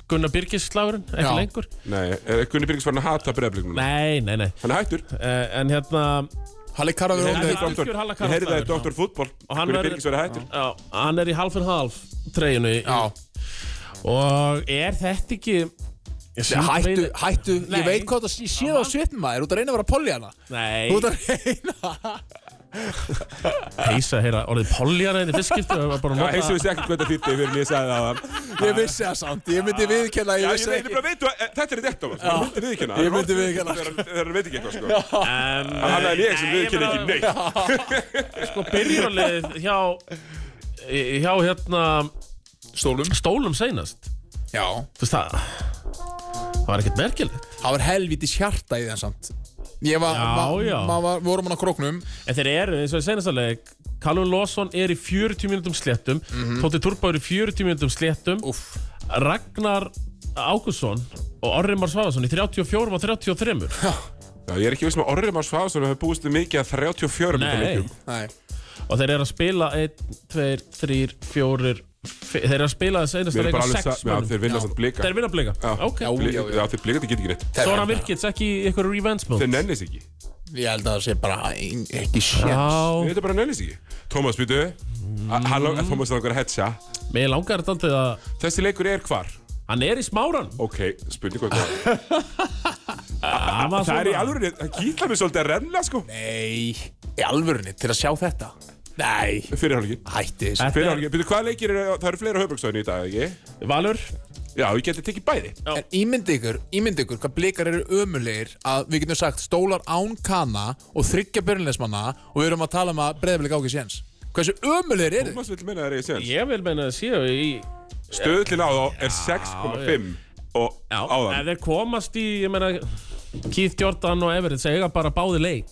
B: Gunnar Birgis slagurinn, ekki
C: Já.
B: lengur
A: Nei, eh, Gunni Byrgis var hann að hata breyðablik núna.
B: Nei, nei, nei
A: Hann er hættur.
B: uh, En hérna
C: Halli Karfa
A: Ég
C: verið
A: heyrði
B: Hann er
C: ónið
A: það í
B: algjör
A: doktor-
B: halakarl
A: ég heyrði það í
B: maður.
A: Dr. Fútbol
B: og hann
A: Gunni Birgis verið hættur
B: já, Hann er í half and half treyjunni í-
C: Já,
B: Og er þetta ekki Ég
C: hættu, hættu,
B: Nei.
C: ég veit hvað það sé, sé það á svipnum maður, þú ert að reyna að vera polli hana
B: Nei,
C: Þú ert að reyna
B: heisa, heyra, orðið poljar eða fyrstskiptu Það var bara að
A: Já,
B: nota-
A: heisum við sér ekkert hvað þetta þýtti fyrir en ég sagði það á það
C: Ég vissi það samt, ég
B: Ah.
C: myndi viðkenna,
A: Já,
C: ég
A: ég
C: vissi
A: veit
C: ekki
A: bara veit þú, eh, þetta er rétt á það Ég myndi viðkynna
C: Ég myndi viðurkenna.
A: Þegar hann veit ekki eitthvað sko
B: En,
A: Hann er ég sem
B: nei,
A: viðkynna
B: bara-
A: ekki neitt
B: Sko byrjunlið hjá Hjá hérna
C: Stólum
B: Stólum seinast
C: Já,
B: Þú veist það Það var ekkert merkilegt
C: það var helvítið hjarta í það samt Ég var,
B: Já, já.
C: maður var, vorum hann á króknum
B: En þeir eru, eins og ég senast að leik Callum Lawson er í 40 mínútum sléttum
A: Mhm.
B: Tóti Turbo er í 40 mínútum sléttum
C: Úff.
B: Ragnar Ágússon og Orri Már Svavarsson í 34 og 33
A: [LAUGHS] Já, ég er ekki viss með Orri Már Svásson hefur búist við mikið að 34 myndum
B: Nei,
A: leikum
C: Nei,
B: og þeir eru að spila 1, 2, 3, 4 Þeir eru að spila þess einasta
A: Mér er
B: leik á
A: bara alveg
B: 6
A: sa- Já,
B: mönnum
A: þeir vinna samt blika
B: Þeir vinna blika, ok
A: Já,
C: já, já.
A: já, þeir blika þetta getur ekki neitt
B: Svo er hann virkits ekki í eitthvað revenge mode
A: Þeir nennis ekki
C: ég held að það sé bara ein- ekki
B: Ah.
C: sér
B: Já,
A: Þetta er bara nennis ekki Tómas, býtu A- hann
B: Mm-hmm.
A: lang- Tómas er okkur að hetja
B: mér langar þetta aldrei að
A: Þessi leikur er hvar?
B: Hann er í smáran
A: Ok, spurning hvað það er.
B: Hann var
A: Það er í
B: svona-
A: alvöru, það kýtla mig svolítið að renna sko
C: Nei, í alvörunni, til að sjá þetta Nei,
A: Fyrir hálfleikin
C: hætti þessu
B: Þetta
A: Fyrir
B: er-
A: árið, byrju hvað leikir eru, það eru fleiri á höfbruksvæðinu í dag, ekki?
B: Valur
A: Já, ég geti tekið bæði.
B: Já.
C: En ímyndi ykkur, ímyndi ykkur hvað blikar eru ömulegir að við getum sagt stólar án kana og þryggja byrjulegismanna og við erum að tala um að breyðablik á ekki séns. Hversu ömulegir eru þið?
A: Thomas vil meina það er ég séns.
B: Ég vil meina að séu í
A: Stöðlinn á þá er 6,5 og
B: Já,
A: á
B: ef
A: það.
B: þeir komast í, ég meina Keith Jordan og Everett segja bara báði leik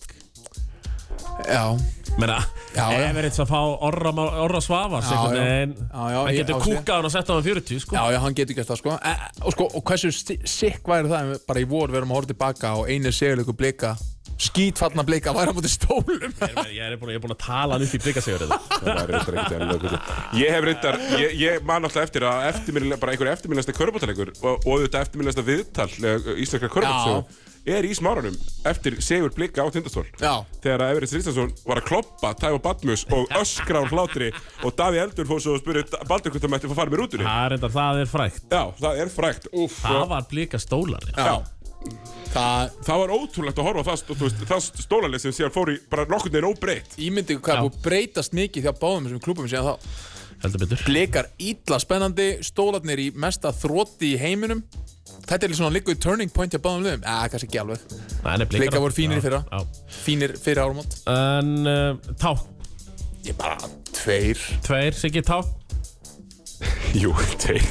C: Já,
B: meina,
C: Já, já.
B: Everett að fá orra, Má- orra svafars
C: Já,
B: einhvern
C: já.
B: veginn
C: Já, já,
B: hann
C: ég-
B: getur
C: á sig.
B: kúkað hann og sett á hann 40 sko.
C: já, já, hann getur gert það sko. E, og sko, og hversu sti- sikk væri það ef við- bara í vor við erum að horfa tilbaka og einu segjuleiku blika, skítfallna blika væri á móti
B: [LAUGHS]
C: stólum.
B: ég, er- ég er búin, ég er búin að tala hann upp í blikasegur [LAUGHS]
A: Það er reyndar ekkert ennilega kvöldu. Ég hef reyndar, ég, ég man alltaf eftir að eftirminnilega, bara einhver eftirminnilegasta körbóttalegur og, og auðvitað eftirminnilegasta viðtal eh, íslenskra körbóttasögu er í smáranum eftir Sigur Blika á Tindastól.
C: Já.
A: Þegar að Everett Rístansson var að kloppa Tæfa Badmus og öskra á hlátri og Daví Eldur fór svo og spurði Baldur hvort það mætti fá að fara með rútunni.
B: það er reyndar, það er frækt
A: Já, það er frækt. Úff,
B: það var blika stólari
A: Já,
C: Það
A: Það var ótrúlegt að horfa á það, st- þú veist, það stólalið sem síðan fór í bara nokkurn veginn óbreytt
C: ímyndi
B: Já.
C: hvað er búið að breytast mikið þjá báðum þessum klúbum síðan þá
B: heldur betur
C: Blikar ítla spennandi, stólarnir í mesta þrótti í heiminum Þetta er líka svona líka í turning point hjá báðum liðum Eða, kannski ekki alveg
B: Nei, nei,
C: Blikar voru fínir í
B: Já,
C: fyrra.
B: já.
C: Fínir fyrir árumót
B: En uh, tá,
C: Ég bara, tveir
B: tveir, Siggi tá
A: Jú,
C: [LAUGHS]
A: tveir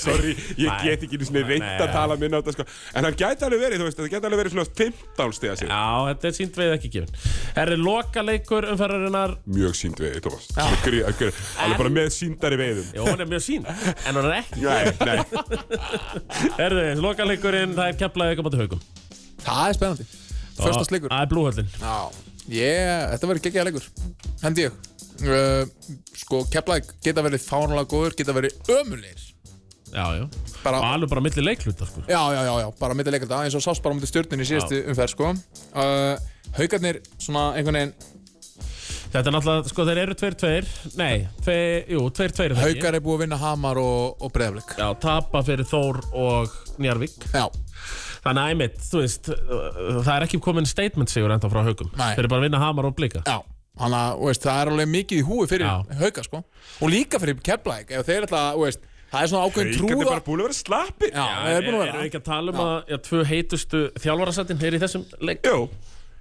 A: Sorry, ég get ekki einu sinni reynd
B: Nei.
A: að tala minna á þetta sko En hann gæti alveg verið, þú veist, það gæti alveg verið svona 15 stiga sér
B: Já, þetta er sínt veið ekki gefin Er þið loka leikur umferðarinnar
A: Mjög sínd veiði, Thomas Grí- grí- Hann er bara með síndari veiðum
B: Jó, hún er mjög sín, en hún er ekki
A: Nei, nei
B: Er þið, loka leikurinn, það er kemlaðið ykkur bátu haugum
C: Það er spennandi Förstast leikur
B: Það er blúhöllin
C: Já, yeah, þetta verður geggjaða leikur Hendi ég uh, Sko, Keflæk geta verið fánulega góður Geta verið ömulegir
B: Já, já
C: Bara-
B: Og alveg bara milli leikluta, sko
C: Já, já, já, já, bara mitt að leika þetta eins og sást bara á mútið stjórnin í síðustu umferð sko. uh, Haukarnir, svona einhvern veginn
B: Þetta er náttúrulega, sko, þeir eru tveir tveir Nei, tveir, jú, tveir tveir er það ekki.
C: Haukar er búið að vinna Hamar og, og Breiðaflik
B: Já, tapa fyrir Þór og Njarvík
C: Já,
B: Þannig að einmitt, þú veist uh, Það er ekki komin statement sigur enda frá haugum
C: Nei.
B: Þeir eru bara að vinna hamar og blika
C: já Þannig að þú veist, það er alveg mikið í húi fyrir
B: Já.
C: Haukar sko. Og líka fyrir Keflæk Ef þeir ætla, að, þú veist, það er svona ákveðin
A: Ríkandi
C: trúða
A: er bara búin að vera slappir
C: Já, það er búin
B: Erum
C: að
B: við
C: vera
B: ekki að tala um að já, tvö heitustu þjálfarasættin er í þessum leik?
A: Jú,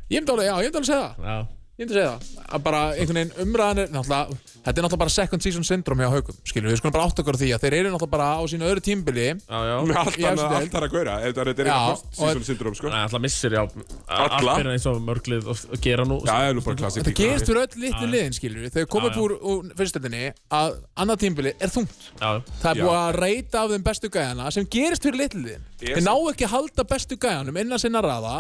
C: Ég myndi alveg, já, ég myndi alveg segja það
B: Já,
C: Ég myndi segja það, að bara einhvern veginn umræðan er náttúrulega, þetta er náttúrulega bara second season syndrome hjá haugum, skilur við, við skulum bara átt okkur á því að þeir eru náttúrulega bara á sínu öðru tímbili
B: já, já
A: með allt
C: Ég
A: annað-
C: efstu deild.
A: allt þar að gauðra Þetta er
C: Já,
A: eitthvað
C: og-
A: sísón syndrom, sko
B: Nei, alltaf missir, já
A: Alla.
B: Allt fyrir eins og mörglið og og gera nú
A: Já, það er nú bara klassik
C: Þetta gerist fyrir öll litlu liðin, skilur við, þegar komum upp úr, úr fyrstöldinni að annað tímbili er þungt.
B: já,
C: Það er
A: Já.
C: búið að reyta af þeim bestu gæjana sem gerist fyrir litlu liðin.
A: Ég
C: Þeir ná ekki að halda bestu gæjanum innan sinna raða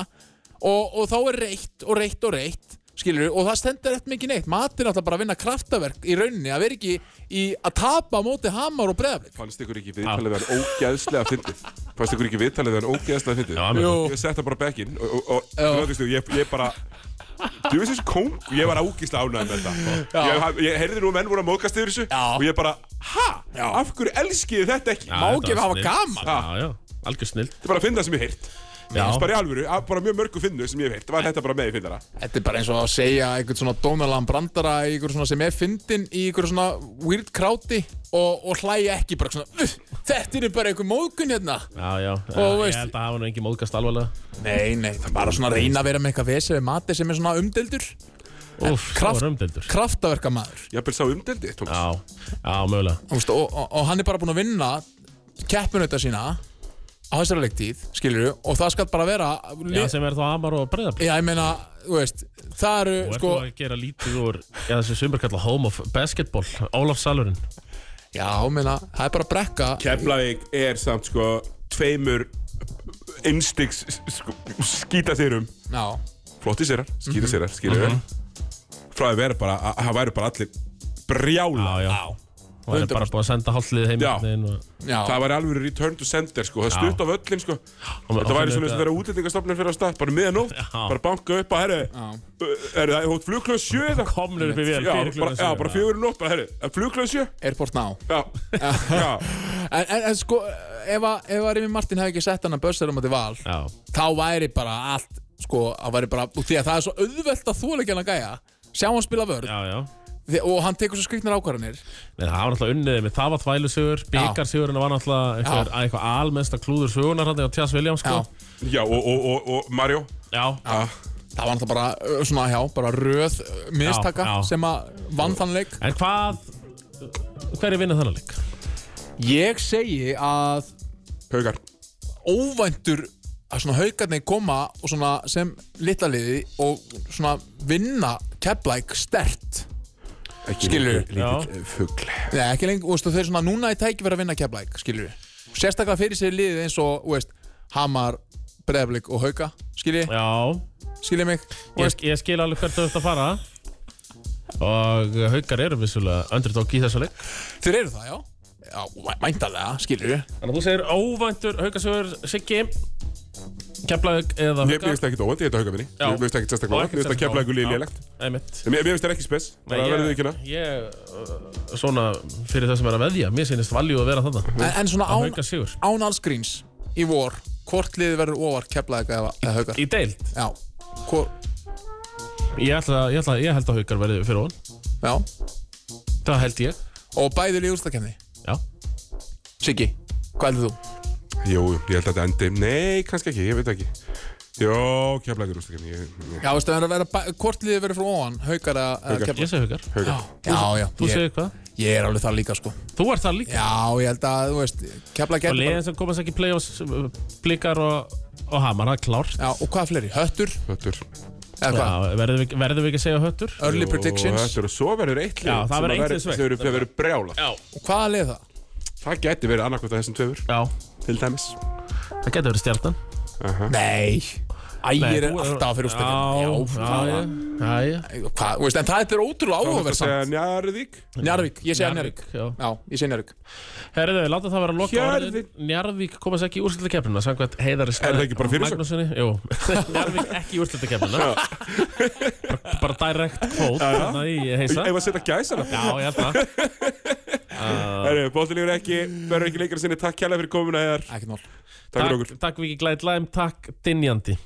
C: og, og þá er reytt og reytt og reytt skilur og það stendur eftir mikið neitt matir náttúrulega bara að vinna kraftaverk í rauninni að vera ekki í að tapa á móti hamar og brefli
A: Fannst ykkur ekki viðtalið við hann ógeðslega fyndið? Fannst ykkur ekki viðtalið við hann ógeðslega fyndið?
B: Já, mér Jú.
A: Ég setta bara bekkinn og, og, og þrjóðist, ég, ég bara... Þú veist þessi kóng, ég var ágísla ánægð með þetta. Ég, ég heyrði nú að menn voru að móðgast yfir þessu
C: Já.
A: og ég bara, ha? Af hverju elski ég þetta ekki?
B: Já,
A: Má
B: þetta
A: ekki
B: var
A: hafa
B: snill.
A: gaman? Ha.
B: Já, já, algjör snill
A: Þetta er bara að finna það sem ég heyrt.
B: Já.
A: Þess bara í alvöru, að- bara mjög mörgu finnu sem ég hef heyrt. Var þetta bara með í finnara?
C: Þetta er bara eins og að segja einhvern svona dónalan brandara í einhver svona sem er fyndin í einhver svona weird kráti og, og hlæja ekki bara svona "Ugh, Þetta er bara einhver móðgun hérna
B: Já, já, ég
C: Og veist-
B: held að hafa nú engin móðgast alvarlega
C: Nei, nei, það er bara svona að reyna að vera með eitthvað vesið við mati sem er svona umdeldur
B: Úf,
C: kraft-
B: það var umdeldur
C: kraftaverkamaður
A: Ég hafði sá umdeldið, Tómas.
B: Já, já, mögulega
C: Þú veist, og, og, og hann er bara búinn að vinna keppinauta sína á þessari leiktíð, skilur við, og það skal bara vera
B: Já, sem er þá Amar og Breiðabli
C: Já, ég meina, þú veist, það eru
B: Og er
C: sko,
B: þú að gera lítið úr Já, þessi sumir kalla Home of Basketball Ólaf Salurinn
C: já, ég meina, það er bara að brekka
A: Keflavík er samt sko tveimur innstigs sko, skítasýrum
C: Já,
A: flotti sérar,
B: Mhm.
A: skítasýrar, skýrur mm frá að vera bara, að það væru bara allir brjála
B: Já, já Og hann er bara
C: 100%.
B: búin að senda hálflið heim
A: Já.
B: einhvern veginn og-
C: já,
A: það væri alveg return to center sko, það stutt á völlin sko þetta
B: og
A: væri
B: þannig
A: svona þess að
B: þetta-
A: vera útlendingastofnir fyrir á stað, bara miðanótt,
B: Já.
A: bara banka upp að herru, er það hótt flugklöð sjö eða?
B: Komnir upp í vél
A: Já,
B: fyrir
A: bara,
B: klukkan
A: já,
B: sjö.
A: bara fjögur í nótt, bara herru, er flugklöð sjö?
C: airport now
A: Já, já,
C: En, en, en sko, ef að, ef að Rimi Martin hefði ekki sett hann að börsera um að val
B: Já,
C: þá væri bara allt, sko, það væri bara, og því að það er svo auðvelt að þóla ekki hann að gæja sjá hann spila vörð
B: já, já
C: þi- og hann tekur svo skriknar ákvarðanir
B: Nei, það var náttúrulega unnið með það var þvælusugur, byggarsugurinn var náttúrulega eitthvað, eitthvað almesta klúður sugunar hann á Tjás Williams sko.
C: Já.
A: já, og, og, og, og Mario,
B: Já.
C: Það var náttúrulega bara, ö, svona, já, bara röð ö, mistaka
B: Já, já.
C: sem að vann þann leik.
B: En hvað, hver er vinnað þannig leik?
C: Ég segi að
A: haugar,
C: óvæntur að svona haugarnir koma og svona sem litla liði og svona vinna keplæk stert.
A: ekki
C: Skilurðu?
A: lítið fugl
C: Nei, ekki lengur, þú veist, þau svona núna í tæki verið að vinna keplæk, skilur við. Sérstaklega fyrir sér liðið eins og, þú veist, Hamar, Breiðablik og Hauka, skilur
B: Já,
C: skilur mig. Þú
B: ég,
C: veist,
B: ég skil alveg hvert þú ert að fara og haukar eru vissulega underdog í þessu leik.
C: þeir eru það, já. Já, væntalega, skilur við.
B: Þannig að þú segir óvæntur haukasugur Siggi, Keflavík eða
A: Mér
B: haukar.
A: finnst ekkert óvænt, ég þetta hauga minni
B: Já.
A: Mér finnst ekkert sérstaklega
B: Og
A: óvænt,
B: ekkert
A: mér finnst að
B: sérstaklega
A: kemla eitthvað
B: óvænt.
A: lélegt
B: Já, einmitt.
A: En Mér mér finnst það ekki spes, bara
B: Nei,
A: verðið
B: ég-
A: ekki hérna
B: Ég, uh, svona, fyrir það sem er að veðja, mér sýnist valjú að vera þarna.
C: En, en svona
B: Að
C: án,
B: Haukar sigur.
C: án alls gríns í vor hvort liðið verður ofar keflaðið eða, eða haugar
B: Í deild
C: já, hvor,
B: Ég, ætla, ég, ætla, ég held að haukar verði fyrir hún
C: já,
B: Það held ég
C: og bæðið í úrstakefni
B: Já
C: Siggi, hvað heldur þú?
A: Jú, ég held að þetta endi Nei, kannski ekki, ég veit ekki Jó, kemlaði rústakefni ég-
C: já, veistu, það verður að vera, bæ- hvort liðið verður frá ofan haugar eða
A: Haukar.
C: keflaðið
B: Ég segi haukar
A: Haukar.
C: já, já,
B: Þú segir
C: ég,
B: hvað?
C: ég er alveg þar líka sko
B: Þú ert það líka
C: já, ég held að, þú veist, keflaðið
B: Og liðin sem komast ekki í play-offs uh, Blikar og, og hamar, það er klárt
C: já, og hvað fleiri, höttur
A: Höttur
C: eða hvað,
B: Já, verðum við, verðum við ekki að segja höttur?
C: early
A: Og
C: predictions
A: Höttur og svo verður eitt lið
B: Já, það
A: sem
B: verður
A: að
B: eitt lið sveitt.
A: sem verður- sem verður brjálað
B: Já
C: og hvað lið það?
A: Það gæti verið annarkvæmt að þessum tveimur
B: Já,
A: Til dæmis
B: það getur verið stjarnan
C: Nei Ægir er
B: þú-
C: alltaf fyrir
B: Já,
C: úrstakefni
B: já, já, já.
C: Hvað, þú veist, en það er ótrúlega áhugaverð
A: Njarðvík
C: Njarðvík, ég segja Njarðvík
B: já.
C: Já, ég segja Njarðvík
B: Herðu, láta það vera að loka
A: Hjörðin.
B: orðin Njarðvík komast ekki í úrslutakefnina Samkvæmt heiðari
A: Er það ekki bara fyrirsögn?
B: Magnúsinni, jú [LAUGHS] Njarðvík ekki í úrslutakefnina bara, bara direct quote Þannig að ég heisa
A: Ef að setja gæsana
B: Já, ég held það
A: Herru, bóttilífur ekki Verður ekki leikar sinni Takk kjærlega fyrir komuna hér
C: Ekkert mál
A: Takk fyrir okkur
B: Takk Viki Glædlæm, takk Dinjandi